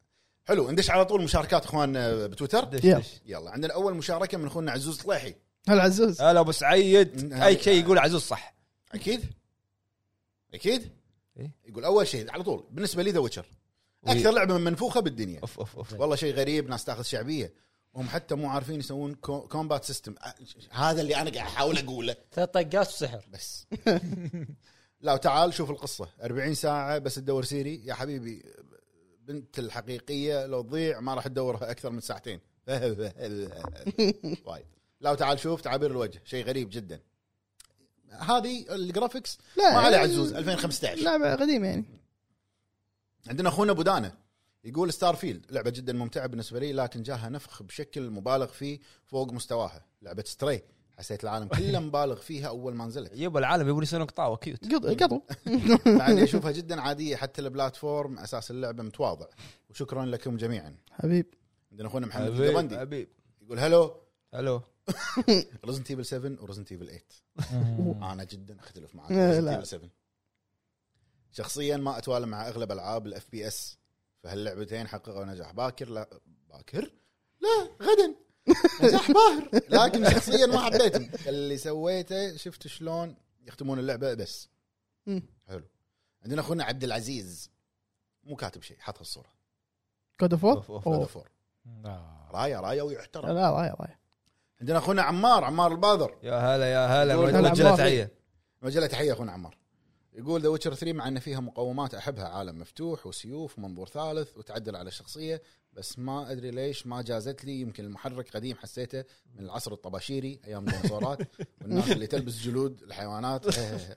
C: حلو ندش على طول مشاركات اخواننا بتويتر
A: دش
B: يلا.
A: دش.
C: يلا عندنا اول مشاركه من اخونا عزوز طليحي
B: هلا عزوز
A: هلا ابو سعيد اي شيء يقول عزوز صح
C: اكيد اكيد
A: إيه.
C: يقول اول شيء على طول بالنسبه لي ذا ويتشر اكثر لعبه منفوخه بالدنيا
A: اوف اوف اوف
C: والله شيء غريب ناس تاخذ شعبيه هم حتى مو عارفين يسوون كو- كومبات سيستم أ- هذا اللي انا قاعد احاول اقوله
D: ثلاث طقات وسحر
C: بس لا تعال شوف القصه 40 ساعه بس تدور سيري يا حبيبي بنت الحقيقيه لو تضيع ما راح تدورها اكثر من ساعتين وايد لا تعال شوف تعابير الوجه شيء غريب جدا هذه الجرافكس
B: لا،
C: ما عليه
B: ال-
C: عزوز 2015
B: لعبه قديمه يعني
C: عندنا اخونا ابو دانا يقول ستار فيلد لعبه جدا ممتعه بالنسبه لي لكن جاها نفخ بشكل مبالغ فيه فوق مستواها لعبه ستري حسيت العالم كله مبالغ فيها اول ما نزلت
A: يبا العالم يبون يصيرون قطاوه كيوت
C: إيه.
B: قط- قطو
C: مع اني اشوفها جدا عاديه حتى البلاتفورم اساس اللعبه متواضع وشكرا لكم جميعا
B: حبيب
C: عندنا اخونا محمد
A: حبيب
C: الدبندي
A: حبيب
C: يقول هلو
A: الو
C: رزنت ايفل 7 ورزنت ايفل 8 انا جدا اختلف معك
B: لا.
C: ريزنت ايفل 7 شخصيا ما اتوالى مع اغلب العاب الاف بي اس فهاللعبتين حققوا نجاح باكر لا باكر لا غدا نجاح باهر لكن شخصيا ما حبيتهم اللي سويته شفت شلون يختمون اللعبه بس
B: مم.
C: حلو عندنا اخونا عبد العزيز مو كاتب شيء حاط الصوره
B: جود اوف
A: أوف، أوف،
B: وور
C: فور
D: آه.
C: رايه رايه ويحترم
B: لا راي راي
C: عندنا اخونا عمار عمار الباذر
A: يا هلا يا هلا
C: يقول
B: هلا
A: وجهه
B: عمار.
A: تحيه
C: مجله تحيه اخونا عمار يقول ذا ويتشر 3 مع ان فيها مقومات احبها عالم مفتوح وسيوف ومنظور ثالث وتعدل على الشخصيه بس ما ادري ليش ما جازت لي يمكن المحرك قديم حسيته من العصر الطباشيري ايام الديناصورات والناس اللي تلبس جلود الحيوانات صح.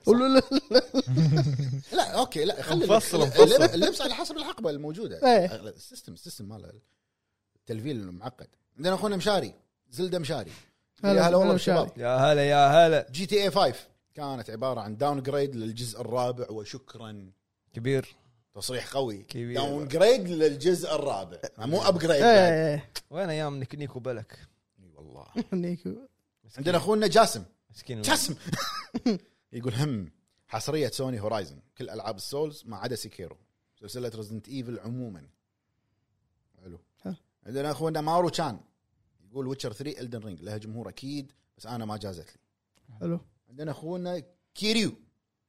C: لا اوكي لا خلي
A: مفصل،
C: اللبس-
A: مفصل.
C: اللبس على حسب الحقبه الموجوده
B: إيه.
C: السيستم السيستم ماله التلفيل المعقد عندنا اخونا مشاري زلده مشاري
B: هلا-
C: يا هلا
B: هلا
C: والله
B: مشاري.
C: بالشباب
A: يا هلا يا هلا
C: جي تي اي 5 كانت عباره عن داون جريد للجزء الرابع وشكرا
A: كبير
C: تصريح قوي
A: كبير.
C: داون جريد للجزء الرابع مو ابجريد إيه، بعد.
B: ايه
A: وين ايام نيك- نيكو بلك
C: اي والله
B: إيه. نيكو
C: عندنا اخونا جاسم
A: مسكين
C: جاسم يقول هم حصريه سوني هورايزن كل العاب السولز ما عدا سيكيرو سلسله ريزنت ايفل عموما حلو
B: حلو.
C: عندنا اخونا مارو تشان يقول ويتشر 3 الدن رينج لها جمهور اكيد بس انا ما جازت لي
B: حلو
C: عندنا اخونا كيريو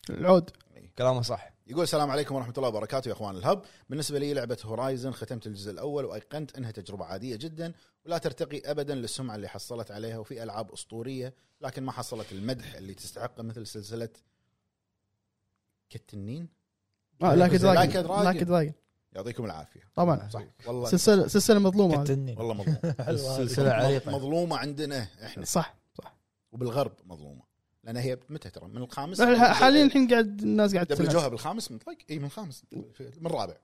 B: العود
A: كلامه صح
C: يقول السلام عليكم ورحمه الله وبركاته يا اخوان الهب بالنسبه لي لعبه هورايزن ختمت الجزء الاول وايقنت انها تجربه عاديه جدا ولا ترتقي ابدا للسمعه اللي حصلت عليها وفي العاب اسطوريه لكن ما حصلت المدح اللي تستحقه مثل سلسله كالتنين
B: اه لاك
C: لايك
B: دراجون
C: دراجون.
B: لاك دراجون
C: يا يعطيكم العافيه
B: طبعا
C: صح والله
B: سلسله سلسله مظلومه هذه.
D: كتني
C: والله مظلومه
D: السلسله عريقه
C: مظلومه عندنا احنا
B: صح صح
C: وبالغرب مظلومه لان هي متى ترى من الخامس
B: لا، حاليا الحين قاعد الناس قاعد
C: دبلجوها بالخامس مطلق اي من الخامس من الرابع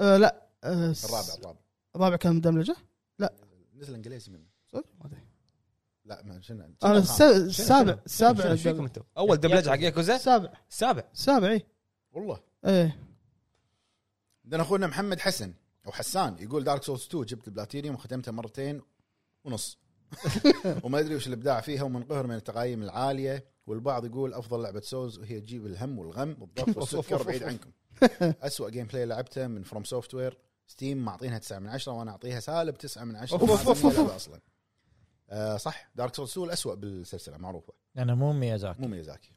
B: آه لا آه
C: الرابع الرابع
B: الرابع كان مدملجه
C: نزل انجليزي منه
B: صدق؟ ما أدري.
C: لا ما شنو
B: انا الس- السابع
A: شنو-
B: السابع
A: شنو فيكم انتم؟ اول دبلج حق ياكوزا
B: السابع
A: السابع
B: السابع اي
C: والله
B: ايه
C: عندنا اخونا محمد حسن او حسان يقول دارك سولز 2 جبت البلاتينيوم وختمتها مرتين ونص وما ادري وش الابداع فيها ومنقهر من التقايم العاليه والبعض يقول افضل لعبه سولز وهي تجيب الهم والغم والضغط والسكر بعيد عنكم اسوء جيم بلاي لعبته من فروم سوفت وير ستيم معطينها 9 من 10 وانا اعطيها سالب 9 من 10
A: أوف، أوف، أوف، أوف.
C: اصلا آه صح دارك سولز 2 الاسوء بالسلسله معروفه
D: انا مو ميازاكي
C: مو ميازاكي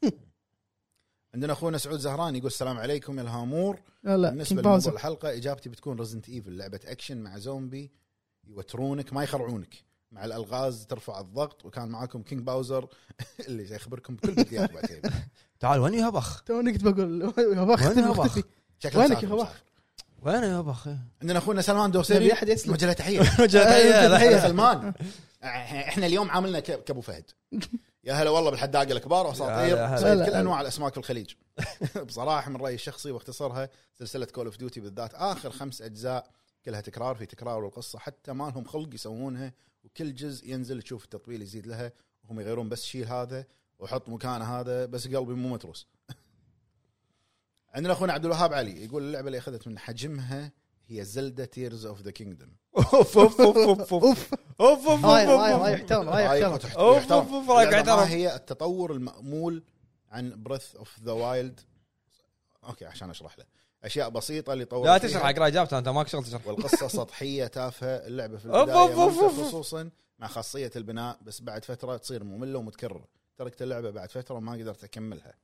C: عندنا اخونا سعود زهران يقول السلام عليكم يا الهامور
B: لا لا
C: بالنسبه
B: كينج
C: لموضوع
B: باوزر
C: الحلقه اجابتي بتكون ريزنت ايفل لعبه اكشن مع زومبي يوترونك ما يخرعونك مع الالغاز ترفع الضغط وكان معاكم كينج باوزر اللي سيخبركم بكل بديات بعد شيء.
A: تعال وين يا بخ؟
B: توني كنت بقول يا بخ
A: وين يا
B: اختفي،
A: بخ؟
B: اختفي.
C: شكله
B: وينك
C: مسافر،
B: يا بخ؟
C: مسافر.
A: وين يا بخ؟
C: عندنا اخونا سلمان
B: نبي
C: دوسري
B: أحد يسلم.
C: وجه له تحيه
B: آه،
C: يا سلمان إح- احنا اليوم عاملنا ك- كابو فهد يا هلا والله بالحداقه الكبار
A: يا هلا.
C: واساطير
B: هلا.
C: صيد كل انواع الاسماك في الخليج بصراحه من رايي الشخصي واختصرها سلسله كول اوف ديوتي بالذات اخر خمس اجزاء كلها تكرار في تكرار والقصه حتى ما لهم خلق يسوونها وكل جزء ينزل تشوف التطويل يزيد لها وهم يغيرون بس شيل هذا وحط مكانه هذا بس قلبي مو متروس عندنا اخونا عبد الوهاب علي يقول اللعبه اللي اخذت من حجمها هي زلدا تيرز اوف ذا كينجدم
A: اوف اوف اوف اوف اوف اوف اوف
B: رايح رايح رايح
A: اوف
B: يحترم رايح
C: رايك
B: يحترم
C: وتحت-
A: أوف،
C: يحترم.
A: أوف، أوف، رايك
C: اللعبة
A: يحترم.
C: ما هي التطور المأمول عن بريث اوف ذا وايلد اوكي عشان اشرح له اشياء بسيطه اللي طور
A: لا
C: فيها.
A: تشرح اقرا اجابته انت ماك شغل تشرح
C: والقصه سطحيه تافهه اللعبه في
A: أوف،
C: البدايه
A: أوف، أوف،
C: ممتعة
A: أوف.
C: خصوصا مع خاصيه البناء بس بعد فتره تصير ممله ومتكرره تركت اللعبه بعد فتره وما قدرت اكملها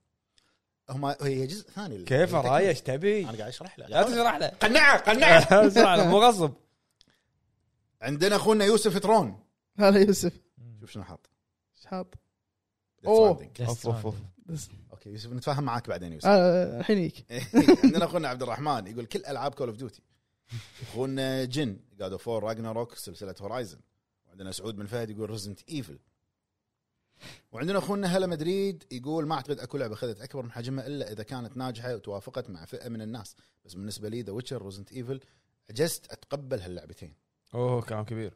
C: هما هي جزء ثاني اللي-
A: كيف
C: اللي
A: رايح
C: تكمل.
A: ايش تبي؟
C: انا قاعد اشرح له
A: لا تشرح له
C: قنعه قنعه
A: اشرح له مو غصب
C: عندنا اخونا يوسف ترون
B: هلا يوسف
C: شوف شنو حاط
B: ايش حاط؟
C: Death
B: أوه.
C: Stranding.
A: اوف اوف اوف
B: بس.
C: اوكي يوسف نتفاهم معاك بعدين يوسف
B: آه، الحين يجيك
C: عندنا اخونا عبد الرحمن يقول كل العاب كول اوف ديوتي اخونا جن جاد اوف فور راجناروك سلسله هورايزن وعندنا سعود بن فهد يقول ريزنت ايفل وعندنا اخونا هلا مدريد يقول ما اعتقد اكو لعبه اخذت اكبر من حجمها الا اذا كانت ناجحه وتوافقت مع فئه من الناس بس بالنسبه لي ذا ويتشر ريزنت ايفل عجزت اتقبل هاللعبتين
A: اوه كلام كبير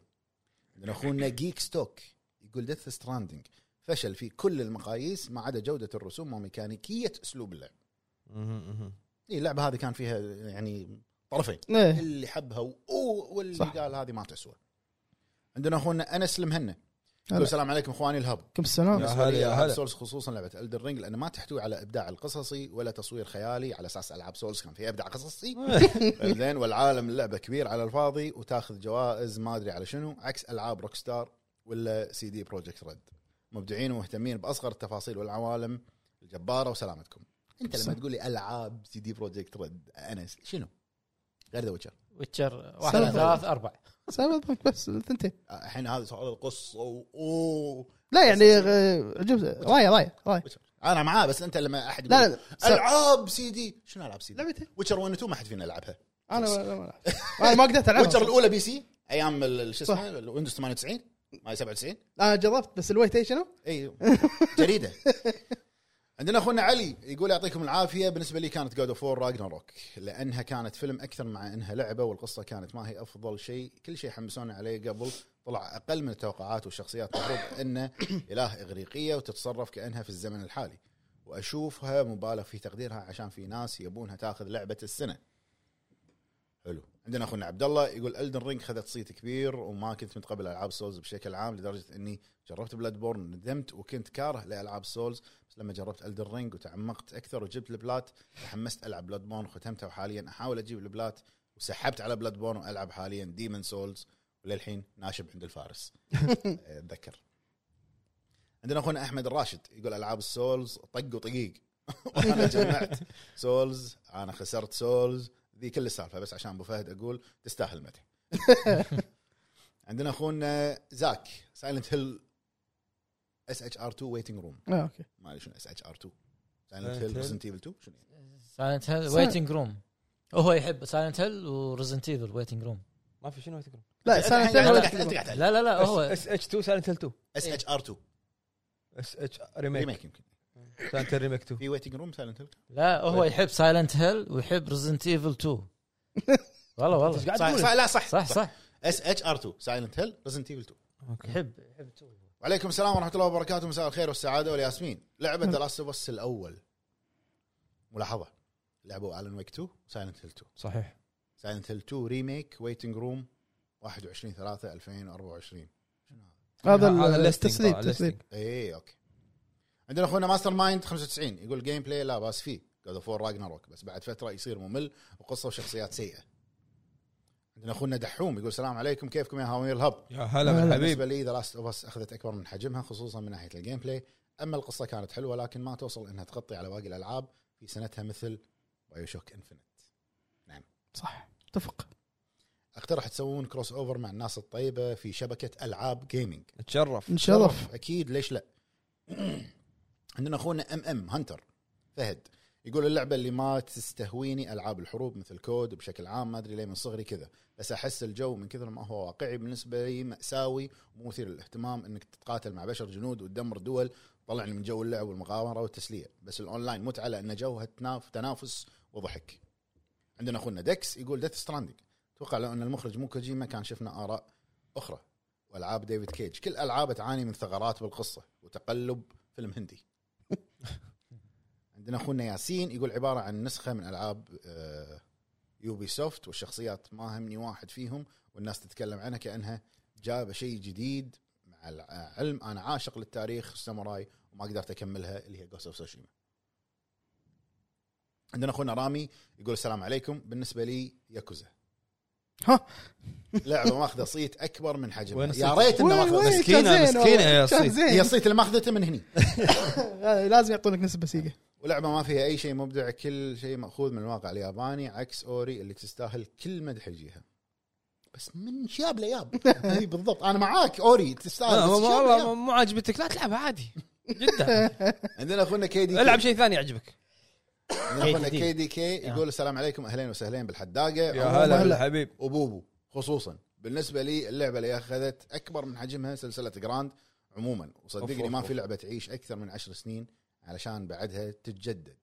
C: عندنا اخونا جيك ستوك يقول ديث ستراندنج فشل في كل المقاييس ما عدا جوده الرسوم وميكانيكيه اسلوب اللعب
A: مهم، مهم.
C: إيه، اللعبه هذه كان فيها يعني طرفين
B: ايه
C: اللي حبها و- و- واللي
B: صح.
C: قال هذه ما تسوى عندنا اخونا انس المهنا
B: هلا.
C: يقول السلام عليكم اخواني الهب
B: كم السلام
A: يا
C: بالنسبه
A: هلا،
C: لي
A: يا
C: العاب
A: هلا.
C: سولز خصوصا لعبه الدر رينج لان ما تحتوي على ابداع القصصي ولا تصوير خيالي على اساس العاب سولز كان فيها ابداع قصصي زين والعالم اللعبه كبير على الفاضي وتاخذ جوائز ما ادري على شنو عكس العاب روك ستار ولا سي دي بروجكت ريد مبدعين ومهتمين باصغر التفاصيل والعوالم الجباره وسلامتكم انت لما
B: صح.
C: تقول لي العاب سي دي بروجكت ريد انس شنو غير ذا ويتشر
D: ويتشر واحد
B: سلام.
D: ثلاث اربع
B: سلام عليكم. بس الثنتين
C: الحين هذا سؤال القصه و... أوه.
B: لا يعني غ- عجبت رايه رايه رايه
C: انا معاه بس انت لما احد
B: لا
C: يقول
B: لا لا
C: العاب سي دي شنو العاب سي دي؟
B: لعبتين
C: ويتشر 1 و 2 ما حد فينا لعبها
B: انا ما- أنا ما ألعب. انا آه، ما قدرت
C: ويتشر
B: العبها
C: الاولى بي سي ايام ال- ال- شو
B: صح.
C: اسمه الويندوز 98 ما 97
B: انا آه، جربت بس الويت ايش شنو؟
C: اي جريده إيه. عندنا اخونا علي يقول يعطيكم العافيه بالنسبه لي كانت جود اوف وور راجناروك لانها كانت فيلم اكثر مع انها لعبه والقصه كانت ما هي افضل شيء كل شيء حمسونا عليه قبل طلع اقل من التوقعات والشخصيات المفروض انه اله اغريقيه وتتصرف كانها في الزمن الحالي واشوفها مبالغ في تقديرها عشان في ناس يبونها تاخذ لعبه السنه حلو عندنا اخونا عبد الله يقول الدن رينج خذت صيت كبير وما كنت متقبل العاب سولز بشكل عام لدرجه اني جربت بلاد بورن ندمت وكنت كاره لالعاب سولز بس لما جربت الدن رينج وتعمقت اكثر وجبت البلات تحمست العب بلاد بورن وختمتها وحاليا احاول اجيب البلات وسحبت على بلاد بورن والعب حاليا ديمن سولز وللحين ناشب عند الفارس اتذكر عندنا اخونا احمد الراشد يقول العاب السولز طق وطقيق وانا جمعت سولز انا خسرت سولز ذي كل السالفه بس عشان ابو فهد اقول تستاهل مدح عندنا اخونا زاك سايلنت هيل اس اتش ار 2 ويتنج روم
B: آه، اوكي
C: ما ادري شنو اس اتش ار 2
A: Silent
C: سايلنت هيل
A: Hill.
C: ريزنت ايفل 2 شنو يعني؟
D: سايلنت ويتنج روم هو يحب سايلنت هيل وريزنت ايفل ويتنج روم
A: ما في شنو تقول
B: لا
C: الحين
B: سايلنت
C: قاعد-
B: هيل
C: قاعد- انت قاعد
D: لا لا لا هو
A: اس اتش 2 سايلنت هيل 2
C: اس اتش ار 2
A: اس اتش ريميك
C: ريميك يمكن
A: سايلنت هيل ريميك 2
C: في ويتنج روم سايلنت هيل
D: لا هو يحب سايلنت هيل ويحب ريزنت ايفل 2 والله والله
B: قاعد
C: صح
B: تقول؟
C: صح لا صح
D: صح صح
C: اس اتش ار 2 سايلنت هيل ريزنت ايفل 2
D: يحب يحب 2
C: وعليكم السلام ورحمه الله وبركاته مساء الخير والسعاده والياسمين لعبه ذا لاست اوف اس الاول ملاحظه لعبوا الن ويك 2 سايلنت هيل 2
A: صحيح
C: سايلنت هيل 2 ريميك ويتنج روم 21 3 2024
B: هذا
A: الليستنج
B: التسليم
A: طبعاً،
B: التسليم
A: الليستنج.
C: اي اوكي إيه، عندنا اخونا ماستر مايند 95 يقول جيم بلاي لا باس فيه جود اوف راجناروك بس بعد فتره يصير ممل وقصه وشخصيات سيئه عندنا اخونا دحوم يقول السلام عليكم كيفكم يا هاوير الهب
A: يا هلا بالحبيب
C: بالنسبه لي ذا لاست اوف اس اخذت اكبر من حجمها خصوصا من ناحيه الجيم بلاي اما القصه كانت حلوه لكن ما توصل انها تغطي على باقي الالعاب في سنتها مثل بايو شوك انفنت
B: صح اتفق
C: اقترح تسوون كروس اوفر مع الناس الطيبه في شبكه العاب جيمنج
A: تشرف
B: نشرف
C: اكيد ليش لا عندنا اخونا ام ام هانتر فهد يقول اللعبه اللي ما تستهويني العاب الحروب مثل كود بشكل عام ما ادري ليه من صغري كذا بس احس الجو من كثر ما هو واقعي بالنسبه لي ماساوي ومثير للاهتمام انك تتقاتل مع بشر جنود وتدمر دول طلعني من جو اللعب والمغامره والتسليه بس الاونلاين متعه لان جوها تناف- تنافس وضحك عندنا اخونا دكس يقول ديث ستراندنج اتوقع لو ان المخرج مو كوجيما كان شفنا اراء اخرى والعاب ديفيد كيج كل العابه تعاني من ثغرات بالقصه وتقلب فيلم هندي عندنا اخونا ياسين يقول عباره عن نسخه من العاب آه، يوبي سوفت والشخصيات ما همني واحد فيهم والناس تتكلم عنها كانها جابه شيء جديد مع العلم انا عاشق للتاريخ الساموراي وما قدرت اكملها اللي هي جوست اوف سوشيما عندنا اخونا رامي يقول السلام عليكم بالنسبه لي ياكوزا
B: ها.
C: لعبه ماخذه صيت اكبر من حجمها
A: وين
C: يا ريت انها
B: وين-
C: ماخذه
B: وين؟
A: مسكينة-
B: كان زين
A: مسكينة
B: والله،
A: يا
B: كان
A: صيت.
B: زين.
C: هي الصيت اللي ماخذته من هني
B: آه، لازم يعطونك نسبه سيقه
C: ولعبه ما فيها اي شيء مبدع كل شيء ماخوذ من الواقع الياباني عكس اوري اللي تستاهل كل مدح يجيها بس من شاب لياب اي بالضبط انا معاك اوري
A: لا،
C: تستاهل
A: ما-
C: بس
A: ما-
C: شاب
A: والله ما-
C: لياب.
A: مو عاجبتك لا تلعبها عادي جدا
C: عندنا اخونا كي دي
A: العب شيء ثاني يعجبك
C: اخونا
D: KDK.
C: كي دي كي يقول السلام عليكم اهلين وسهلين بالحداقه
A: آه. يا
C: عموماً
A: هلا بالحبيب
C: وبوبو خصوصا بالنسبه لي اللعبه اللي اخذت اكبر من حجمها سلسله جراند عموما
A: أوف،
C: وصدقني
A: أوف،
C: ما
A: أوف.
C: في لعبه تعيش اكثر من عشر سنين علشان بعدها تتجدد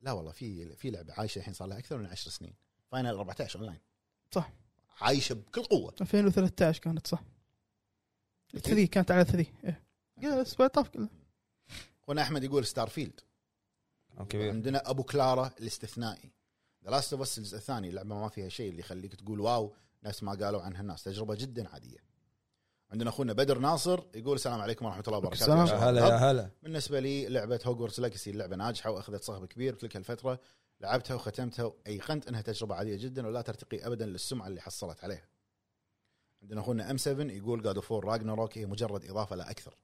C: لا والله في في لعبه عايشه الحين صار لها اكثر من عشر سنين فاينل 14 اونلاين
B: صح.
C: عايشه بكل قوه
B: 2013 كانت صح
A: إيه.
B: 3 كانت على 3 ايه قال الاسبوع طاف كله
C: هنا احمد يقول ستار فيلد
A: كبير
C: عندنا ابو كلارا الاستثنائي ذا لاست اوف اس الجزء الثاني اللعبه ما فيها شيء اللي يخليك تقول واو نفس ما قالوا عنها الناس تجربه جدا عاديه عندنا اخونا بدر ناصر يقول السلام عليكم ورحمه الله وبركاته
B: السلام.
C: يا
A: يا
C: شباب.
A: هلا يا هلا
C: بالنسبه لي لعبه هوجورتس ليجسي لعبه ناجحه واخذت صهب كبير تلك الفتره لعبتها وختمتها وايقنت انها تجربه عاديه جدا ولا ترتقي ابدا للسمعه اللي حصلت عليها. عندنا اخونا ام 7 يقول جاد اوف راجناروك هي مجرد اضافه لا اكثر.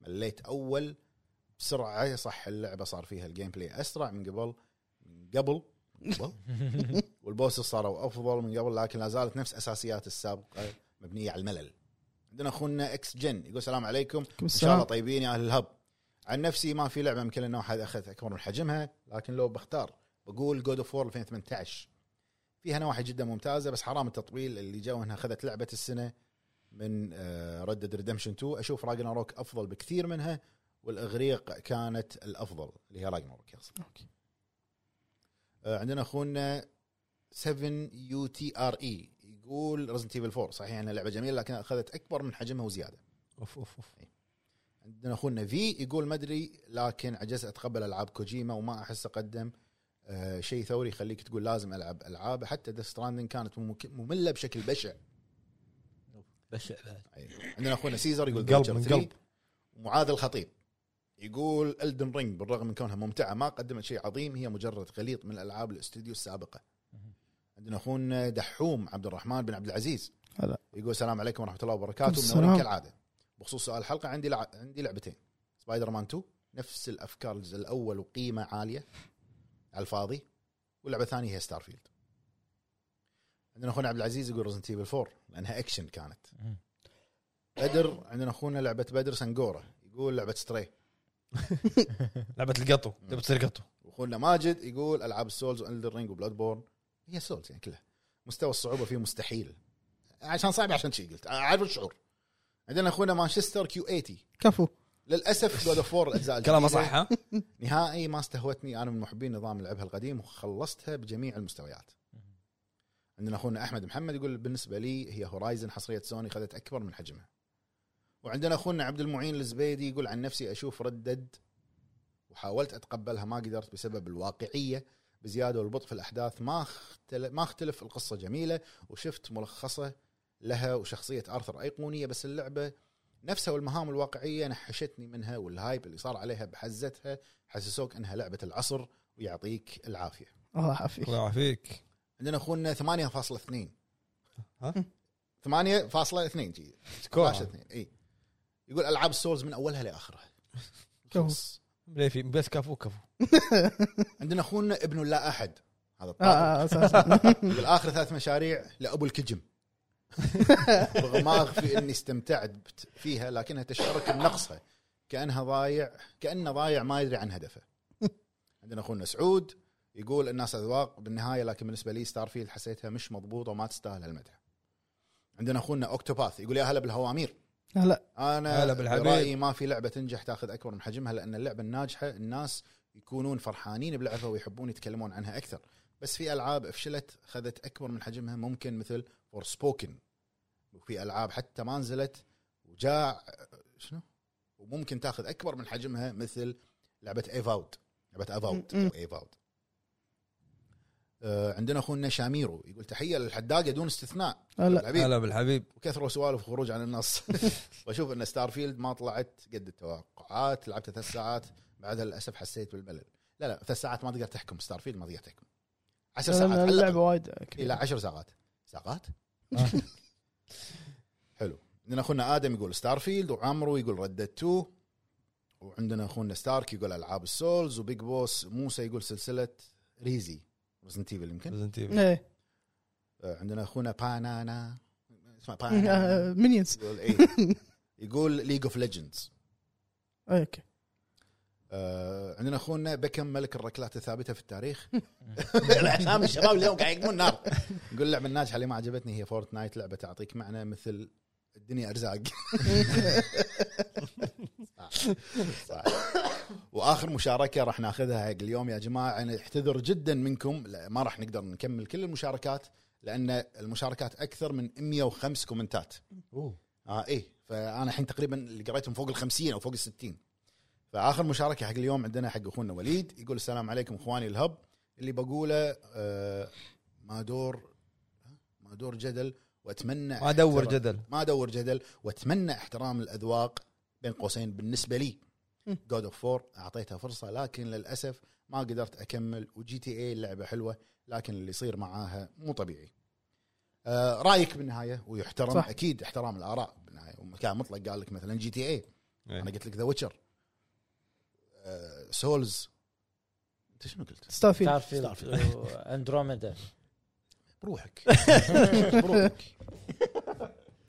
C: مليت اول بسرعه صح اللعبه صار فيها الجيم بلاي اسرع من قبل من قبل من قبل والبوسس صاروا افضل من قبل لكن لا زالت نفس اساسيات السابقه مبنيه على الملل. عندنا اخونا اكس جن يقول السلام عليكم
B: عليكم
C: ان شاء الله
B: السلام
C: طيبين يا اهل الهب عن نفسي ما في لعبه من كل النواحي اخذت اكبر من حجمها لكن لو بختار بقول جود اوف وور 2018 فيها نواحي جدا ممتازه بس حرام التطويل اللي جو انها اخذت لعبه السنه من آه، ردد ريدمشن 2 اشوف راجناروك افضل بكثير منها والاغريق كانت الافضل اللي هي راجناروك اصلا
B: أوكي.
C: آه، عندنا اخونا 7 يو تي ار اي يقول رزنت ايفل 4 صحيح انها لعبه جميله لكن اخذت اكبر من حجمها وزياده
A: اوف اوف اوف
C: عندنا اخونا في يقول ما ادري لكن عجزت اتقبل العاب كوجيما وما احس اقدم آه شيء ثوري يخليك تقول لازم العب العاب حتى ذا ستراندنج كانت ممك- ممله بشكل بشع
D: بشع بعد
C: أي. عندنا اخونا سيزر يقول
A: من قلب،
C: The Witcher
A: من
C: 3.
A: قلب.
C: معاذ الخطيب يقول الدن رينج بالرغم من كونها ممتعه ما قدمت شيء عظيم هي مجرد خليط من الالعاب الاستوديو السابقه عندنا اخونا دحوم عبد الرحمن بن عبد العزيز
B: هلا.
C: يقول السلام عليكم ورحمه الله وبركاته
B: السلام.
C: منورين كالعاده بخصوص سؤال الحلقه عندي لع... عندي لعبتين سبايدر مان 2 نفس الافكار الجزء الاول وقيمه عاليه على الفاضي واللعبه الثانيه هي ستار فيلد عندنا اخونا عبد العزيز يقول رزنت ايفل 4 لانها اكشن كانت بدر عندنا اخونا لعبه بدر سنقوره يقول لعبه ستري
A: لعبه القطو تبي تصير قطو
C: واخونا ماجد يقول العاب السولز والدر رينج وبلاد بورن هي سولز يعني كلها مستوى الصعوبه فيه مستحيل عشان صعب عشان شي قلت اعرف الشعور عندنا اخونا مانشستر كيو 80
B: كفو
C: للاسف جود اوف وور الاجزاء
A: كلامه
C: الجديدة
A: صح ها
C: نهائي ما استهوتني انا من محبين نظام لعبها القديم وخلصتها بجميع المستويات عندنا اخونا احمد محمد يقول بالنسبه لي هي هورايزن حصريه سوني خذت اكبر من حجمها وعندنا اخونا عبد المعين الزبيدي يقول عن نفسي اشوف ردد وحاولت اتقبلها ما قدرت بسبب الواقعيه بزياده والبطء في الاحداث ما اختلف ما اختلف القصه جميله وشفت ملخصه لها وشخصيه ارثر ايقونيه بس اللعبه نفسها والمهام الواقعيه نحشتني منها والهايب اللي صار عليها بحزتها حسسوك انها لعبه العصر ويعطيك العافيه
B: الله يعافيك
A: الله يعافيك
C: عندنا اخونا 8.2
A: ها؟
C: 8.2 جي
A: سكور
C: 12.2 اي يقول العاب السولز من اولها لاخرها خلص
A: ليه في بس كفو كفو
C: عندنا اخونا ابن لا احد هذا
B: آه،
C: الطاقم.
B: آه، أساساً.
C: يقول اخر ثلاث مشاريع لابو الكجم رغم ما اخفي اني استمتعت فيها لكنها تشعرك بنقصها كانها ضايع كانه ضايع ما يدري عن هدفه عندنا اخونا سعود يقول الناس اذواق بالنهايه لكن بالنسبه لي ستار فيلد حسيتها مش مضبوطه وما تستاهل المدح عندنا اخونا اوكتوباث يقول يا هلا بالهوامير
B: هلا
C: انا
A: هلا بالحبيب.
C: برايي ما في لعبه تنجح تاخذ اكبر من حجمها لان اللعبه الناجحه الناس يكونون فرحانين بلعبها ويحبون يتكلمون عنها اكثر بس في العاب فشلت خذت اكبر من حجمها ممكن مثل فور سبوكن وفي العاب حتى ما نزلت وجاء شنو وممكن تاخذ اكبر من حجمها مثل لعبه ايفاود لعبه افاود
B: م- م.
C: او ايفاود آه، عندنا اخونا شاميرو يقول تحيه للحداقه دون استثناء طيب،
B: هلا
C: العبيد.
A: هلا بالحبيب
C: وكثروا سوالف وخروج عن النص واشوف ان ستار فيلد ما طلعت قد التوقعات لعبت ثلاث ساعات بعدها للاسف حسيت بالملل لا لا ثلاث ساعات ما تقدر تحكم ستار فيلد ما تقدر تحكم عشر ساعات على الأقل.
B: اللعبه وايد
C: الى
B: كبيرة.
C: عشر ساعات ساعات
D: آه.
C: حلو عندنا اخونا ادم يقول ستار فيلد وعمرو يقول ردد 2 وعندنا اخونا ستارك يقول العاب السولز وبيج بوس موسى يقول سلسله ريزي ريزنت ايفل يمكن
A: Resident Evil.
B: إيه.
C: آه، عندنا اخونا بانانا اسمه بانانا
B: آه، مينيونز
C: يقول ايه يقول ليج اوف ليجندز
B: آه، اوكي
C: آه، عندنا اخونا بكم ملك الركلات الثابته في التاريخ
E: الاسامي الشباب اليوم قاعد يقمون نار
C: يقول اللعبه الناجحه اللي ما عجبتني هي فورتنايت لعبه تعطيك معنى مثل الدنيا ارزاق صح. صح. واخر مشاركه راح ناخذها حق اليوم يا جماعه انا اعتذر جدا منكم لا، ما راح نقدر نكمل كل المشاركات لان المشاركات اكثر من 105 كومنتات اه ايه فانا الحين تقريبا اللي قريتهم فوق ال 50 او فوق ال 60 فاخر مشاركه حق اليوم عندنا حق اخونا وليد يقول السلام عليكم اخواني الهب اللي بقوله آه ما دور ما دور جدل واتمنى
A: ما ادور
C: احترام-
A: جدل
C: ما ادور جدل واتمنى احترام الاذواق بين قوسين بالنسبه لي
B: مم.
C: جود اوف 4 اعطيتها فرصه لكن للاسف ما قدرت اكمل وجي تي اي لعبه حلوه لكن اللي يصير معاها مو طبيعي آه رايك بالنهايه ويحترم صح.
B: صح.
C: اكيد احترام الاراء بالنهايه وكان مطلق قال لك مثلا جي تي اي
A: إيه.
C: انا
A: يعني
C: قلت لك ذا ويتشر سولز انت شنو قلت؟
B: ستار فيلد
D: ستار فيلد واندروميدا
C: بروحك بروحك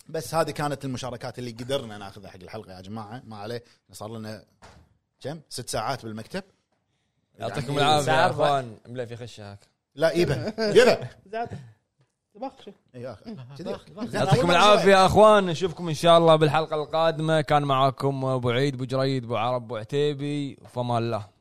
C: بس هذه كانت المشاركات اللي قدرنا ناخذها حق الحلقه يا جماعه ما عليه صار لنا كم ست ساعات بالمكتب
A: يعطيكم
C: يعني
A: العافيه يا
D: ساعة أربعة.
A: اخوان ملا في خشه هاك
C: لا يبا يبا
B: زاد طبخ شو
C: إي آخ. كذي.
A: يعطيكم العافيه يا اخوان نشوفكم ان شاء الله بالحلقه القادمه كان معاكم ابو عيد ابو جريد ابو عرب ابو عتيبي فما الله